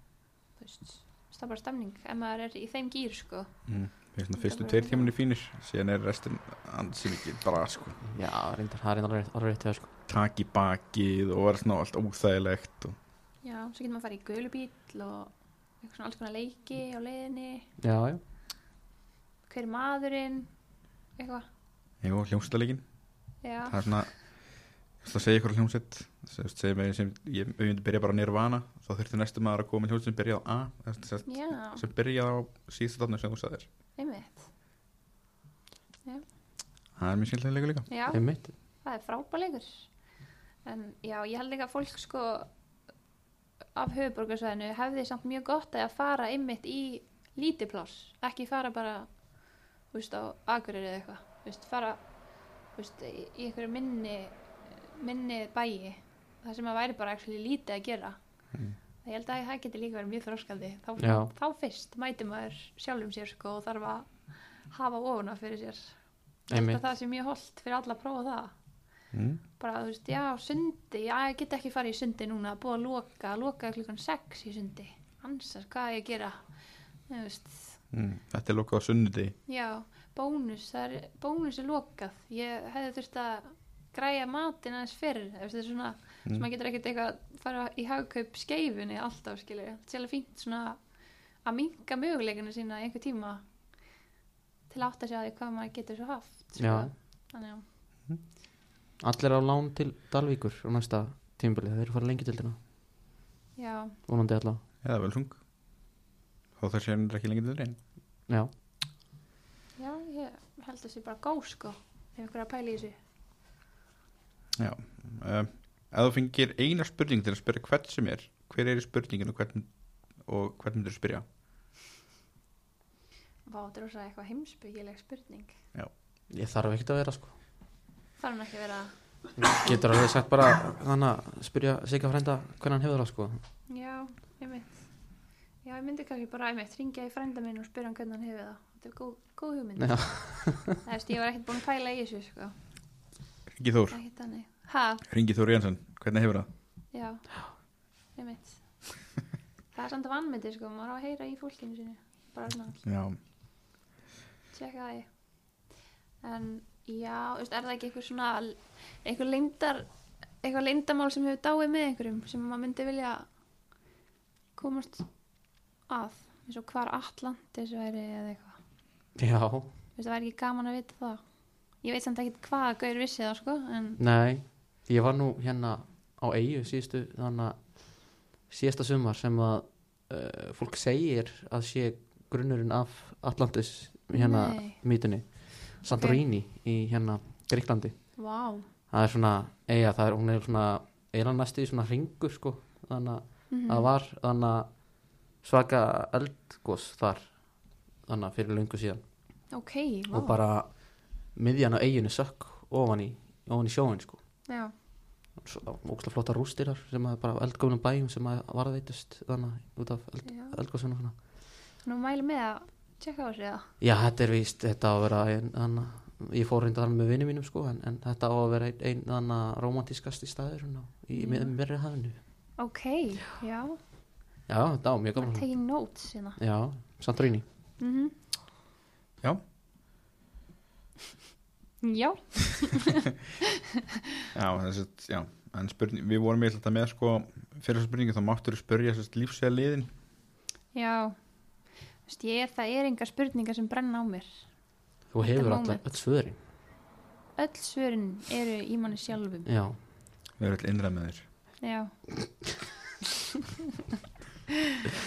Speaker 3: þú veist, það er bara stemning ef maður er í þeim gýr sko
Speaker 1: mm. svona, fyrstu tveir tíminni fínir síðan er restin ansin ekki bara sko,
Speaker 2: já, reyndar, það er reyndar alveg- alveg rétt hjá þér, sko.
Speaker 1: tak í bakið og vera svona allt óþægilegt og,
Speaker 3: já, svo getur maður að fara í gölubíl og eitthvað svona alls konar leiki á leiðinni
Speaker 2: já, já,
Speaker 3: hver er maðurinn eitthvað
Speaker 1: jú, hljómsleikinn
Speaker 3: já,
Speaker 1: það er svona það segja ykkur á hljómsveit sem, sem, sem ég ég myndi byrja bara á nirvana þá þurfti næstu maður að koma með hljómsveit sem byrjaði á A sem, sem,
Speaker 3: já,
Speaker 1: sem byrjaði á síðustu dátnum sem þú sagðir
Speaker 3: einmitt
Speaker 1: það er mjög skemmtilega líka
Speaker 3: já,
Speaker 2: einmitt
Speaker 3: það er frábæleikur en já, ég held líka að fólk sko af höfuborgarsvæðinu hefði samt mjög gott að fara einmitt í lítið pláss ekki fara bara þú veist, á Akureyri eða eitthvað þú veist, fara þú veist, í, í einhverju minni minni bæi það sem að væri bara actually lítið að gera
Speaker 1: Mm.
Speaker 3: ég held að það geti líka verið mjög þróskandi þá,
Speaker 2: Já.
Speaker 3: þá fyrst mæti maður sjálfum sér sko og þarf að hafa ofuna fyrir sér Ég held
Speaker 2: Einmitt.
Speaker 3: að það sé mjög holdt fyrir alla að prófa það
Speaker 1: mm.
Speaker 3: bara þú veist, já, sundi já, ég get ekki farið í sundi núna, búið að loka loka klukkan 6 í sundi ansar, hvað á ég að gera þú veist,
Speaker 1: Mm. þetta er lokað á sunnudegi
Speaker 3: já, bónus það er, bónus er lokað ég hefði þurft að græja matinn aðeins fyrir, þú veist, þetta er svona
Speaker 1: Mm.
Speaker 3: sem maður getur ekkert eitthvað að fara í hagkaup skeifunni alltaf, skilur, þetta er alveg fínt svona að minka möguleikana sína í einhver tíma til að átta sig á því hvað maður getur svo haft sko.
Speaker 2: Já.
Speaker 3: þannig að,
Speaker 2: allir á lán til Dalvíkur á næsta tímabilið, þeir eru að fara lengi til þarna
Speaker 3: já,
Speaker 2: vonandi allavega,
Speaker 1: eða völsung þá það sé hann ekki lengi til reyn
Speaker 2: já
Speaker 3: já, ég held að sé bara góð, sko, ef einhver er að pæla í þessu
Speaker 1: já um, ef þú fengir eina spurning til að spyrja hvern sem er hver er í spurningin og hvern og hvern myndur spyrja
Speaker 3: Vá, þetta er rosa eitthvað heimsbyggileg spurning.
Speaker 2: ég þarf ekkert að vera sko
Speaker 3: Þarf hann ekki að vera...
Speaker 2: getur alveg sagt bara þannig að spyrja Sigga frænda hvernig hann hefur það sko
Speaker 3: Já, ég mynd. Já, ég myndi kannski bara að mitt ringja í frænda minn og spyrja hann hvernig hann hefur það. Þetta er góð, góð hugmynd.
Speaker 2: Já.
Speaker 3: Það veist, ég var ekkert búin að pæla í þessu, sko.
Speaker 1: Ringi Þór,
Speaker 3: Ekki þannig. Ha,
Speaker 1: Ringi Þór Jansson, hvernig hefur það?
Speaker 3: já. Ég mynd. Það er samt vannmyndi, sko. Maður á að heyra í fólkinu sinu. Bara svona,
Speaker 1: Já,
Speaker 3: tjekka það í. En, já, þú veist, er það ekki eitthvað svona, eitthvað leyndar, eitthvað leyndarmál sem hefur dáið með einhverjum sem maður myndi vilja komast að eins og hvar Atlantis væri eða eitthvað
Speaker 2: já,
Speaker 3: Þú veist, það væri ekki gaman að vita það ég veit samt ekkit hvað Gaur vissi það sko en
Speaker 2: nei ég var nú hérna á eigu síðustu þannig að síðasta sumar sem að uh, fólk segir að sé grunnurinn af Atlantis hérna
Speaker 3: Nei.
Speaker 2: mýtunni Santorini í hérna Greiklandi
Speaker 3: vá
Speaker 2: það er svona, eiga það er hún er svona eiginlega næstu í svona hringur sko þannig að
Speaker 3: Mhm.
Speaker 2: það var þannig að svaka eldgós þar þannig að fyrir löngu síðan
Speaker 3: ok,
Speaker 2: og
Speaker 3: vá
Speaker 2: bara miðjan á eiginu sökk ofan í, ofan í sjóin sko
Speaker 3: já,
Speaker 2: ógslag flotta rústir þar sem að bara eldgóðnum bæjum sem að varðveitust þannig út af eld,
Speaker 3: já.
Speaker 2: eldgóðsuna svona.
Speaker 3: nú mæli með að tjekka á þessu eða
Speaker 2: já þetta er víst þetta á að vera ein, þannig, ég fór reynda þar með vinnum mínum sko en, en þetta á að vera einn ein, þannig að romantískasti staður svona, í
Speaker 3: Já.
Speaker 2: yeah. myrri hafinu
Speaker 3: ok, já,
Speaker 2: já þetta á mjög
Speaker 3: I'm
Speaker 2: gaman
Speaker 3: taking notes hérna
Speaker 2: já, Santorini
Speaker 3: mm
Speaker 1: Já.
Speaker 3: já,
Speaker 1: já, þessi, já en spurning, við vorum með þetta með sko, fyrir þessu spurningu þá máttur við spurja lífsvega liðin
Speaker 3: Já, Þú veist, ég, það er engar spurningar sem brenna á mér.
Speaker 2: Þú
Speaker 3: Þetta
Speaker 2: hefur
Speaker 3: moment.
Speaker 2: alltaf öll svörin
Speaker 3: Öll svörin eru í manni sjálfum.
Speaker 2: Já,
Speaker 1: við erum allir innræð með þér
Speaker 3: Já,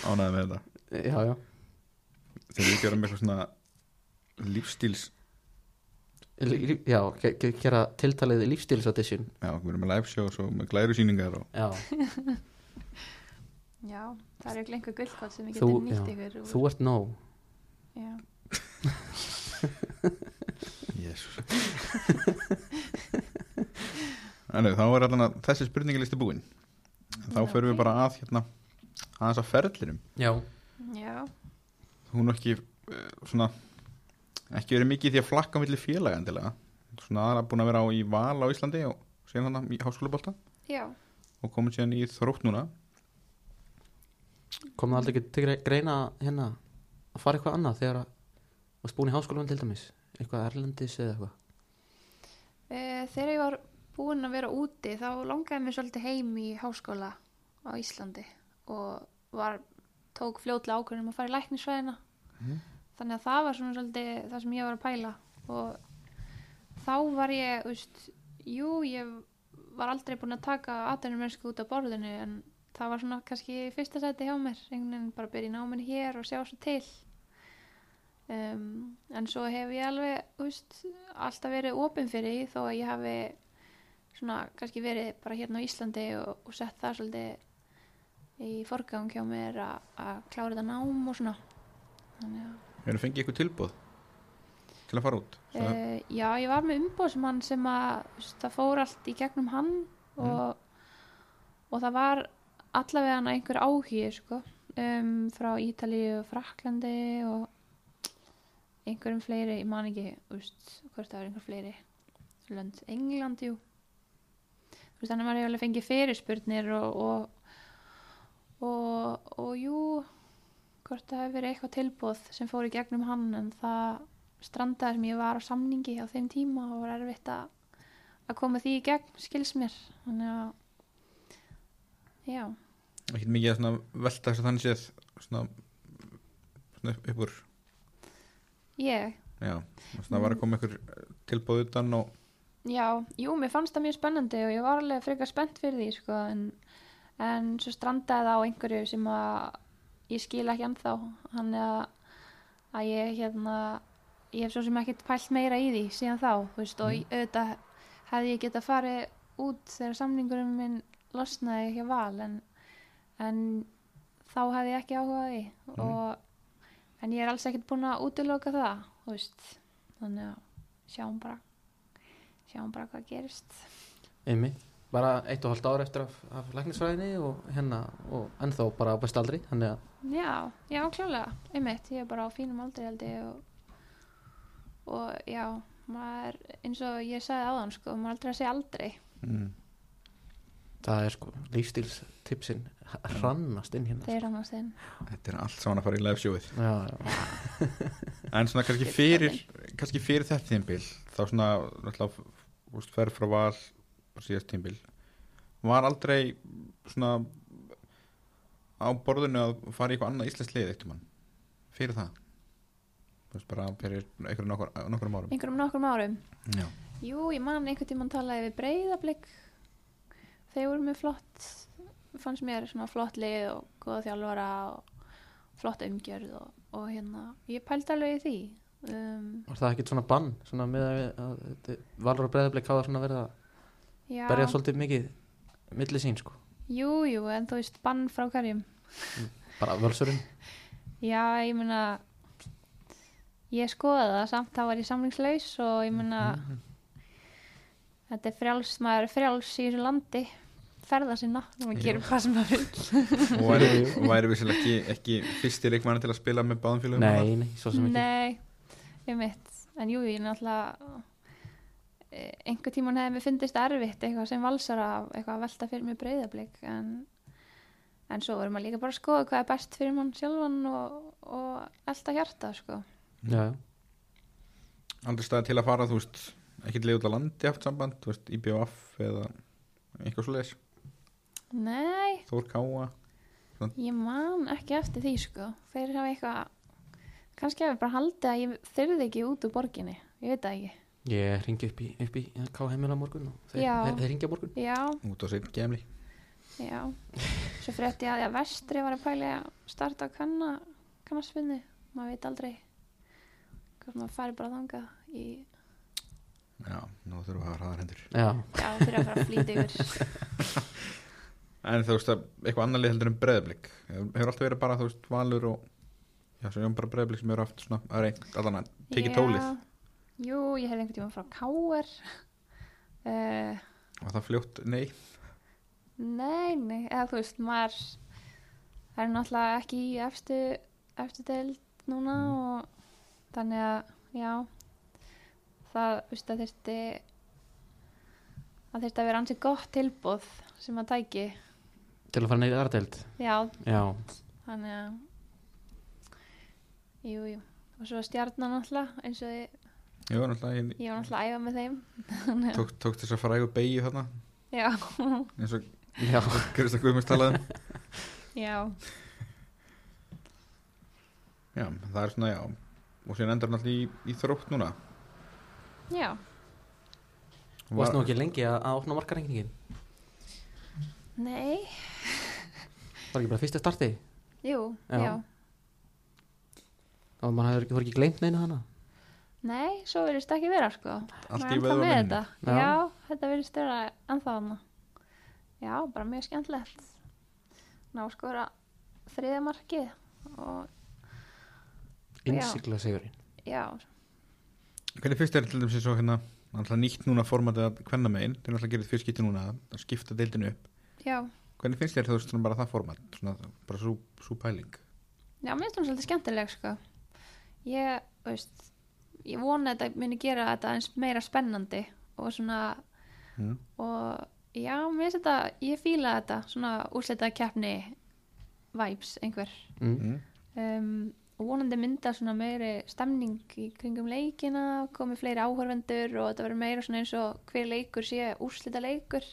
Speaker 1: ánæði með þetta
Speaker 2: já, já
Speaker 1: þegar við gerum eitthvað svona lífstíls
Speaker 2: Lí- lí- Já, ge- ge- gera tiltalið lífstílsadisjun
Speaker 1: já, við erum með live shows og með glæru síningar og
Speaker 2: Já,
Speaker 3: já, það eru ekki lengur gullkott sem ég
Speaker 2: Þú-
Speaker 3: geti nýtt
Speaker 2: já.
Speaker 3: ykkur. úr.
Speaker 2: þú ert nóg
Speaker 3: Já,
Speaker 1: jésus þannig, þá er allan að þessi spurningalisti búinn En þá
Speaker 3: Já,
Speaker 1: förum við
Speaker 3: ok.
Speaker 1: bara að hérna aðeins að ferlinum
Speaker 2: Já,
Speaker 3: já,
Speaker 1: hún er ekki eh, svona ekki verið mikið í því að flakka milli félaga endilega svona aðra búin að vera á í val á Íslandi og síðan hann í háskólabolta
Speaker 3: já.
Speaker 1: og komin síðan í þrótt núna
Speaker 2: kom það aldrei ekki til gre- greina hérna að fara eitthvað annað þegar að varst búin í háskólanum til dæmis eitthvað erlendis eða eitthvað
Speaker 3: Eh, Þegar ég var búin að vera úti þá langaði mér svolítið heim í háskóla á Íslandi og var, tók fljótlega ákvörðum að fara í læknisfræðina. Þannig að það var svona svolítið það sem ég var að pæla og þá var ég, þú veist, jú, ég var aldrei búin að taka aðdænum mennsku út á borðinu en það var svona kannski í fyrsta sæti hjá mér, einhvern veginn bara byrja í náminu hér og sjá svo til. Um, en svo hef ég alveg, þú veist, alltaf verið opinn fyrir því þó að ég hafi svona kannski verið bara hérna á Íslandi og, og sett það svolítið í forgang hjá mér að að klára þetta nám og svona þannig að
Speaker 1: hefur það fengið eitthvað tilbúð til að fara út Svona-
Speaker 3: Uh, já, ég var með umbóðsmann sem að þú veist, það fór allt í gegnum hann og, og það var allavega hann einhver áhugi sko, um, frá Ítalíu og Fraklandi og einhverjum fleiri, ég man ekki þú veist, hvort það var einhver fleiri lönd, England, jú Þú veist, þannig að maður hefur alveg fengið fyrirspurnir og og, og og jú hvort það hefur verið eitthvað tilbúð sem fór í gegnum hann en það strandaði sem ég var á samningi á þeim tíma og var erfitt að, að koma því í gegn skils mér þannig að já,
Speaker 1: ekkert mikið að svona velta þess að þannig séð svona, svona upp- upp úr
Speaker 3: ég
Speaker 1: já, svona var að koma eitthvað tilbúð utan og
Speaker 3: já, jú, mér fannst það mjög spennandi og ég var alveg frekar spennt fyrir því sko, en, en svo strandaði það á einhverju sem að ég skil ekki ennþá hann að, að ég hérna ég hef svo sem ekkert pælt meira í því síðan þá, þú veist, og ég- auðvitað hefði ég getað farið út þegar samningurinn minn losnaði hjá val en, en þá hefði ég ekki áhuga á því og en ég er alls ekkert búin að útiloka það, þú veist þannig að sjáum bara sjáum bara hvað gerist
Speaker 2: Einmi, bara eitt og hálft ár eftir af, af læknisfræðinni og hérna og ennþá bara á besta aldri þannig að
Speaker 3: Já, já, klálega, einmitt, ég er bara á fínum aldrei held ég og, og já, maður, eins og ég sagði áðan, sko, maður aldrei að segja aldrei.
Speaker 1: mm,
Speaker 2: það er sko lífstílstipsin hrannast inn hérna
Speaker 3: Þeir rannast inn.
Speaker 1: þetta er allt saman að fara í live showið
Speaker 2: Já, já,
Speaker 1: en svona kannski fyrir kannski fyrir þetta tímbil þá svona náttúrulega, úst, ferð frá val og síðast tímbil var aldrei svona á borðinu að fara í eitthvað annað íslensk lið eittum mann fyrir það Þú veist, bara fyrir einhverjum nokkur, nokkur árum
Speaker 3: Einhverjum nokkrum árum.
Speaker 1: já.
Speaker 3: Jú, ég man einhvern tímann talaði við breyðablík. Þeir voru með flott, fannst mér svona flott lið og góða þjálfara og flott umgjörð og, og hérna, ég pældi alveg í því. Um,
Speaker 2: var það ekkert svona bann svona með að, að, að Valur og Breðablik hafa svona verið að
Speaker 3: já,
Speaker 2: berja svolítið mikið milli sín sko,
Speaker 3: jú, jú, en þú veist, bann frá hverjum.
Speaker 2: bara völsurinn
Speaker 3: Já, ég meina ég skoða það samt þá var ég samlingslaus og ég meina
Speaker 2: Mhm.
Speaker 3: þetta er frjáls, maður er frjáls í þessu landi ferða sinna og maður
Speaker 1: Já.
Speaker 3: gerir hvað sem maður vil
Speaker 1: og væri, og væri við ekki, ekki fyrsti leikmann til að spila með báðum félagum
Speaker 2: Nei, nei, svo sem ekki
Speaker 3: Nei, ég mitt en jú, ég er náttúrulega eh, einhver tíman hefði mér fyndist erfitt eitthvað sem valsara, eitthvað að velta fyrir mér breyðablík en, en svo vorum maður líka bara að skoða hvað er best fyrir mann sjálfan og, og elta hjarta, sko
Speaker 2: já, já.
Speaker 1: andri staði til að fara þú veist ekki leið út á landi haft samband, þú veist IBF eða eitthvað svo leis,
Speaker 3: Nei,
Speaker 1: Þór Káa
Speaker 3: ég man ekki eftir því sko. Þeir hafa eitthvað, kannski hafa bara haldið að ég þyrði ekki út úr borginni. Ég veit það ekki.
Speaker 2: Ég ringi upp í, upp í K-heimila morgun og þeir,
Speaker 3: Já.
Speaker 2: þeir, þeir ringja morgun
Speaker 3: Já,
Speaker 1: út á sitt gemli
Speaker 3: já. Svo frétti ég að því að vestri var að pæli að starta að kanna, kannarspinnu. Maður veit aldrei. Hvort maður fari bara þangað í,
Speaker 1: Já, nú þurfum við að hafa hraðar hendur
Speaker 2: Já,
Speaker 3: já, fyrir að fara að flýta yfir.
Speaker 1: En þú veist að eitthvað annar lið heldur en breðblik Hefur alltaf verið bara, þú veist, valur og Já, svo erum bara breðblik sem eru aftur svona að reynd, allan að tekið
Speaker 3: Já.
Speaker 1: tólið
Speaker 3: Jú, ég hefði einhvern tíma frá K.R. Uh,
Speaker 1: Og það fljótt, nei
Speaker 3: Nei, nei, eða þú veist, maður það er náttúrulega ekki í efstu, efstu deild núna og þannig að, já, það, þú veist, það þyrfti það þyrfti að vera ansi gott tilbúð sem maður tæki,
Speaker 2: til að fara neyðið aðradelt
Speaker 3: já,
Speaker 2: Já,
Speaker 3: þannig að jú, jú, og svo stjarnan náttúrulega, eins og ég,
Speaker 1: Jú, náttúrulega, ég
Speaker 3: ég var náttúrulega að æfa með þeim,
Speaker 1: tók, tók þess að frægu beigju þarna
Speaker 3: já,
Speaker 1: eins og
Speaker 2: já
Speaker 1: Kristján Guðmunds talaði um
Speaker 3: já,
Speaker 1: Já, það er svona, já Og síðan endur hann alltaf í, í þrótt núna
Speaker 3: já,
Speaker 2: Varst nú ekki lengi að, að opna markarengingin
Speaker 3: nei,
Speaker 2: Var ekki bara fyrst að starti
Speaker 3: jú,
Speaker 2: Já.
Speaker 3: já.
Speaker 2: og maður hefur- hefur ekki gleymt neina hana
Speaker 3: Nei, svo verðist ekki vera sko.
Speaker 1: Allt í
Speaker 3: Maður er ennþá
Speaker 1: vöðvunum
Speaker 3: með
Speaker 1: mínum.
Speaker 3: þetta.
Speaker 2: Já.
Speaker 3: Já. þetta verðist vera ennþá hana. Já, bara mjög skemmtilegt. Ná sko skora þriða markið og
Speaker 2: Innsikla sigurinn
Speaker 3: já,
Speaker 1: Hvernig fyrst er til dæmis eins og hérna alltaf nýtt núna formatið að hvenna megin þeir alltaf gerir fyrst skipti núna að skipta deildinu upp
Speaker 3: já,
Speaker 1: Hvernig finnst þér þú veist svona bara það format svona, bara svo, svo pæling
Speaker 3: já, minnst hún svolítið skemmtileg sko. Ég, veist, ég vona að þetta muni gera þetta eins meira spennandi og svona
Speaker 1: mm.
Speaker 3: og já, minnst þetta, ég fíla þetta svona úrslitað keppni vibes einhver.
Speaker 2: mm.
Speaker 1: Mm.
Speaker 3: um, og vonandi mynda svona meiri stemning í kringum leikina komi fleiri áhörvendur og þetta verður meira svona eins og hver leikur sé úrslita leikur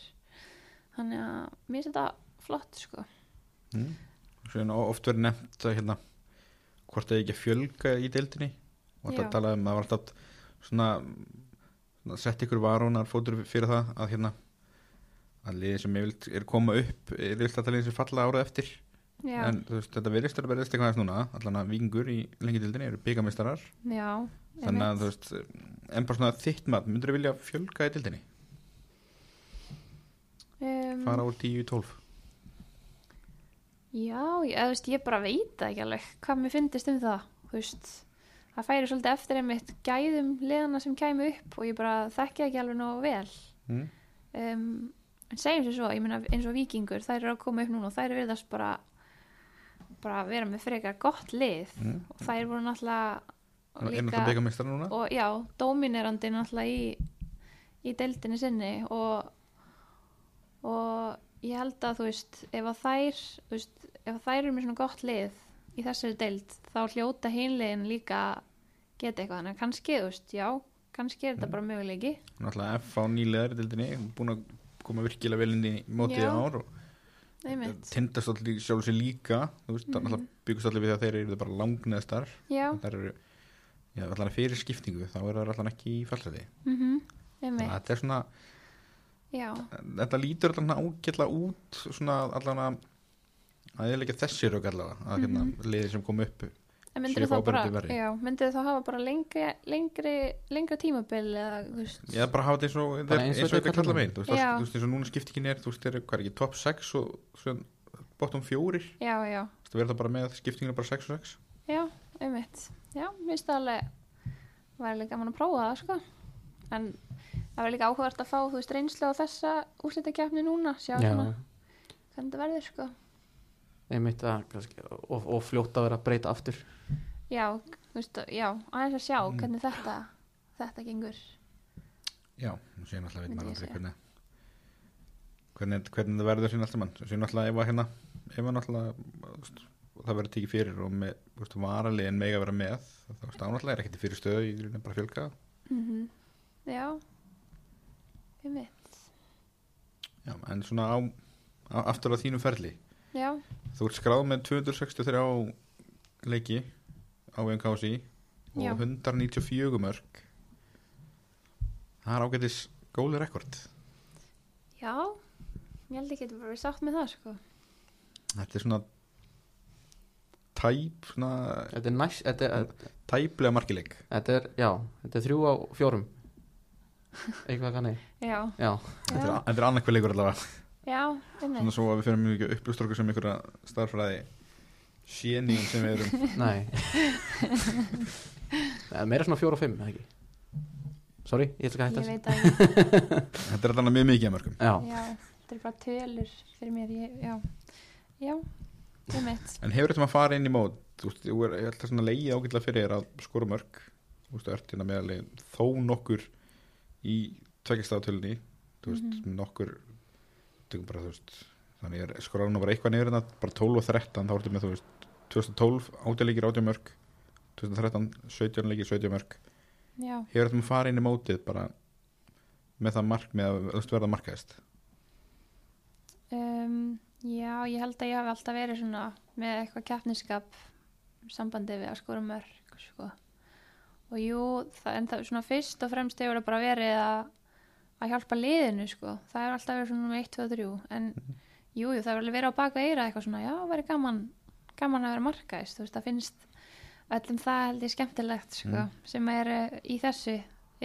Speaker 3: þannig að mér finnst þetta flott sko
Speaker 1: Mm. Svona o- oft verið nefnt að hérna hvort það ekki að fjölga í deildinni og
Speaker 3: Já.
Speaker 1: þetta talaði um að það var alltaf svona, svona sett ykkur varunar fótur fyrir það að hérna að liðin sem ég vilt er koma upp er vilt að liðin sem falla árað eftir
Speaker 3: já,
Speaker 1: en þú veist þetta verðist að verðist eitthvað aðeins núna allan að vingur í lengi deildinni eru byggamistarar
Speaker 3: já
Speaker 1: þannig að þú veist en bara svona þitt mat, myndur þú vilja fjölga í deildinni
Speaker 3: um,
Speaker 1: fara úr 10 í 12
Speaker 3: já, ég, eða, þú veist, ég bara veit það ekki alveg hvað mér finnist um það þú veist, það færi svolítið eftir einmitt gæðum liðana sem kæmi upp og ég bara þekki ekki alveg nógu vel
Speaker 1: mm.
Speaker 3: um, en segjum sér svo, ég meina eins og vikingur þær eru að koma upp núna og þær verðast bara bara að vera með frekar gott lið
Speaker 1: Mm.
Speaker 3: og þær voru náttúrulega
Speaker 1: er náttúrulega byggamistarar núna
Speaker 3: og já, dóminerandi náttúrulega í, í deildinni sinni og og ég held að þú veist ef að þær, þú veist, ef að þær eru með svona gott lið í þessari deild þá hljóta hinlegin líka að geta eitthvað, þannig að kannski, þú veist, já kannski er þetta bara möguleiki
Speaker 1: Náttúrulega F á nýlegar í deildinni, búin að koma virkilega vel inn í mótið
Speaker 3: Já.
Speaker 1: í ár og
Speaker 3: Einmitt. Mhm.
Speaker 1: tindast allir sjálf sér líka, þú veist, mm náttúrulega byggust allir við að þeir eru bara langneðstar,
Speaker 3: já,
Speaker 1: þar eru, já, allan fyrir skiptingu, þá eru það allan ekki í fallseti.
Speaker 3: mhm, einmitt
Speaker 1: Þannig að þetta er svona,
Speaker 3: Já,
Speaker 1: þetta lítur allan ágætla út, svona allan að, það er líka þessi rauk allavega, að hérna
Speaker 3: Mhm.
Speaker 1: liðið sem kom upp,
Speaker 3: en myndir
Speaker 1: Séu
Speaker 3: þá bara
Speaker 1: áberandi verri.
Speaker 3: já, myndir þá hafa bara lengri, lengri, lengra tímabil eða, þú veist,
Speaker 1: ég bara hafa þetta eins og,
Speaker 2: Bara eins
Speaker 1: eins
Speaker 2: og
Speaker 1: og
Speaker 2: þetta
Speaker 1: þetta
Speaker 2: kallar
Speaker 1: kallar
Speaker 2: menn.
Speaker 1: meginn, þú veist,
Speaker 3: Já.
Speaker 1: þú veist, eins og núna skiptingin er, þú veist, er, hvað er ekki, top 6 og, svona, bottom 4,
Speaker 3: já, já,
Speaker 1: þú veist, verða bara með skiptingina bara 6 og 6.
Speaker 3: já, einmitt já, minnst það alveg væri alveg gaman að prófa það, sko en það var líka áhugavert að fá, þú veist, reynslu á þessa úrslitakefni núna, sjá
Speaker 2: Já,
Speaker 3: svona hvernig það verður, sko
Speaker 2: einmitt að kannski, og, og fljótt að vera að breyta aftur
Speaker 3: já, þú veist, já, aðeins að sjá
Speaker 1: Mm.
Speaker 3: hvernig þetta, þetta gengur
Speaker 1: Já, og síðan alltaf veit
Speaker 3: Myndi
Speaker 1: maður
Speaker 3: ég
Speaker 1: aldrei
Speaker 3: segja.
Speaker 1: hvernig, hvernig hvernig það verður síðan alltaf mann síðan alltaf ef að hérna ef að náttúrulega þú veist, það verður tekið fyrir og með, þú veist, varalegin mega vera með þá veist, ánáttúrulega er ekkert í fyrir stöðu í rauninni bara að fjölga
Speaker 3: mhm, já einmitt,
Speaker 1: Já, en svona á, á aftur á þínum ferli
Speaker 3: já,
Speaker 1: þú ert skráð með 263 leiki á MKC og
Speaker 3: Já.
Speaker 1: 194 mörg það er ágætis góli rekord
Speaker 3: já ég held ég geti bara verið sátt með það sko
Speaker 1: þetta er svona tæp svona
Speaker 2: Þetta er næst, þetta er,
Speaker 1: tæplega markileik
Speaker 2: þetta er, já, þetta er þrjú á fjórum Eitthvað kannig,
Speaker 3: já,
Speaker 1: þetta
Speaker 2: já
Speaker 3: já,
Speaker 1: er, þetta er annarkvæð leikur allavega
Speaker 3: já, einmitt
Speaker 1: svona svo að við fyrir mjög upplustur okkur sem einhverja starffræði séningum sem við erum
Speaker 2: Nei Nei, Meira svona fjóra og fimm, eða ekki Sorry, ég ætla ekki að
Speaker 3: ég
Speaker 2: hætta
Speaker 3: veit að ég,
Speaker 1: þetta er alltaf mjög mikið að mörgum
Speaker 2: Já,
Speaker 3: já, þetta er bara tölur fyrir mér, ég, já já, einmitt
Speaker 1: en hefur þetta maður farið inn í mót þú veist, þú er ég ætla svona leið ágætlega fyrir þér að skora mörg þú veist, þú ert hérna meðalegi þó nokkur í tveggjastafatölunni þú veist, nokkur tökum bara, þú veist, þannig er skoraðan nú bara eitthvað niður en það, bara 12 og 13 þá ertu með, þú veist, 2012 18 leikir 18 mörg 2013 17 leikir 17 mörg
Speaker 3: já,
Speaker 1: hefur þetta maður farið inn í mótið bara með það mark með að þú veist, verða markaðist
Speaker 3: um, já, ég held að ég hafi alltaf verið svona með eitthvað keppniskap sambandi við að skora mörg sko. og jú, það, en það svona fyrst og fremst hefur það bara verið að að hjálpa liðinu sko. það hefur alltaf verið svona 1, 2, 3 en jújú, jú, það hefur alveg verið á baka eira eitthvað svona, já, væri gaman gaman að vera markaðist, þú veist, það finnst öllum það held ég skemmtilegt sko,
Speaker 1: Mm.
Speaker 3: sem eru í þessu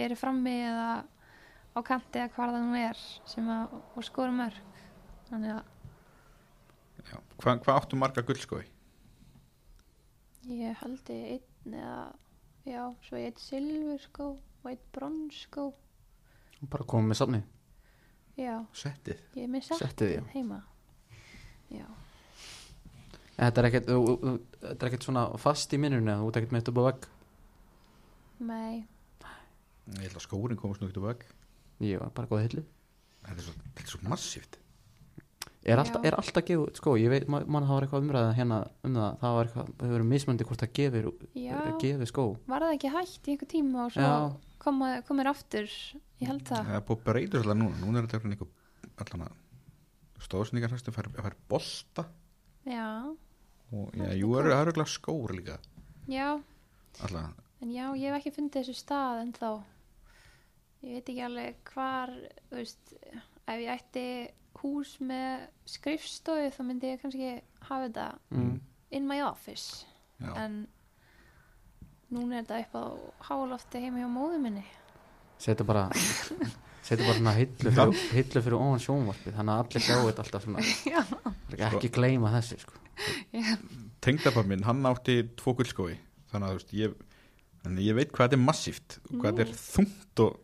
Speaker 3: eru frammi eða á kanti eða hvar það nú er sem að, og skora mörg þannig að
Speaker 1: Já. Hva, hvað áttu marga gullskói?
Speaker 3: ég held ég einn eða, já, svo ég eitt silfur sko og eitt brons sko
Speaker 2: bara komum með safni
Speaker 3: já,
Speaker 1: Settið
Speaker 3: ég er með
Speaker 2: Settið, já.
Speaker 3: settið heima já,
Speaker 2: Þetta er ekkert, þú- þú- þetta er ekkert svona fast í minnunni eða Þú ert ekkert með þetta upp á vegg
Speaker 3: mei
Speaker 1: Ég held að skórin komast nú ekkert á veg
Speaker 2: Ég var bara góð hillu
Speaker 1: Þetta er svo, þetta er svo massíft
Speaker 2: Er alltaf,
Speaker 3: Já.
Speaker 2: er alltaf gefið, út, sko, ég veit, ma- mann það var eitthvað umræða hérna um það, það var eitthvað, það hefur mismöndi hvort það gefir,
Speaker 3: já,
Speaker 2: gefir skó.
Speaker 3: var það ekki hægt í einhver tíma og svo
Speaker 2: Já.
Speaker 3: koma, komir aftur ég held það
Speaker 1: Það er búið að breyta alltaf núna Núna er þetta eitthvað einhver allan að stóðsningar hægstu fær, fær bolta
Speaker 2: Mm.
Speaker 3: já,
Speaker 1: og
Speaker 3: Það
Speaker 1: já,
Speaker 3: er
Speaker 1: jú,
Speaker 3: svo
Speaker 1: eru
Speaker 3: gott.
Speaker 1: það eru skór líka
Speaker 3: já,
Speaker 1: alltaf
Speaker 3: en já, ég hef ekki fundið þessu stað en þá ég veit ekki alveg hvar þú veist, ef ég ætti hús með skrifstofu þá myndi ég kannski hafa þetta
Speaker 2: Mm.
Speaker 3: in my office
Speaker 1: Já,
Speaker 3: en núna er þetta upp á hálofti heima hjá móðu minni
Speaker 2: Setja bara, setja bara svona hillu fyrir, hillu fyrir ofan sjónvarpið, þannig að allir sjá þetta alltaf svona.
Speaker 3: Já.
Speaker 2: Ekki gleyma þessu, sko.
Speaker 1: Tengdapappi minn, hann átti tvo gullskói Þannig að þú veist, ég, þannig að ég veit hvað þetta er massíft Hvað þetta er þungt og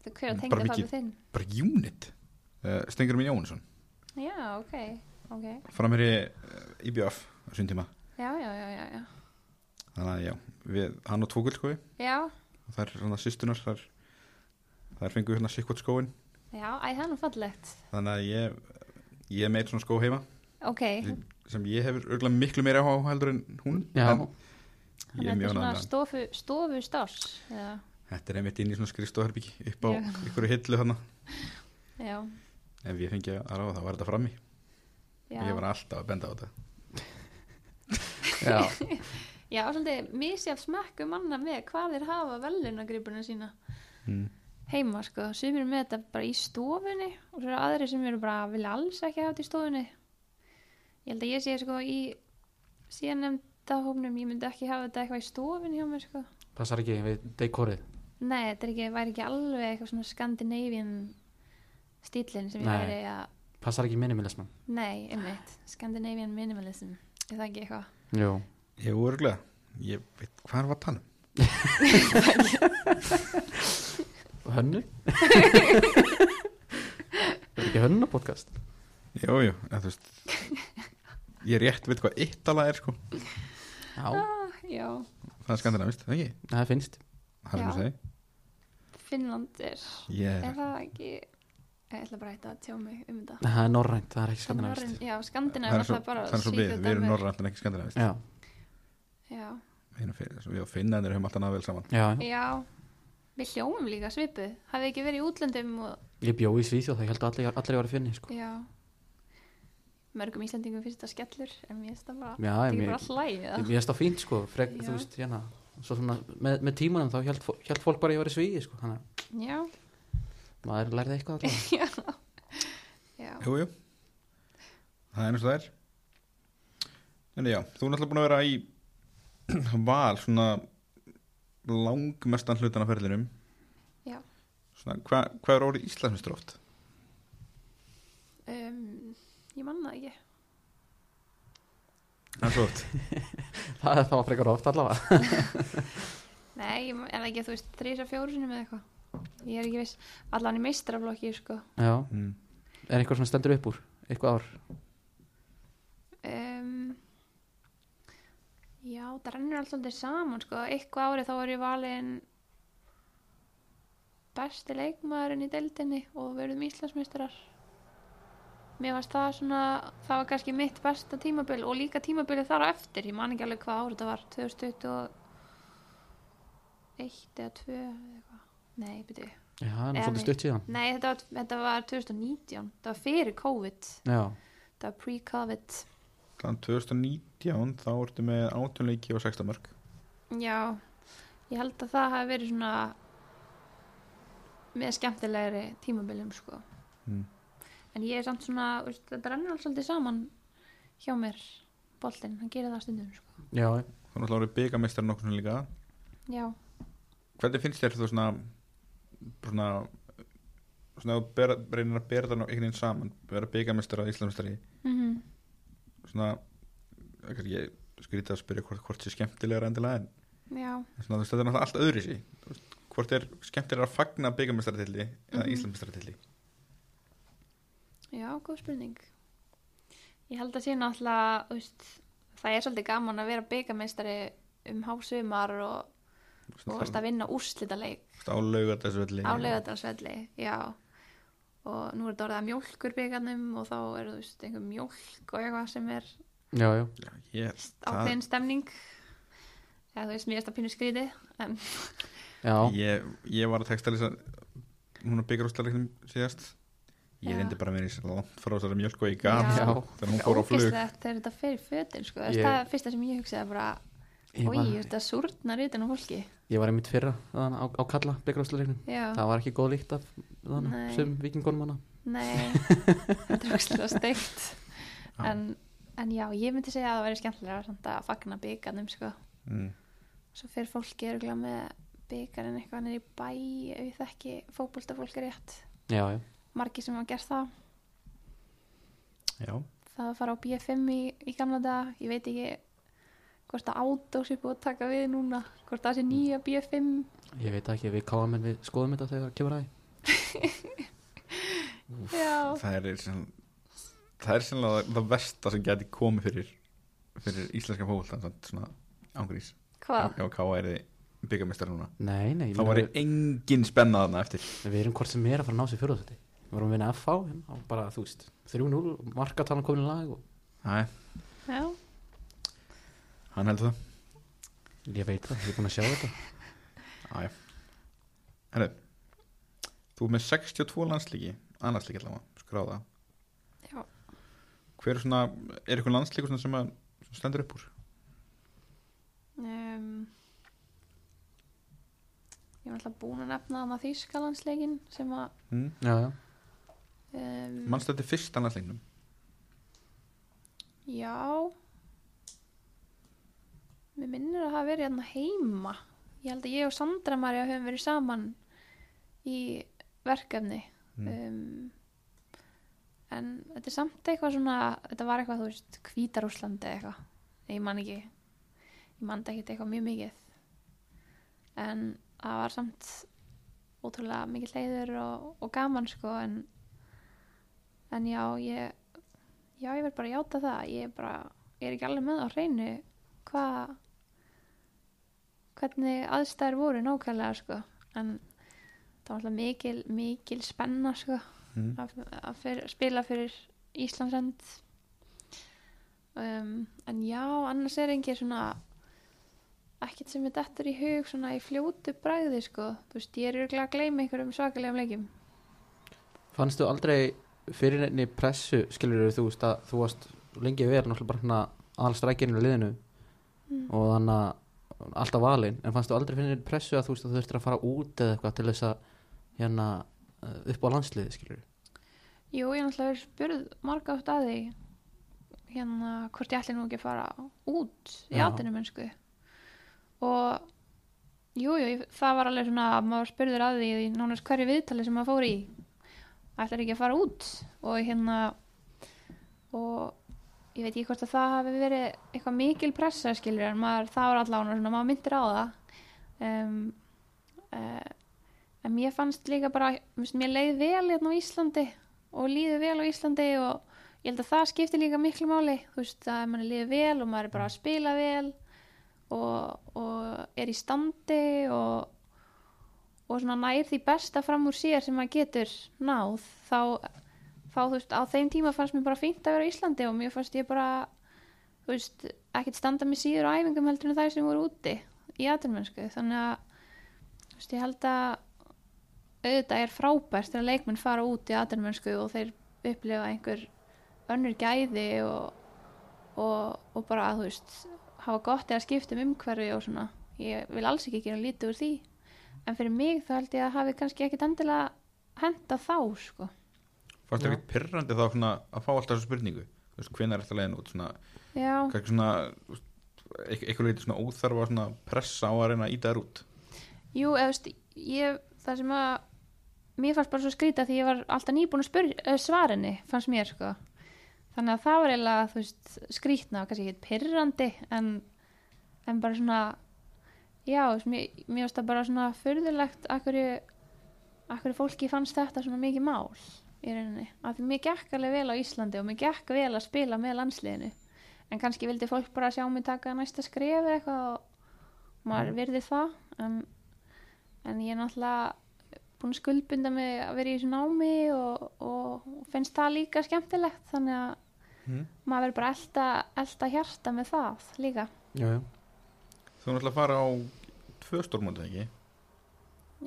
Speaker 3: þú hver að
Speaker 1: Mm, Bara
Speaker 3: tengja það
Speaker 1: mikið.
Speaker 3: með þinn
Speaker 1: bara unit uh, Stengur minn Jónsson
Speaker 3: já, ok, ok
Speaker 1: Framherri uh, IBF á sín tíma
Speaker 3: já, já, já, já, já,
Speaker 1: Þannig að já, við, hann og tvo gullskói
Speaker 3: já,
Speaker 1: og það er svona sýstunar þar, þar fengu hérna sikkvot skóin
Speaker 3: já æ, það er nú fallegt
Speaker 1: þannig að ég ég er meitt svona skó heima
Speaker 3: ok,
Speaker 1: sem ég hefur örgulega miklu meira áhuga á heldur en hún
Speaker 2: Já,
Speaker 1: en ég
Speaker 3: þannig
Speaker 1: er
Speaker 3: að þetta
Speaker 1: mjög
Speaker 3: er svona
Speaker 1: annað
Speaker 3: stofu, stofu stárs já,
Speaker 1: þetta er einmitt inn í svona skrifstofherbyggi upp á
Speaker 3: Já.
Speaker 1: ykkur hillu þarna
Speaker 3: já,
Speaker 1: ef ég fengi að ráða þá var þetta frammi
Speaker 3: já
Speaker 1: ég var alltaf að benda á þetta
Speaker 2: já,
Speaker 3: já, svolítið misjaf smekku manna með hvað þeir hafa velunagripuna sína
Speaker 1: mm.
Speaker 3: heima, sko, sem eru með þetta bara í stofunni og svo eru aðri sem eru bara vilja alls ekki hafa þetta í stofunni ég held að ég sé sko í síðan nefnda hópnum, ég myndi ekki hafa þetta eitthvað í stofunni hjá mér, sko
Speaker 2: passar ekki við dekorið.
Speaker 3: nei, þetta er ekki, væri ekki alveg eitthvað svona Scandinavian stílinn sem ég
Speaker 2: Nei.
Speaker 3: væri að,
Speaker 2: Passar ekki minimalisman.
Speaker 3: nei, einmitt Scandinavian minimalism, er það ekki eitthvað
Speaker 2: Jú.
Speaker 1: ég var örgulega ég veit hvað hann var að tala um
Speaker 2: Hönnu? Þetta er ekki hönnupodcast.
Speaker 1: jú, jú, en þú veist ég rétt veit hvað yttala er sko
Speaker 2: Já,
Speaker 3: ah, já,
Speaker 1: það er skandinavist, það ekki
Speaker 2: það finnst.
Speaker 1: það er
Speaker 3: Já.
Speaker 1: það að segja
Speaker 3: Finnland er
Speaker 1: ég
Speaker 3: er
Speaker 1: er
Speaker 3: það ekki ég ætla bara að hætta að tjá mig um þetta
Speaker 2: Það er norrænt, það er ekki
Speaker 3: Norræn-
Speaker 2: skandinavist.
Speaker 3: já,
Speaker 1: það er
Speaker 3: Skandinavian
Speaker 1: svo,
Speaker 3: alltaf bara
Speaker 1: það er svo við, við
Speaker 3: Svíþjóð,
Speaker 1: erum
Speaker 3: Danmörk.
Speaker 1: norrænt en ekki skandinavist
Speaker 2: Já,
Speaker 3: Já,
Speaker 1: Við erum fin- við og finnanir höfum alltaf náðu vel saman
Speaker 2: já, já.
Speaker 3: já við hljómum líka svipuð hafið ekki verið í útlöndum og
Speaker 2: Ég bjóði í Svíþjóð, það held að allir, allir ég var að finni sko.
Speaker 3: já mörgum Íslandingum finnst þetta skellur en mér finnst það bara,
Speaker 2: Já,
Speaker 3: það
Speaker 2: ég-
Speaker 3: er bara hlægið
Speaker 2: Ég veist það fínt sko, frek,
Speaker 3: Já.
Speaker 2: þú veist, hérna Svo svona, með, með tímanum þá held, fó- held fólk bara að ég var í Svíði sko, þannig að
Speaker 3: já,
Speaker 2: maður lærði eitthvað allir
Speaker 3: já,
Speaker 1: Jú, jú. Það er eins og það er. En já, þú er náttúrulega búin að vera í val svona langmestan hlutan af ferðlinum.
Speaker 3: Já.
Speaker 1: Svona, hva, hvað er orðið Íslandsmyndstur oft?
Speaker 3: um, ég manna ekki
Speaker 1: Það er svo oft.
Speaker 2: það, það var frekar oft allavega
Speaker 3: nei, ég man- er það ekki, þú veist, þrýs að fjóru sinni með eitthvað ég er ekki viss, allan í meistraflokki sko,
Speaker 2: Já,
Speaker 1: Mm.
Speaker 2: er eitthvað svona stendur upp úr, eitthvað ár
Speaker 3: um, já, það rennur allt svolítið saman sko, eitthvað árið þá er ég valin besti leikmaðurinn í deildinni og verðum Íslandsmeistarar mér varst það svona það var kannski mitt besta tímabil og líka tímabilið þar á eftir, ég man ekki alveg hvað ár þetta var 2021 eða 2 eða eitthvað, nei, byrju
Speaker 2: Já, það er nú
Speaker 3: Eða
Speaker 2: svolítið
Speaker 3: nei.
Speaker 2: stutt síðan
Speaker 3: nei, þetta var, þetta var 2019 það var fyrir COVID,
Speaker 2: Já,
Speaker 3: það var pre-COVID
Speaker 1: Þannig 2019 þá ertu með 18 leiki og 16 mörg.
Speaker 3: Já, ég held að það hafi verið svona með skemmtilegri tímabiljum sko.
Speaker 1: Mm.
Speaker 3: En ég er samt svona, veist, þetta rennur alls svolítið saman hjá mér, boltinn, hann gerir það stundum sko.
Speaker 2: já,
Speaker 1: Þú er náttúrulega orðið byggameistar nokkur svona líka.
Speaker 3: Já,
Speaker 1: Hvernig finnst þér þú svona svona svona að þú bera- reynir að bera það ná einhvern veginn saman vera byggameistar að Íslandsmestari
Speaker 3: mm
Speaker 1: svona það er kannski skrítið að spyrja hvort, hvort sé skemmtilegra endilega en
Speaker 3: já,
Speaker 1: svona, þú veist, þetta er náttúrulega allt öðru sí hvort er skemmtilegra að fagna byggamestaratilli eða
Speaker 3: Mhm.
Speaker 1: mm. Íslandsmestaratilli
Speaker 3: já, góð spurning. Ég held að sé náttúrulega, þú veist, það er svolítið gaman að vera byggameistari um hásumar og, og þú veist, að vinna úrslitaleik.
Speaker 1: álauga þessu velli
Speaker 3: á laugardalsvelli, já og nú er þetta orðið að mjólkur byggarnum og þá er þú veist einhver mjólk og eitthvað sem er
Speaker 2: já, já,
Speaker 1: yes, það,
Speaker 3: ákveðin stemning eða þú veist mér er þetta pínu skríti en
Speaker 2: já.
Speaker 1: ég, ég var að texta lýsa núna byggarústaleiknum síðast ég
Speaker 3: Já.
Speaker 1: reyndi bara með því langt frá þessari mjölk og ég gaf
Speaker 3: Já.
Speaker 1: sko, þegar hún fór á flug
Speaker 3: ógeðslegt þegar þetta fer í fötin sko, yeah.
Speaker 2: Ég-
Speaker 3: það er fyrsta sem ég hugsaði bara
Speaker 2: Ég,
Speaker 3: oi,
Speaker 2: var,
Speaker 3: þetta súrnar utan á fólki
Speaker 2: ég var einmitt fyrra þaðan, á, á kalla byggarásleiknum
Speaker 3: já,
Speaker 2: Það var ekki góð líkt af þaðan,
Speaker 3: Nei.
Speaker 2: sem vikingunum hana
Speaker 3: nei þetta er ógeðslega steikt
Speaker 1: Já.
Speaker 3: en, en já, ég myndi segja að það væri skemmtilega samt að fagna byggarnum sko
Speaker 1: mm.
Speaker 3: svo fyrir fólki örgulega með byggarinn eitthvað nýr í bæ ef ég þekki fótboltafólk rétt
Speaker 2: Já, já,
Speaker 3: margir sem hafa gert það
Speaker 1: já,
Speaker 3: það að fara á BFM í, í gamla daga ég veit ekki hvort það ádós er búið að taka við núna hvort það sé nýja BFM
Speaker 2: ég veit það ekki, við káðum en við skoðum þetta þegar kemur að því
Speaker 3: já,
Speaker 1: það er sem, það er sennilega það versta sem geti komið fyrir fyrir íslenska fókvöldan svona ángrís
Speaker 3: hvað?
Speaker 1: já, K.A. er þið byggamestari núna
Speaker 2: Nei, nei, ég
Speaker 1: þá
Speaker 2: meina
Speaker 1: var
Speaker 2: við,
Speaker 1: engin spenna þarna eftir
Speaker 2: við erum hvort sem er að fara að ná sér fjóruðsætti Við vorum að vinna FH, hérna, og bara, þú veist, 3-0, markatalan komin í lag og
Speaker 1: Æ,
Speaker 3: Já.
Speaker 1: hann heldur það
Speaker 2: ég veit það, ég er búin að sjá þetta
Speaker 1: Æ. Herru, þú er með 62 landslíki annarslíki allavega, skráða
Speaker 3: Já.
Speaker 1: hver er svona, er eitthvað landslíku svona sem að sem stendur upp úr
Speaker 3: Um, ég var alltaf búin að nefna þannig að Þýskalandsleikin sem að
Speaker 1: mm?
Speaker 2: Já, já,
Speaker 3: um,
Speaker 1: mannstu þetta fyrst annarsleiknum
Speaker 3: Já Mér minnir að hafa verið hérna heima Ég held að ég og Sandra Marja höfum verið saman í verkefni
Speaker 1: mm.
Speaker 3: um, En þetta er samt eitthvað svona Þetta var eitthvað, þú veist, Hvítarúslandi eða eitthvað Nei, Ég man ekki Ég man ekki eitthvað mjög mikið En það var samt ótrúlega mikið leiður og, og gaman sko en, en já, ég Já, ég verð bara að játa það. Ég er bara, ég er ekki alveg með á hreinu hvað, hvernig aðstæður voru nákvæmlega, sko. En það var alltaf mikil, mikil spenna, sko,
Speaker 2: Hm?
Speaker 1: Mm.
Speaker 3: að, að fyrir, spila fyrir Íslandsend. Um, en já, annars er engin svona ekkert sem við dettur í hug svona í fljótu bræði sko þú veist, ég er örgulega að gleyma einhverjum svakalegum leikjum
Speaker 2: Fannst þú aldrei fyrir nefni pressu, skilur þú veist að þú varst lengi vel náttúrulega bara hérna aðalstrækinu í liðinu
Speaker 3: Mm.
Speaker 2: og þannig að alltaf valinn, en fannst þú aldrei fyrir nefni pressu að þú veist að þú þurftir að fara út eða eitthvað til þess að hérna uh, upp á landsliði, skilur
Speaker 3: Jú, ég náttúrulega verið spurð marga átt að því hérna hvort ég ætli nú ekki að fara út í
Speaker 2: Já.
Speaker 3: atinu mennsku og jú, jú, ég- það var alveg svona að maður spurður að því í nánast hverju viðtali sem maður fór í ætlar ekki að fara út og hérna og ég veit ekki hvort að það hafi verið eitthvað mikil pressa skilur en maður, það var allavega svona maður myndir á það um, uh, en mér fannst líka bara þú veist, mér leið vel hérna á Íslandi og líður vel á Íslandi og ég held að það skiptir líka miklu máli þú veist að mann líður vel og maður er bara að spila vel og, og er í standi og, og svona nær því besta fram úr sér sem maður getur náð þá, þá þú veist á þeim tíma fannst mér bara fínt að vera á Íslandi og mér fannst ég bara þú veist ekkert standa mig síður á æfingum heldur en þær sem voru úti í aturmennsku þannig að þú veist ég held að auðvitað er frábært þegar leikmenn fara út í aðdæmmennsku og þeir upplifa einhver önnur gæði og, og, og bara þú veist hafa gott eða skipt um umhverfi og svona ég vil alls ekki gera lítið úr því en fyrir mig þá held ég að hafi kannski ekkit endilega henda þá sko
Speaker 1: Fannst
Speaker 2: Já.
Speaker 1: þér ekki pyrrandi þá svona, að fá alltaf þessu spurningu Þú veist, hvenær er þetta leiðin út svona,
Speaker 3: já,
Speaker 1: kannski svona þú veist, eik- eitthvað leiti svona óþarfa svona pressa á að reyna að íta þér út
Speaker 3: jú, eða þú veist ég, það sem að mér fannst bara svo skrýta því ég var alltaf nýbúin að spyr, eh, svara henni, fannst mér sko þannig að það var eiginlega þú veist, skrýtna og kannski ekki pyrrandi en, en bara svona já, þú veist, mér, mér finnst það bara svona furðulegt akkur, akkur fólki fannst þetta svona mikið mál í rauninni, af því mér gekk alveg vel á Íslandi og mér gekk vel að spila með landsliðinu en kannski vildi fólk bara sjá mig taka næsta skref eða eitthvað og maður virði það en, en ég er náttúrulega búin að skuldbunda mig að vera í þessu námi og, og finnst það líka skemmtilegt þannig að
Speaker 2: Hm?
Speaker 1: mm.
Speaker 3: maður verður bara að elta, elta hjarta með það líka
Speaker 2: Jú, jú.
Speaker 1: Þú náttúrulega fara á tvö stórmótið ekki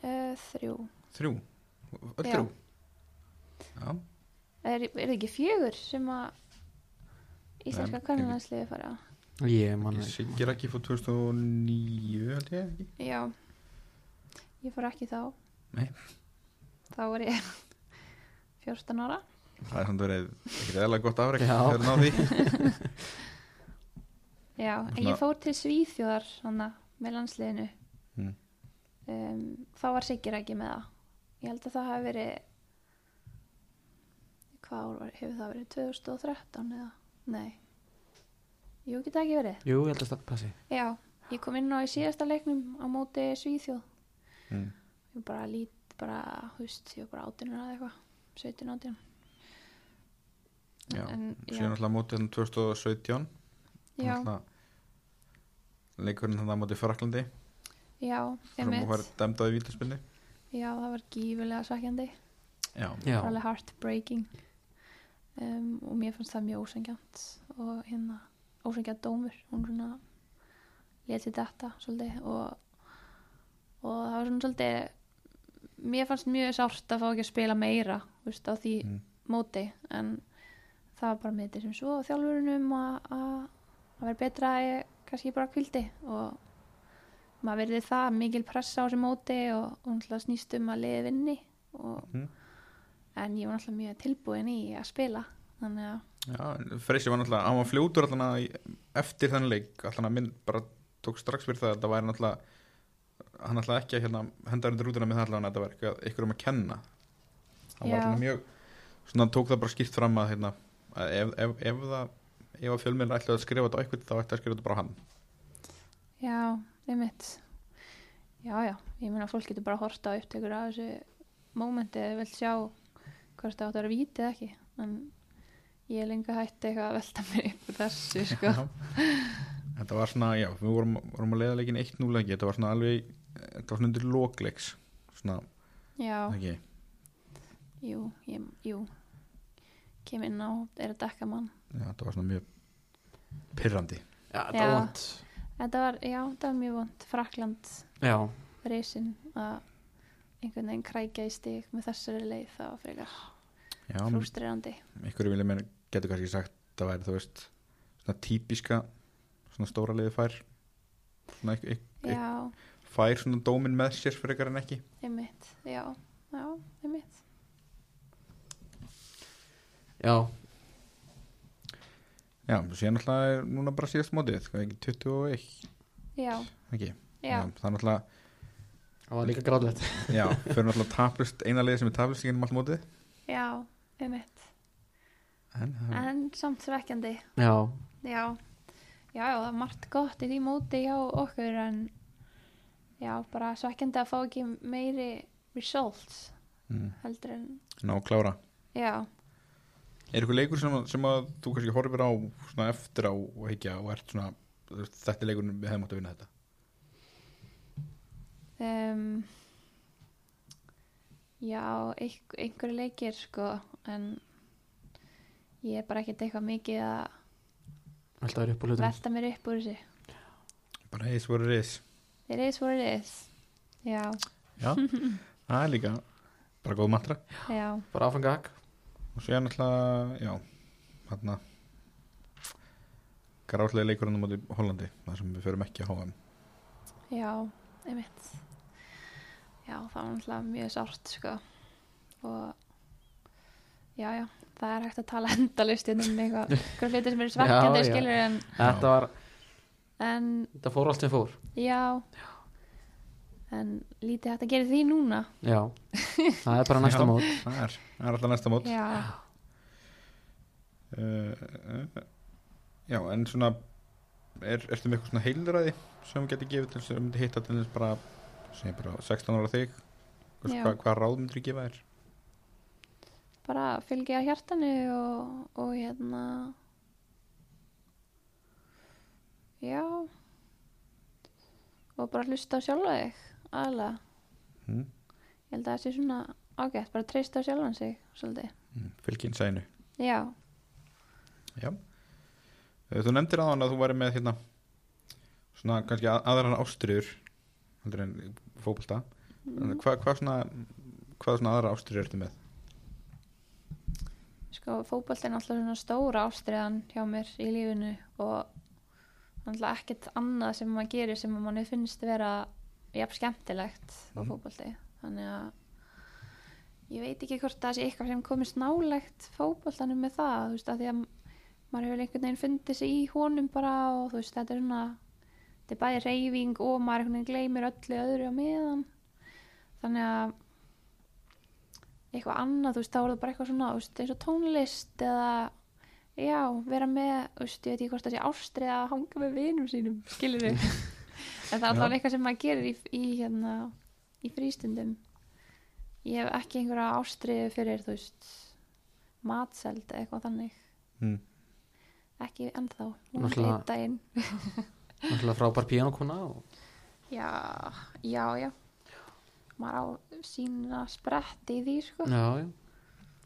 Speaker 3: uh, þrjú,
Speaker 1: Þrjú, öll
Speaker 3: Já.
Speaker 1: þrjú Já,
Speaker 3: er, er það ekki fjögur sem að
Speaker 1: Nei,
Speaker 3: íslenska
Speaker 1: ekki.
Speaker 3: kannunansliði fara á?
Speaker 2: Ég man
Speaker 1: ég sigir ekki fór 2009 held ég ekki
Speaker 3: já ég fór ekki þá
Speaker 1: Nei.
Speaker 3: þá var ég 14 ára
Speaker 1: Það er samt verið ekkert eðalega gott afrek
Speaker 2: Já.
Speaker 1: þegar náði því
Speaker 3: já, en
Speaker 1: Svona-
Speaker 3: ég fór til Svíþjóðar hana, með landsliðinu
Speaker 1: Mm.
Speaker 3: um, þá var Sigir ekki með það ég held að það hafi verið hvað ár var, hefur það verið 2013 eða, nei jú, geta ekki verið
Speaker 2: Jú, ég held að stað passi
Speaker 3: Já, ég kom inn á í síðasta leiknum á móti Svíþjóð
Speaker 1: mm.
Speaker 3: ég bara lít, bara, húst, ég var bara átunur að eitthvað 17, 18
Speaker 1: Já,
Speaker 3: En,
Speaker 1: Síðan
Speaker 3: já,
Speaker 1: náttúrulega mótið hérna 2017
Speaker 3: já,
Speaker 1: náttúrulega Leikurinn þannig að mótið Fraklandi
Speaker 3: já,
Speaker 1: sem hún var
Speaker 3: emitt
Speaker 1: dæmdað í vítaspinni
Speaker 3: Já, það var gífulega svækjandi
Speaker 1: Já,
Speaker 2: Já,
Speaker 3: alveg heartbreaking um, og mér fannst það mjög ósengjant og hérna ósengjant dómur hún svona leti þetta svolítið og, og það var svona svolítið mér fannst mjög sárt að fá ekki að spila meira þú veist, á því
Speaker 1: Mm.
Speaker 3: móti en það var bara með þetta sem svo á þjálfurunum að að- að vera betra að ég kannski bara kvildi og maður verði það mikil pressa á þessu móti og, og náttúrulega snýst um að liði vinni og,
Speaker 1: Mhm.
Speaker 3: en ég var náttúrulega mjög tilbúin í að spila þannig að
Speaker 1: já Freysi var náttúrulega, hann var fljótur allan að í- eftir þennan leik allan að minn bara tók strax fyrir það að það væri náttúrulega hann náttúrulega ekki að hérna, henda undir rútuna með það allan að þetta var eitthvað ykkur um að kenna hann
Speaker 3: Já.
Speaker 1: var allan mjög svona tók það bara skýrt fram að, hérna, að ef, ef, ef það ef að fjölmiðlega ætlaði að skrifa þetta á eitthvað þá ætti að skrifa þetta bara á hann
Speaker 3: já, einmitt já, já, ég meina fólk getur bara að horta á upptökur af þessu mómenti eða vilt sjá hvort það átt að vera vítið eða ekki en ég er lengi hætti eitthvað að velta mér upp úr þessu sko.
Speaker 1: Já. Þetta var svona, já, við vorum, vorum að leiða leikin 1-0 lengi, þetta var svona alveg þetta var svona undir lokleiks svona,
Speaker 3: já,
Speaker 1: ekki,
Speaker 3: jú, ég, jú kem inn á, er að dekka mann
Speaker 1: já, þetta var svona mjög pirrandi
Speaker 2: já,
Speaker 3: Já.
Speaker 2: það vant
Speaker 3: Eh, Þetta var, já, þetta var mjög vond Frakland
Speaker 2: já,
Speaker 3: reysin að einhvern veginn krækja í stig með þessari leið það var frekar
Speaker 1: Já,
Speaker 3: frústrerandi
Speaker 1: ykkur vilja mér getur kannski sagt að væri þú veist svona típiska svona stóra liði fær svona ykk, ykk, ykk,
Speaker 3: Já,
Speaker 1: fær svona dómin með sér frekar en ekki
Speaker 3: einmitt Já, já, einmitt
Speaker 2: já,
Speaker 1: Já, síðan alltaf er núna bara síðast mótið hvað ekki 21
Speaker 3: Já,
Speaker 1: ekki
Speaker 3: já,
Speaker 1: það er alltaf
Speaker 2: það var líka gráðlegt
Speaker 1: já fyrir alltaf taplust eina liði sem er taplust í gennum allt mótið
Speaker 3: já, einmitt
Speaker 1: en, en.
Speaker 3: En samt svekkjandi
Speaker 2: já,
Speaker 3: Já, já, já, það er margt gott í því móti hjá okkur en já, bara svekkjandi að fá ekki meiri results
Speaker 1: Mm,
Speaker 3: heldur en,
Speaker 1: ná klára
Speaker 3: já,
Speaker 1: Er eitthvað leikur sem, að- sem að þú kannski horfir á svona eftir á og higgja og ert svona þú veist, þetta er leikurinn við hefum átt að vinna þetta
Speaker 3: um, já, einh- einhverju leikir sko en ég er bara ekkert eitthvað mikið að
Speaker 2: alltaf er upp á hlutum
Speaker 3: velta mér upp úr þessu.
Speaker 1: Bara heis voru reis
Speaker 3: It is what it is. Já,
Speaker 1: Já, það er líka bara góð mantra
Speaker 3: já,
Speaker 2: bara áfangak,
Speaker 1: og svo er náttúrulega, já hérna gráðlega leikurinn á móti Hollandi þar sem við förum ekki að háa
Speaker 3: já, einmitt. Já, það var náttúrulega mjög sárt sko og já, já, það er hægt að tala endalust um eitthvað, eitthvað hluti sem eru
Speaker 2: Já,
Speaker 3: svekkjandi
Speaker 2: já.
Speaker 3: skilur en,
Speaker 2: þetta var
Speaker 3: en
Speaker 2: þetta fór allt sem fór,
Speaker 3: já, en lítið hægt að gera því núna.
Speaker 2: já það er bara
Speaker 1: Já.
Speaker 2: næsta mót,
Speaker 1: það er, það er alltaf næsta mót uh,
Speaker 3: Já.
Speaker 1: uh, Já, en svona er, ertu með eitthvað svona heilræði sem geti gefið til sem myndi hitta til þess bara, sem bara 16 ára þig Hvers-
Speaker 3: Já.
Speaker 1: hvað, hvað ráð myndir þú gefa þér?
Speaker 3: bara fylgja hjartanu og, og hérna já og bara hlusta á sjálfa þig aðalega,
Speaker 1: Mm,
Speaker 3: ég held að það sé svona ágætt, bara treysta á sjálfan sig svolítið,
Speaker 1: mm, Fylgin sænu
Speaker 3: já,
Speaker 1: Já Eh, Þú nefndir aðan að þú væri með hérna svona kannski að- aðrar ástriður heldur en fókbalta mm. Hva, hvað svona hvað svona aðrar ástriður ertu með?
Speaker 3: sko fótbolt er náttúrulega svona stóra ástriðan hjá mér í lífinu og náttúrulega ekkert annað sem maður gerir sem að manni finnst vera jafn skemmtilegt og
Speaker 1: Mhm.
Speaker 3: fótbolti þannig að ég veit ekki hvort það sé eitthvað sem komist nálegt fótboltanum með það þú veist að því að maður hefur einhvern veginn fundið sig í honum bara og þú veist þetta er svona þetta er bæði reyfing og maður einhvern veginn gleymir öllu öðru á meðan þannig að eitthvað annað, þú veist, þá er það bara eitthvað svona þú veist, eins og tónlist eða já, vera með, þú veist, ég veit ekki hvort það sé ástrið að hanga með vinum sínum skilur þau, en það er
Speaker 1: Já.
Speaker 3: alltaf eitthvað sem maður gerir í, í hérna í frístundum ég hef ekki einhverja ástrið fyrir, þú veist matseld eða eitthvað þannig
Speaker 1: Mm.
Speaker 3: ekki ennþá, hún er
Speaker 2: Náttúrulega-
Speaker 3: einn daginn
Speaker 2: náttúrulega frábær píanokona og
Speaker 3: já, já, já maður á sína spretti í því, sko
Speaker 2: já, já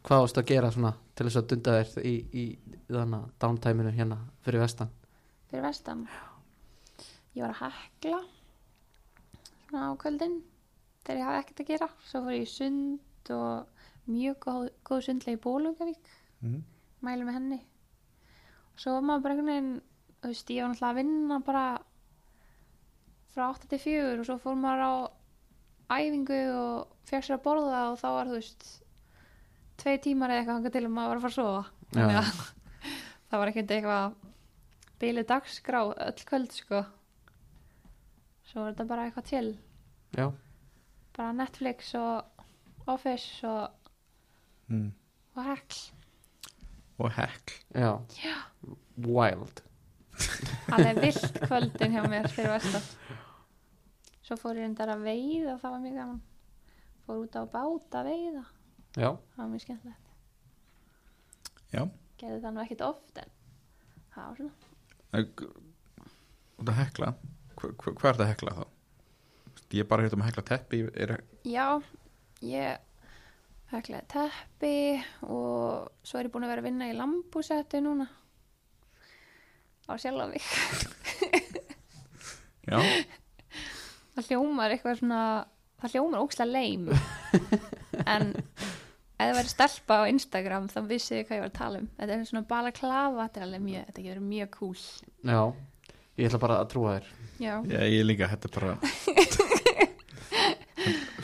Speaker 2: hvað varst að gera svona til þess að dunda þér í, í þannig downtæminu hérna fyrir vestan
Speaker 3: fyrir vestan ég var að hekla svona á kvöldin þegar ég hafði ekkert að gera svo fór ég í sund og mjög góð, góð sundlega í Bólungavík
Speaker 1: Mm.
Speaker 3: mælu með henni og svo var maður bara einhvern veginn þú veist, ég var náttúrulega að vinna bara frá 8 til 4 og svo fór maður á æfingu og fekk sér að borða og þá var þú veist tvei tímar eða eitthvað hangað til og maður var að fara að sofa þannig að það var ekkert eitthvað bílið dagskrá öll kvöld sko svo var þetta bara eitthvað til
Speaker 2: já,
Speaker 3: bara Netflix og Office og,
Speaker 1: Mm.
Speaker 3: og Hekl
Speaker 1: Og hekl
Speaker 2: já,
Speaker 3: já,
Speaker 2: wild
Speaker 3: hann er vilt kvöldin hjá mér fyrir vestan svo fór ég reyndar að veiða það var mjög gaman fór út á bát að veiða
Speaker 2: já,
Speaker 3: það var mjög skemmtilegt
Speaker 1: Já.
Speaker 3: gerði það nú ekkert oft en það var svona
Speaker 1: Eh, g- Út að hekla hva, hva, Hvað er það að hekla þá? Vist, Ég er bara hérna um að hekla teppi er,
Speaker 3: Já, ég heklaði teppi og svo er ég búin að vera að vinna í lambúsettu núna á sjálf mig.
Speaker 1: Já,
Speaker 3: það hljómar eitthvað svona það hljómar ókslega leim en ef það væri stelpa á Instagram þá vissi ég hvað ég var að tala um þetta er svona balaklava þetta er alveg mjög, þetta getur verið mjög cool
Speaker 2: Já, ég ætla bara að trúa þér
Speaker 3: já,
Speaker 1: Já, ég líka, þetta er bara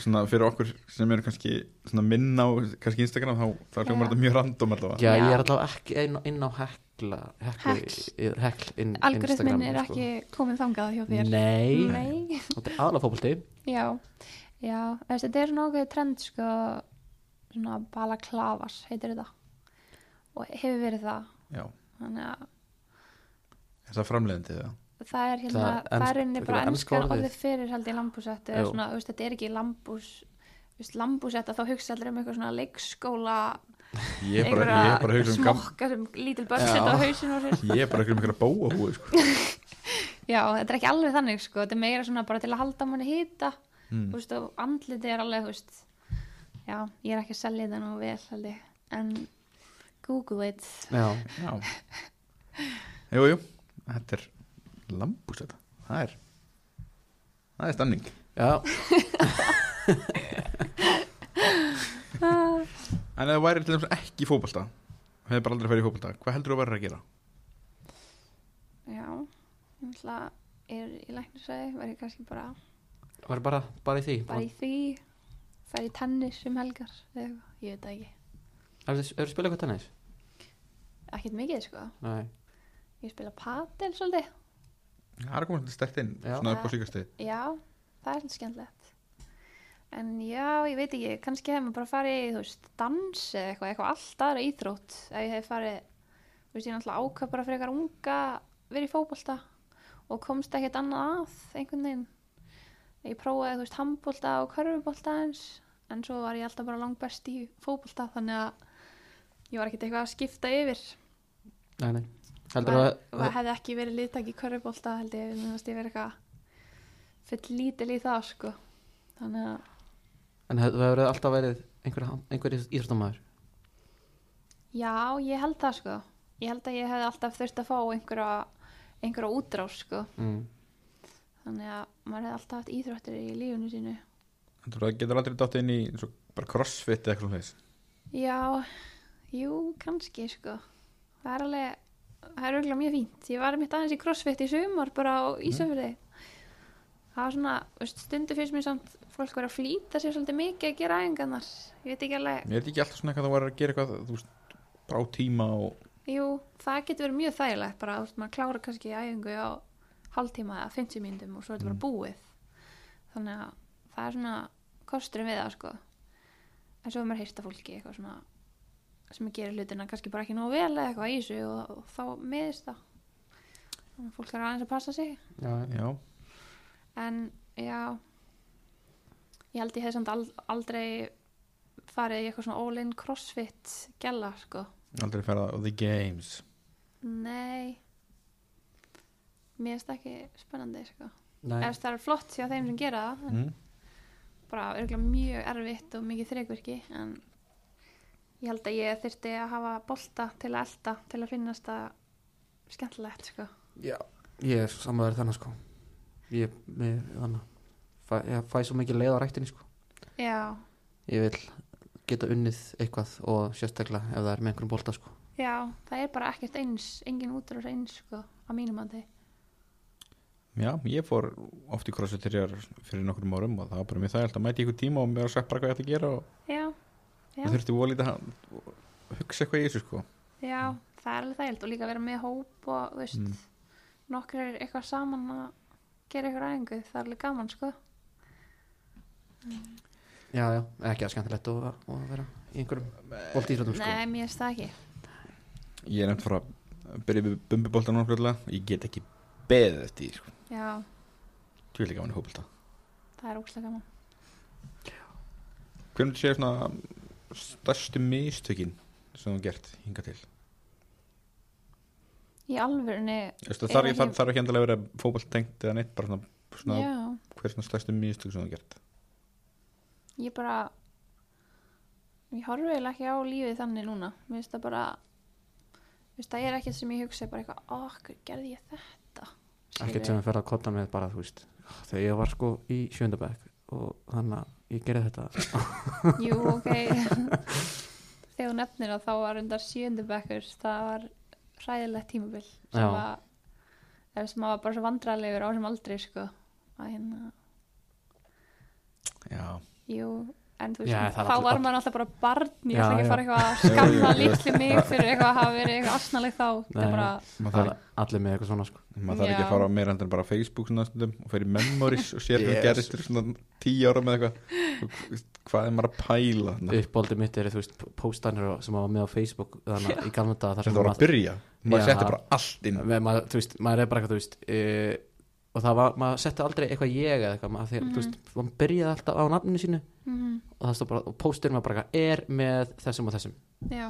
Speaker 1: Svona fyrir okkur sem eru kannski svona minn á kannski Instagram þá, þá hljómar
Speaker 3: Já.
Speaker 1: þetta mjög random allavega
Speaker 2: Já,
Speaker 3: Já.
Speaker 2: ég er allavega ekki inn, inn á hekla Hekla, hekl inn, Instagram,
Speaker 3: algoritmin er
Speaker 2: sko.
Speaker 3: ekki komin þangað hjá þér
Speaker 2: Nei,
Speaker 3: Nei.
Speaker 2: þetta er aðla fótbolti
Speaker 3: já, já þessi, þetta er svona okkur trend sko, svona balaklafar heitir þetta og hefur verið það
Speaker 1: Já,
Speaker 3: þannig að
Speaker 1: er það framleiðandi það?
Speaker 3: það er hérna,
Speaker 2: Það er
Speaker 3: það er
Speaker 2: enskt-
Speaker 3: rauninni
Speaker 2: þetta
Speaker 3: bara
Speaker 2: er
Speaker 3: ennska
Speaker 2: enska orðið.
Speaker 3: orðið fyrir held ég lambúsett eða
Speaker 2: Jú.
Speaker 3: svona, þú veist, þetta er ekki lambús viðst, lambúsetta þá hugsa allir um eitthvað svona leikskóla
Speaker 1: Ég er bara, ég er bara að hugsa um gam,
Speaker 3: smokka sem lítil börn setja á hausinu og sér
Speaker 1: ég er bara að hugsa um einhverja bóabúi sko.
Speaker 3: já, þetta er ekki alveg þannig sko þetta er meira svona bara til að halda manni hýta
Speaker 1: Mm.
Speaker 3: þú veist, og andliti er alveg, þú veist já, ég er ekki að selja þetta nú vel held ég, en Google it,
Speaker 2: Já,
Speaker 1: Já Jú, jú, þetta er lambús þetta, það er það er stanning
Speaker 2: já,
Speaker 1: En ef það væri til dæmis ekki í fótbolta og hefði bara aldrei að færi í fótbolta, hvað heldur þú að vera að gera?
Speaker 3: já ég ætla að er í læknisæði verður kannski bara
Speaker 2: var bara, bara í því
Speaker 3: bara í því færi í tennis um helgar eða eitthvað, ég veit það ekki
Speaker 2: Hefur þið spilað eitthvað tennis?
Speaker 3: ekkert mikið sko,
Speaker 2: Nei,
Speaker 3: ég spila padel svolítið,
Speaker 1: Það er komið stert inn,
Speaker 2: Já.
Speaker 1: svona upp á síkastegi
Speaker 3: já það er svolítið skemmtilegt en já, ég veit ekki, kannski hefði maður bara farið í, þú veist, dans eða eitthvað eitthvað allt aðra íþrótt ef ég hefði farið, þú veist, ég náttúrulega ákvað bara frekar unga verið í fótbolta og komst ekkert annað að einhvern veginn ég prófaði, þú veist, handbolta og körfubolta eins en svo var ég alltaf bara langbest í fótbolta þannig að ég var ekkert eitthvað að skipta yfir
Speaker 2: nei, nei Heldur
Speaker 3: Var-
Speaker 2: að,
Speaker 3: var- hefði ekki verið liðtak í körfubólta held ég, mér finnst ég verið eitthvað full lítil í það sko þannig að
Speaker 2: en hefur þið alltaf verið einhver, einhver íþróttamæður?
Speaker 3: já, ég held það sko ég held að ég hefði alltaf þurft að fá einhverja einhverja útrás sko
Speaker 2: Mm.
Speaker 3: þannig að maður hefði alltaf haft íþróttir í lífinu sínu
Speaker 1: Heldur þú að getur aldrei dátt inn í eins og bara crossfit eða eitthvað svona þess
Speaker 3: já, jú, kannski sko það er alveg það er auðvitað mjög fínt, ég var mitt aðeins í crossfit í sumar bara á Ísafjörði það var svona, þú veist, stundu fyrst mér samt fólk verið að flýta sér svolítið mikið að gera æfingarnar, ég veit ekki alveg
Speaker 1: Ég veit ekki alltaf svona eitthvað það var að gera eitthvað þú veist, bara á tíma og
Speaker 3: Jú, það getur verið mjög þægilegt bara að maður klára kannski æfingu á hálftíma eða 50 mínútum og svo er þetta bara búið þannig að það er svona kosturinn við það sko en svo er maður heyrsta fólki eitthvað svona sem gerir hlutina kannski bara ekki nóg vel eða eitthvað í þessu og, og þá meðist það þannig að fólk er aðeins að passa sig
Speaker 2: Já, já,
Speaker 1: já,
Speaker 3: en já ég held ég hef samt al- aldrei farið í eitthvað svona all-in crossfit gæla sko
Speaker 1: aldrei ferða á The Games
Speaker 3: Nei Mér finnst það ekki spennandi sko.
Speaker 2: nei,
Speaker 3: Eða, Það er flott hjá þeim sem gera það en
Speaker 1: mm.
Speaker 3: bara örgulega mjög erfitt og mikið þreikvirki en ég held að ég þyrfti að hafa bolta til að elta til að finnast það skemmtilegt sko.
Speaker 2: já Ég er samanverð þannig sko Ég, mér, þannig fæ, Ég fæ svo mikið leið á ræktinni sko
Speaker 3: Já,
Speaker 2: Ég vil geta unnið eitthvað og sérstaklega ef það er með einhverjum bolta sko
Speaker 3: já, það er bara ekkert eins engin útrás eins sko, á mínum að þið
Speaker 1: Já, ég fór oft í crossfit þegar fyrir nokkrum árum og það var bara mér það að mæti ykkur tíma og mér var sagt bara hvað ég ætti að gera og
Speaker 3: Já, Já.
Speaker 1: það þurfti volítið að að hugsa eitthvað í þessu sko
Speaker 3: já, það er alveg þægild og líka vera með hóp og þú veist,
Speaker 1: Mm.
Speaker 3: nokkur er eitthvað saman að gera eitthvað ræðingu, það er alveg gaman sko.
Speaker 2: Já, já, ekki að skemmtilegt og, og að vera í einhverjum bolta íþróttum sko
Speaker 3: Nei, mér finnst það ekki
Speaker 1: Ég er nefnt frá að byrja við bumbiboltan og fljóðlega ég get ekki beðið eftir því, sko
Speaker 3: Já,
Speaker 1: Tvílega gaman í hópulta
Speaker 3: það er ógslag gaman
Speaker 1: Hvernig séu svona stærstu mistökin sem þú hefur gert hinga til?
Speaker 3: Í alvörunni,
Speaker 1: Veistu,
Speaker 3: Er
Speaker 1: þar,
Speaker 3: ekki-
Speaker 1: þar, þar er ekki endilega verið fótballtengt eða neitt, bara svona, svona
Speaker 3: já
Speaker 1: hver er svona stærstu mistök sem þú hefur gert
Speaker 3: Ég bara Ég horfi eiginlega ekki á lífið þannig núna Mér finnst það bara Mér finnst það er ekkert sem ég hugsa bara eitthvað, ó, hvað gerði ég þetta
Speaker 2: ekkert sem við ferða að kotta með bara þú veist þegar ég var sko í sjöndabæk og þannig að ég gerði þetta
Speaker 3: Jú, ok Þegar þú nefnir að þá var undar sjöndu bekkur það var hræðilegt tímabil
Speaker 2: Já.
Speaker 3: sem var eða sem maður var bara svo vandræðilegur á sem aldrei sko að hérna,
Speaker 1: Já,
Speaker 3: jú en þú
Speaker 2: Já,
Speaker 3: veist,
Speaker 2: það var
Speaker 3: þá
Speaker 2: allir-
Speaker 3: var maður alltaf bara barn ég
Speaker 2: Já,
Speaker 3: ætla
Speaker 2: já.
Speaker 3: ekki að fara eitthvað að
Speaker 1: Jú,
Speaker 3: skamma
Speaker 1: jú, jú.
Speaker 3: litli mig fyrir eitthvað að hafa verið eitthvað asnaleg þá það
Speaker 2: Nei.
Speaker 3: er bara,
Speaker 1: maður
Speaker 2: Það
Speaker 1: þarf,
Speaker 2: er allir með eitthvað svona sko
Speaker 1: maður þarf ekki
Speaker 3: Já.
Speaker 1: að fara á meira endur en bara á Facebook svona stundum og fyrir memories og sér hvað
Speaker 2: Yes.
Speaker 1: gerist fyrir svona tíu ára með eitthvað Og hvað er maður að pæla þarna?
Speaker 2: uppbóldið mitt er þú veist póstanir og- sem maður var með á Facebook þannig að í gamla daga þar
Speaker 1: sem
Speaker 2: sem
Speaker 1: það voru að
Speaker 2: maður,
Speaker 1: byrja maður
Speaker 2: Já.
Speaker 1: setti bara allt inn
Speaker 2: með, maður, þú veist, maður er bara eitthvað þú veist uh, og það var, maður setti aldrei eitthvað ég eða eitthvað, maður, þegar, þú veist, maður byrjaði alltaf á nafninu sínu
Speaker 3: mhm,
Speaker 2: og það stóð bara, og pósturinn var bara eitthvað, er með þessum og þessum,
Speaker 3: já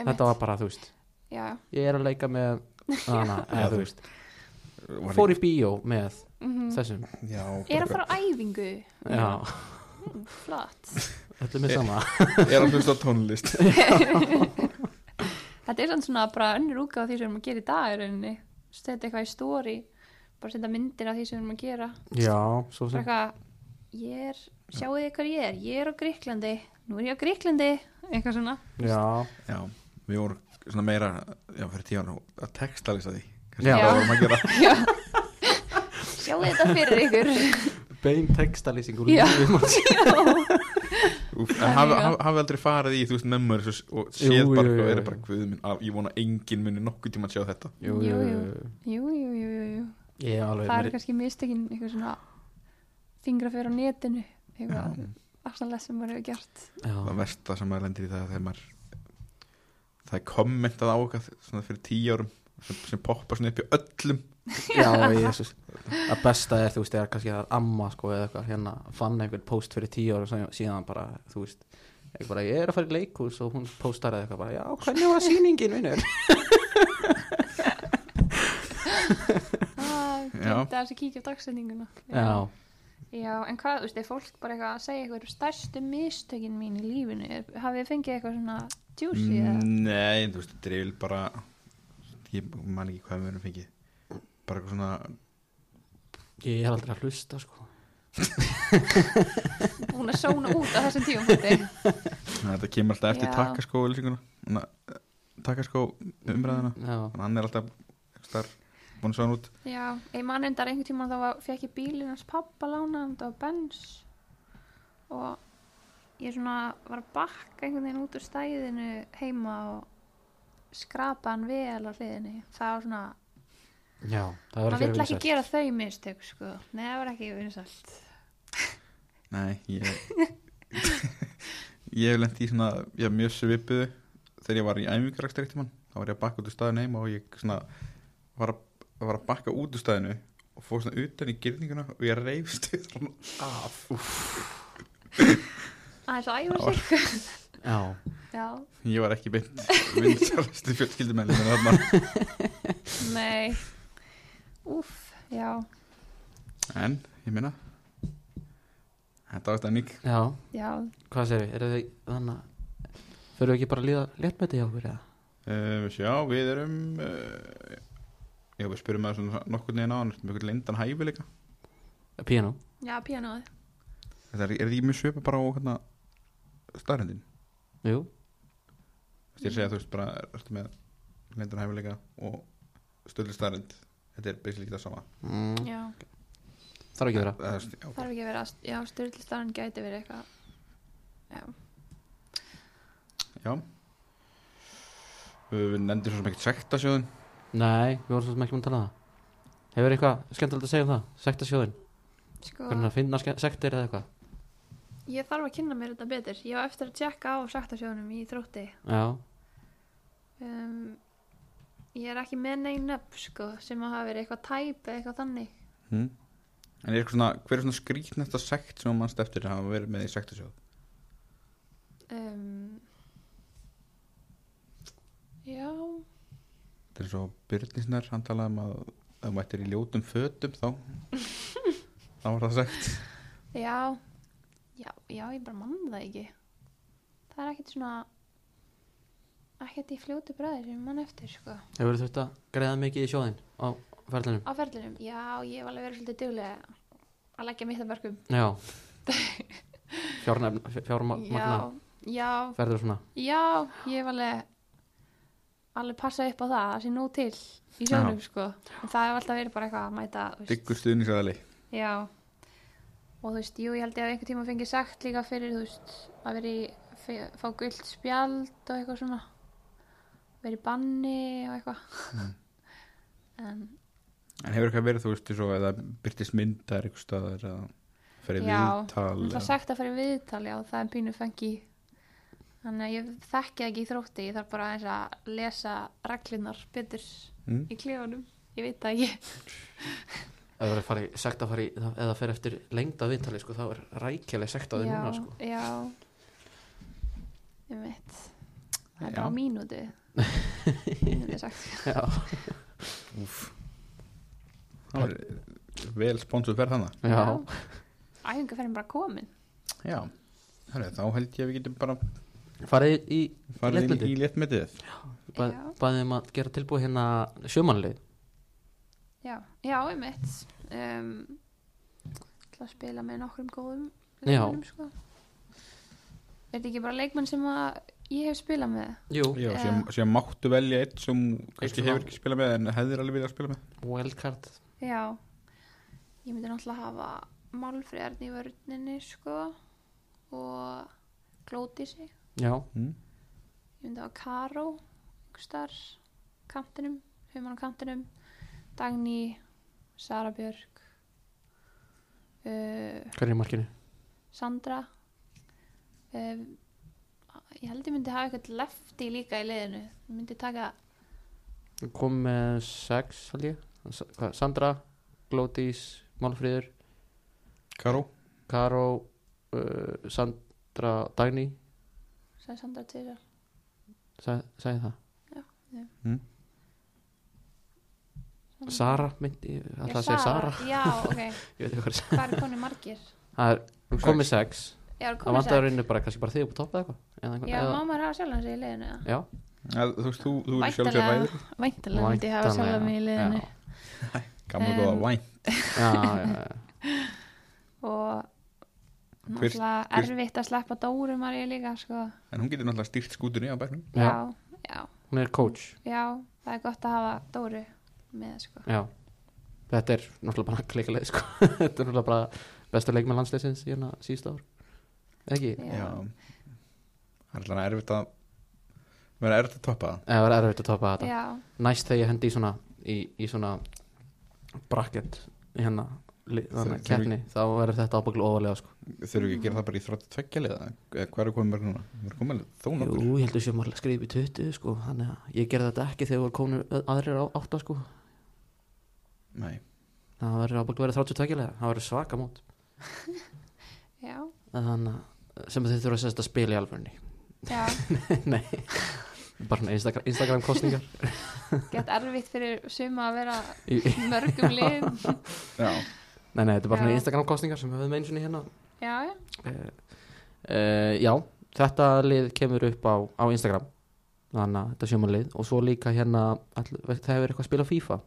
Speaker 2: þetta var bara þú veist
Speaker 3: já,
Speaker 2: ég er að leika með hana,
Speaker 1: Já,
Speaker 2: eða,
Speaker 1: þú
Speaker 2: þú veist, fór í bíó með
Speaker 3: mhm
Speaker 2: þessum,
Speaker 1: já,
Speaker 3: er að fara á æfingu
Speaker 2: já,
Speaker 3: mm, flott
Speaker 2: allir með sama
Speaker 1: er að hlusta á tónlist
Speaker 3: Þetta er samt svona bara önnur útgáð því sem við erum að gera í dag í rauninni. Setja eitthvað í story, bara setja myndir af því sem við erum að gera.
Speaker 2: Mhm. já, svo
Speaker 3: Bara
Speaker 2: sem
Speaker 3: eitthvað, ég er, sjáu þið hvað ég er, ég er á Gríklandi, nú er ég á Gríklandi, eitthvað svona.
Speaker 2: já,
Speaker 1: já, við vorum svona meira já, fyrir tíu ára að textalisa því Kannski
Speaker 2: Já.
Speaker 1: það vorum að gera
Speaker 3: Sjáu þið þetta fyrir ykkur.
Speaker 2: bein textalýsing úr
Speaker 3: Já.
Speaker 2: lífið manns.
Speaker 1: Úf, en hafi, hafi, hafi aldrei farið í þú veist memories og, og séð
Speaker 2: Jú,
Speaker 1: bara
Speaker 2: jú,
Speaker 1: og
Speaker 2: jú.
Speaker 1: er bara guð minn að, ég vona enginn muni nokkuð tíma að sjá þetta
Speaker 2: jú, jú,
Speaker 3: Jú, jú.
Speaker 2: jú
Speaker 3: Jú, jú, jú, jú, jú.
Speaker 2: Ég er alveg
Speaker 3: Það er kannski mistekinn eitthvað svona fingra fyrir á netinu, eitthvað aftanlega sem maður hefur gert.
Speaker 1: það
Speaker 2: já,
Speaker 1: versta sem maður lendir í það er þegar maður það er kommentað á okkar svona fyrir tíu árum sem, sem poppar svona upp í öllum
Speaker 2: já, jésus Að besta er, þú veist, er kannski að amma sko eða eitthvað, hérna, fann einhvern post fyrir tíu ára og síðan bara, þú veist ég, bara, ég er að fara í leikhús og hún postar eða eitthvað bara, já, hvernig var sýningin, vinnur?
Speaker 3: Ah,
Speaker 1: Já.
Speaker 3: það er að kíkja á dagsetninguna.
Speaker 2: Já,
Speaker 3: Já, en hvað, þú veist, er fólk bara eitthvað að segja eitthvað eru stærstu mistökin mín í lífinu? Er- Hafið þið fengið eitthvað svona juicy eða?
Speaker 1: Nei, þú veist, drifil bara ég man ekki hvað við erum fengið bara eitthvað svona
Speaker 2: ég er aldrei að hlusta sko
Speaker 3: Búin að sóna út á þessum tíumfóti?
Speaker 1: þetta kemur alltaf eftir
Speaker 3: Já.
Speaker 1: takkaskó ölsinguna eh, takkaskó umræðina
Speaker 2: Já,
Speaker 1: þannig að hann er alltaf einhvers staðar búinn að sjá hann út
Speaker 3: Já, ég man endar einhvern tímann þá var- fékk ég bílinn hans pappa lánaðan, það var Benz og ég svona var að bakka einhvern veginn út úr stæðinu heima og skrapa hann vel á hliðinni. Það var svona,
Speaker 2: já, það var
Speaker 3: maður
Speaker 2: ekki
Speaker 3: vill
Speaker 2: að
Speaker 3: ekki
Speaker 2: vinsa
Speaker 3: gera þau mistök, sko. Nei, það var ekki vinsalt.
Speaker 1: Nei, ég ég hef lent í svona ég er mjög svipuðu þegar ég var í æfingarakstri eitt mann þá var ég að bakka út úr staðinu heima og ég svona var að, var að bakka út úr staðinu og fór svona utan í gyrninguna og ég reyfst af
Speaker 3: Það
Speaker 1: Það
Speaker 3: er svo
Speaker 1: var-
Speaker 3: æfa sig.
Speaker 2: Já,
Speaker 3: Já.
Speaker 1: Ég var ekki beint vinsalesti fjölskyldumennir þarna.
Speaker 3: Nei Úf, já
Speaker 1: En, ég minna Þetta var stæðning
Speaker 2: já,
Speaker 3: Já,
Speaker 2: hvað segir við, eru þið, þannig að Fyrir við ekki bara að líða létt með þetta hjá okkur eða?
Speaker 1: uh, Já, við erum uh, Já, við um spurum að svona nokkur neina á hann Mjög lindan hæfileika
Speaker 2: Piano?
Speaker 3: já, píanóð
Speaker 1: Þetta er, er því mjög svipa bara á hérna starrendin
Speaker 2: Jú,
Speaker 1: Ég segja þú veist bara, ertu með lindan hæfileika og stöldið starrend Þetta er basically það sama
Speaker 2: mm,
Speaker 3: Já,
Speaker 2: þarf ekki að vera
Speaker 1: Það, það, já,
Speaker 3: þarf ekki að vera að- Já, styrlistaren gæti verið eitthvað Já,
Speaker 1: já. Eh, Við nefndum svo sem ekkert sektasjóðin
Speaker 2: Nei, við vorum svo sem ekki múin að tala um það Hefur eitthvað skemmtilegt að segja um það? Sektasjóðin,
Speaker 3: sko
Speaker 2: hvernig að finna ske- sektir eða eitthvað
Speaker 3: Ég þarf að kynna mér þetta betur Ég á eftir að tjekka á saktasjónum í þrótti
Speaker 2: Já,
Speaker 3: um, Ég er ekki með neinn upp, sko sem að hafa verið eitthvað tæp eða eitthvað þannig
Speaker 1: Hmm. En er eitthvað svona, hver er svona skrýtnasta sekt sem að mannst eftir að hafa verið með í sektasjóð?
Speaker 3: um, Já,
Speaker 1: Þetta er svo Byrnisnær, hann talaði um að ef maður ættir í ljótum fötum þá þá var það sekt
Speaker 3: já Já, já, ég bara mann það ekki Það er ekkert svona ekkert í fljótu bræðir sem ég mann eftir, sko
Speaker 2: hefur þú þurft að greiða mikið í sjóðin á, á ferðlunum?
Speaker 3: á ferðlunum, já, ég hef alveg verið svolítið duglega að leggja mitt að mörgum
Speaker 2: Já Fjárnefna, fjármagna
Speaker 3: já, já,
Speaker 2: ferður svona
Speaker 3: já, ég hef alveg alveg passað upp á það, það sé nú til í sjónum, sko en það hef alltaf verið bara eitthvað að mæta þú veist,
Speaker 1: Diggur stuðningsaðali
Speaker 3: já og þú veist, jú, ég held ég að einhvern tíma fengið sagt líka fyrir, þú veist, að veri fe- fá gult spjald og eitthvað svona verið í banni og eitthvað en
Speaker 1: En hefur eitthvað verið þú veist svo eða byrtist myndar eitthvað staðar eða fyrir
Speaker 3: Já, um
Speaker 1: viðtal
Speaker 3: Það er
Speaker 1: eða-
Speaker 3: sagt að fara í viðtal, já, það er pínu fengi Þannig að ég þekki það ekki í þrótti Ég þarf bara aðeins að lesa reglunar betur
Speaker 1: Mm.
Speaker 3: í klefanum Ég veit það ekki
Speaker 2: Ef það er farið, sekt að fara í það- eða fer eftir lengda viðtali sko, þá er rækjaleg sekt á því
Speaker 3: Já,
Speaker 2: núna sko.
Speaker 3: já Ég veit Það er
Speaker 1: Já.
Speaker 3: bara mínútu Mínútu er sagt
Speaker 2: Já,
Speaker 1: Það er vel sponsuð ferð hana
Speaker 2: já.
Speaker 3: Æfingu fyrir bara komin
Speaker 1: Já, Herri, þá held ég að við getum bara
Speaker 2: Farið í,
Speaker 1: farið inn
Speaker 2: Léttmeti.
Speaker 1: í léttmetið
Speaker 2: bað,
Speaker 3: Já.
Speaker 2: baðið um að gera tilbúið hérna sjömanlið
Speaker 3: Já, já, ég veit um, Það spila með nokkrum góðum
Speaker 2: Já.
Speaker 3: leikmönnum, sko. Er þetta ekki bara leikmenn sem að ég hef spilað með?
Speaker 2: Jú,
Speaker 1: Já,
Speaker 3: Já.
Speaker 1: sem, sem máttu velja eitt sem kannski
Speaker 2: sem
Speaker 1: hefur
Speaker 2: má-
Speaker 1: ekki spilað með en hefðir alveg viljað spila með
Speaker 2: wildcard
Speaker 3: Já, ég myndi náttúrulega hafa málfriðarn í vörninni sko og glóti sig.
Speaker 2: Já,
Speaker 1: mm.
Speaker 3: Ég myndi hafa Karó, einhvers þar, kantinum, humann á kantinum, Dagný, Sara Björk, uh,
Speaker 2: hver er í markinu?
Speaker 3: Sandra. Uh, ég held ég myndi hafa eitthvað lefti líka í liðinu. Ég myndi taka,
Speaker 2: kom með sex held ég S- hvað, Sandra, Glódís, Málfríður
Speaker 1: Karó,
Speaker 2: Karó, uh, Sandra Dagný,
Speaker 3: sagði Sandra til þess
Speaker 2: sag, sagði það
Speaker 1: Mm.
Speaker 3: Mm.
Speaker 2: Sara, myndi, alltaf að segja Sara
Speaker 3: Já, ok.
Speaker 2: ég veit ekki hvað er
Speaker 3: Hvað er konið margir?
Speaker 2: það er kom með sex,
Speaker 3: Já, er
Speaker 2: það
Speaker 3: komið
Speaker 2: vantar reynu bara kannski bara þig upp á topp eða eitthvað eða,
Speaker 3: Já,
Speaker 2: eða,
Speaker 3: má maður hafa sjálfan sig í liðinu eða?
Speaker 2: já,
Speaker 1: að, þú veist, þú, þú er sjálf sér ræður
Speaker 3: Væntanlega myndi ég hafa
Speaker 2: væntanlega,
Speaker 3: sjálfan mig í liðinu
Speaker 2: já,
Speaker 1: Gamla góða
Speaker 3: Em,
Speaker 1: væn
Speaker 2: já, já, já,
Speaker 3: og
Speaker 1: Hver-
Speaker 3: náttúrulega
Speaker 1: hver-
Speaker 3: erfitt að sleppa Dóru Maríu líka sko.
Speaker 1: En hún getur náttúrulega stýrt skútunni á bæknum
Speaker 2: já.
Speaker 3: já, já,
Speaker 2: hún er coach
Speaker 3: já það er gott að hafa Dóru með sko.
Speaker 2: já, þetta er náttúrulega bara klikaleg sko. þetta er náttúrulega bara bestu leik með landsleisins í hérna síðust ár ekki,
Speaker 3: Já.
Speaker 1: Já Það er alltaf erfitt að vera erfitt að toppa það
Speaker 2: eða það er erfitt að topa þetta
Speaker 3: já,
Speaker 2: næst þegar ég hendi í svona í, í svona bracket í hérna li-
Speaker 1: Þau-
Speaker 2: þarna
Speaker 1: þau-
Speaker 2: keppni þá verður þetta ábygglu ofalega sko.
Speaker 1: Þurfum við að gera það bara í þróttu tveggjalið eða hvað er komið mörg núna? Við erum komið þó
Speaker 2: Jú,
Speaker 1: nokkur
Speaker 2: ég held að sem var skrifið 20 sko, þannig að ég gerði þetta ekki þegar voru konur aðrir á 8 sko.
Speaker 1: Nei,
Speaker 2: það verður ábygglu verið 32 lega það verður svaka mót
Speaker 3: já,
Speaker 2: þannig að sem þið þurfa að sérst að spila í alvörni
Speaker 3: já
Speaker 2: Nei, bara svona Instagram, Instagram kostningar
Speaker 3: gett erfitt fyrir suma að vera
Speaker 2: Í-
Speaker 3: mörgum liðum
Speaker 1: já,
Speaker 2: Nei, nei, þetta er bara svona
Speaker 3: Já.
Speaker 2: Instagram kostningar sem við höfum einu sinni hérna
Speaker 3: já, já,
Speaker 2: uh, uh, Já, þetta lið kemur upp á, á Instagram Þannig að þetta sjöma lið Og svo líka hérna, all, það hefur eitthvað að spila FIFA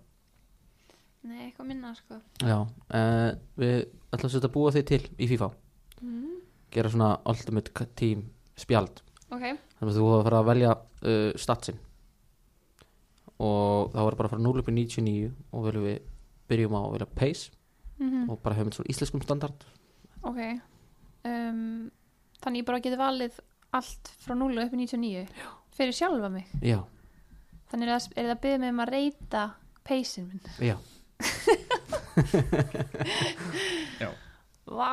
Speaker 3: nei, eitthvað minna sko.
Speaker 2: Já, uh, við ætlum sér að búa þig til í FIFA
Speaker 3: mm.
Speaker 2: Gera svona ultimate team spjald
Speaker 3: ok,
Speaker 2: Þannig að þú hefur að fara að velja uh, statsin Og þá er bara að fara 0 upp í 99 Og viljum við byrjum á að velja pace
Speaker 3: mm
Speaker 2: Og bara hefum þetta svona íslenskum standard
Speaker 3: ok um, þannig ég bara geti valið allt frá 0 upp í 99 já. fyrir sjálfa mig
Speaker 2: Já,
Speaker 3: Þannig er það, er það að byggja mig um að reyta peysin minn.
Speaker 2: já
Speaker 1: já
Speaker 3: Vá!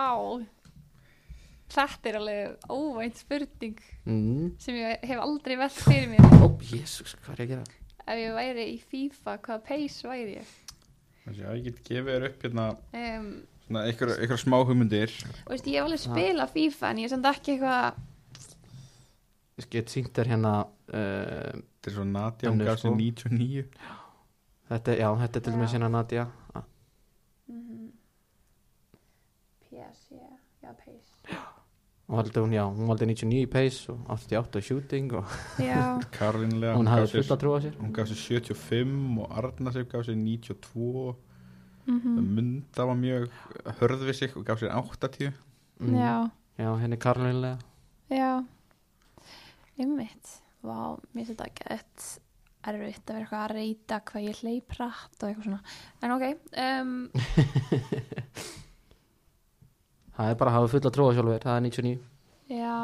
Speaker 3: Þetta er alveg óvænt spurning
Speaker 2: mm.
Speaker 3: sem ég hef aldrei velt fyrir mér.
Speaker 2: Ó, jésus, hvað er ég að gera?
Speaker 3: Ef ég væri í FIFA, hvaða peys væri ég?
Speaker 1: Þessi, já, ég get gefið þér upp hérna
Speaker 3: Um,
Speaker 1: svona einhverja einhverja smá hugmyndir
Speaker 3: og veist, ég hef alveg spilað FIFA en ég er samt ekki eitthvað...
Speaker 2: Ég get sýnt þér hérna uh,
Speaker 1: Þetta er svo Nadja,
Speaker 2: Önnur,
Speaker 1: hún gaf
Speaker 2: sko.
Speaker 1: sér 99
Speaker 2: Þetta, er- já, þetta er til
Speaker 3: Já.
Speaker 2: dæmis hérna Nadia Ah,
Speaker 3: Mhm. Mm -hmm. PS, já, já, peys.
Speaker 2: og valdi hún, já, hún valdi 99 í pace og 88 í shooting og
Speaker 3: já,
Speaker 1: Karlinlega,
Speaker 2: hún hafði
Speaker 1: sér,
Speaker 2: fullt að trúa sér
Speaker 1: hún gaf sér 75 og Arnasef gaf sér 92
Speaker 3: mhm,
Speaker 1: Mm. Munda var mjög hörð við sig og gaf sér 80
Speaker 2: Mm.
Speaker 3: já,
Speaker 2: já, henni Karlinlega
Speaker 3: já einmitt Vá, mér finnst þetta gett erfitt að vera eitthvað að reyta hvað ég hleyp rætt og eitthvað svona en ok, um,
Speaker 2: það er bara að hafa fullt að trúa sjálfur, það er 99
Speaker 3: já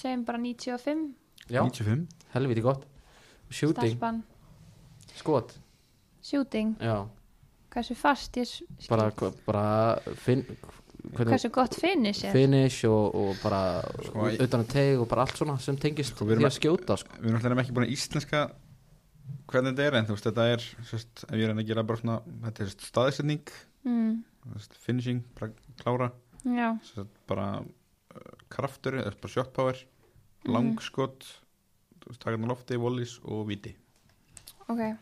Speaker 3: segjum bara 95
Speaker 2: já,
Speaker 1: 95
Speaker 2: helviti gott shooting,
Speaker 3: stelpan,
Speaker 2: skot
Speaker 3: shooting
Speaker 2: já,
Speaker 3: hversu fast ég s- skýt
Speaker 2: bara, bara finn, hvernig
Speaker 3: hversu gott finish er
Speaker 2: finish og, og bara
Speaker 1: Sko, ég-
Speaker 2: utan að teg og bara allt svona sem tengist
Speaker 1: Sko, við erum
Speaker 2: því að
Speaker 1: að-
Speaker 2: skjóta sko.
Speaker 1: Við erum alltaf ekki búin að íslenska hvernig þetta er en þú veist þetta er sérst, ef ég reyna að gera bara svona þetta er sérst, staðsetning,
Speaker 3: mm,
Speaker 1: sérst, finishing bara klára,
Speaker 3: já,
Speaker 1: sérst, bara uh, kraftur, eða bara shot power
Speaker 3: Mhm.
Speaker 1: langskot þú veist, takan á lofti, volleys og viti
Speaker 3: Mm, ok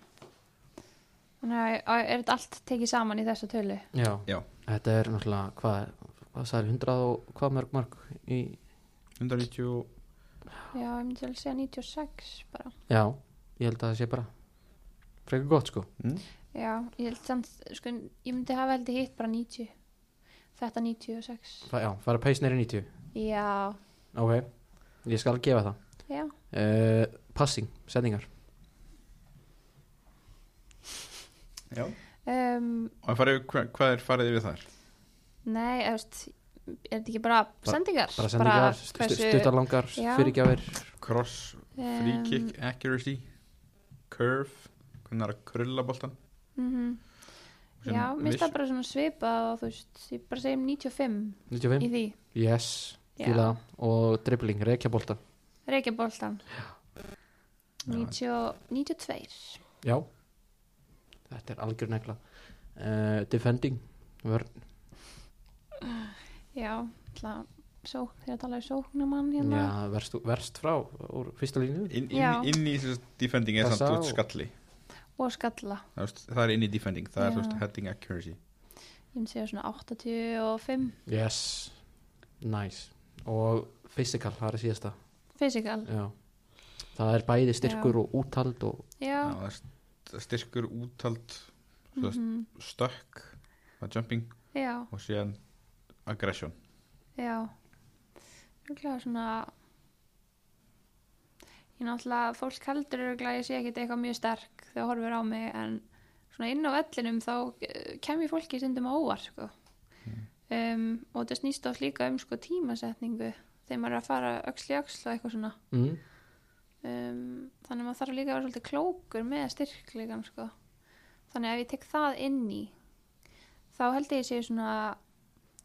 Speaker 3: þannig að að- er þetta allt tekið saman í þessu tölu
Speaker 2: já.
Speaker 1: Já.
Speaker 2: þetta er náttúrulega hvað, hvað sagði 100 og hvað mörg mörg í,
Speaker 1: 190 og
Speaker 3: já, ég myndi að segja 96 bara
Speaker 2: já, ég held að það sé bara frekar gott sko
Speaker 1: mm,
Speaker 3: já, ég held samt, sko, ég myndi hafa held ég hitt bara 90 þetta 96
Speaker 2: Fa- já, fara pace neyri 90
Speaker 3: já,
Speaker 2: ok, ég skal gefa það
Speaker 3: já,
Speaker 2: uh, passing, sendingar
Speaker 3: um
Speaker 1: og farið, hva, hvað er farið yfir þar?
Speaker 3: nei, eða veist er þetta ekki bara sendingar
Speaker 2: bara sendingar, stu- stu-
Speaker 3: hversu- um,
Speaker 2: stuttarlangar
Speaker 3: Já.
Speaker 2: fyrirgjafir,
Speaker 1: cross, free kick, accuracy curve hvernig er að krulla boltan
Speaker 3: mm
Speaker 1: Sem
Speaker 3: já, mér finnst
Speaker 1: viss-
Speaker 3: það bara svona svipað og þú veist, ég bara segjum 95 í
Speaker 2: 95
Speaker 3: því
Speaker 2: yes,
Speaker 3: Já.
Speaker 2: fíla það. og dribbling, reykjabolta
Speaker 3: Reykjaboltan
Speaker 1: Já.
Speaker 3: 92
Speaker 2: já, þetta er algjör negla uh, defending vörn,
Speaker 3: Já, alltaf sók, þegar talaðu sóknumann hérna
Speaker 2: já, verst, verst frá úr fyrsta línu
Speaker 1: inn,
Speaker 3: Já.
Speaker 1: inn, inn í þessu defending er
Speaker 2: Passa
Speaker 1: samt út
Speaker 2: og-
Speaker 1: skalli
Speaker 3: og skalla
Speaker 1: Það er, það er inn í defending, það er
Speaker 3: Já.
Speaker 1: þú veist, heading accuracy
Speaker 3: Ég myndi segja svona 85
Speaker 2: yes, nice og physical, það er síðasta
Speaker 3: Physical
Speaker 2: já. það er bæði styrkur
Speaker 3: Já.
Speaker 2: og úthald og
Speaker 1: Já,
Speaker 3: Já,
Speaker 1: það er st- styrkur, úthald
Speaker 3: mm
Speaker 1: svo stökk það er jumping
Speaker 3: já,
Speaker 1: og síðan aggression
Speaker 3: já Rúklega svona Ég náttúrulega, fólk heldur rúklega að ég sé ekkit eitthvað mjög sterk þegar horfir á mig en svona inn á vellinum þá eh, kem ég fólki stundum á óvar sko. um, og þetta snýst oft líka um sko, tímasetningu þegar maður er að fara öxl í öxl og eitthvað svona
Speaker 2: mm,
Speaker 3: um, þannig að maður þarf líka að vera svolítið klókur með styrklegan sko. þannig að ef ég tek það inn í þá held ég að ég sé svona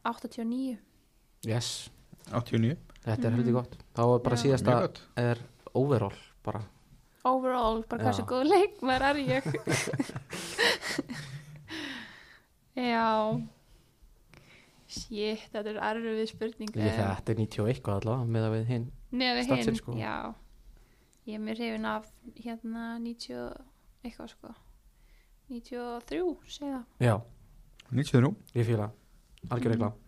Speaker 3: 89
Speaker 2: yes,
Speaker 1: 89,
Speaker 2: þetta er heldur gott þá er bara
Speaker 3: Mm. Já.
Speaker 2: síðasta
Speaker 1: mjög gott
Speaker 2: er overall bara
Speaker 3: overall, bara hversu
Speaker 2: Já.
Speaker 3: góð leikmar er ég já shit, þetta er erfið spurning
Speaker 2: Ég, þetta er 91 allavega með að við hinn
Speaker 3: neðu
Speaker 2: Statsin,
Speaker 3: hinn,
Speaker 2: sko.
Speaker 3: já ég er mér hrifin af hérna 90 eitthvað sko 93, segja
Speaker 2: Já,
Speaker 1: 93,
Speaker 2: ég fíla Algjör regla uh,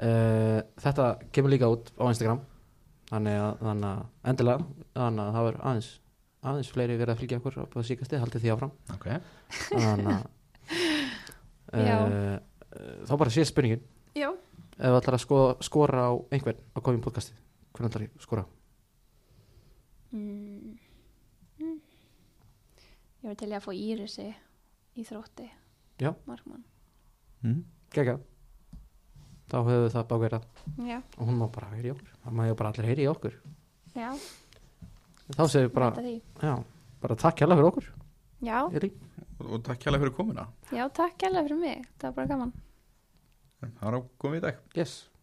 Speaker 2: Mm. Þetta kemur líka út á Instagram Þannig að, þannig að endilega Þannig að það verður aðeins aðeins fleiri verið að fylgja okkur á búið síkasti haldið því áfram
Speaker 1: ok
Speaker 2: Þannig að
Speaker 3: Já.
Speaker 2: uh, Þá bara sé spurningin
Speaker 3: já
Speaker 2: Ef við ætlar að sko, skora á einhvern á komið podcasti Hvernig ætlar ég að skora? á?
Speaker 3: Mm. Mm. Ég var til í að fá Írisi í þrótti
Speaker 2: Já.
Speaker 3: Markmann
Speaker 1: mm.
Speaker 2: Gekka Þá höfum við það bakverða
Speaker 3: Já,
Speaker 2: og hún má bara heyri í okkur Það má ég bara allir heyri í okkur
Speaker 3: já,
Speaker 2: Þá segir við bara,
Speaker 3: þetta því
Speaker 2: já, bara takk hérlega fyrir okkur
Speaker 3: Já,
Speaker 2: Elí.
Speaker 1: og, og takk hérlega fyrir komuna
Speaker 3: já, takk hella fyrir mig, það var bara gaman
Speaker 1: það er á komið í dag
Speaker 2: Yes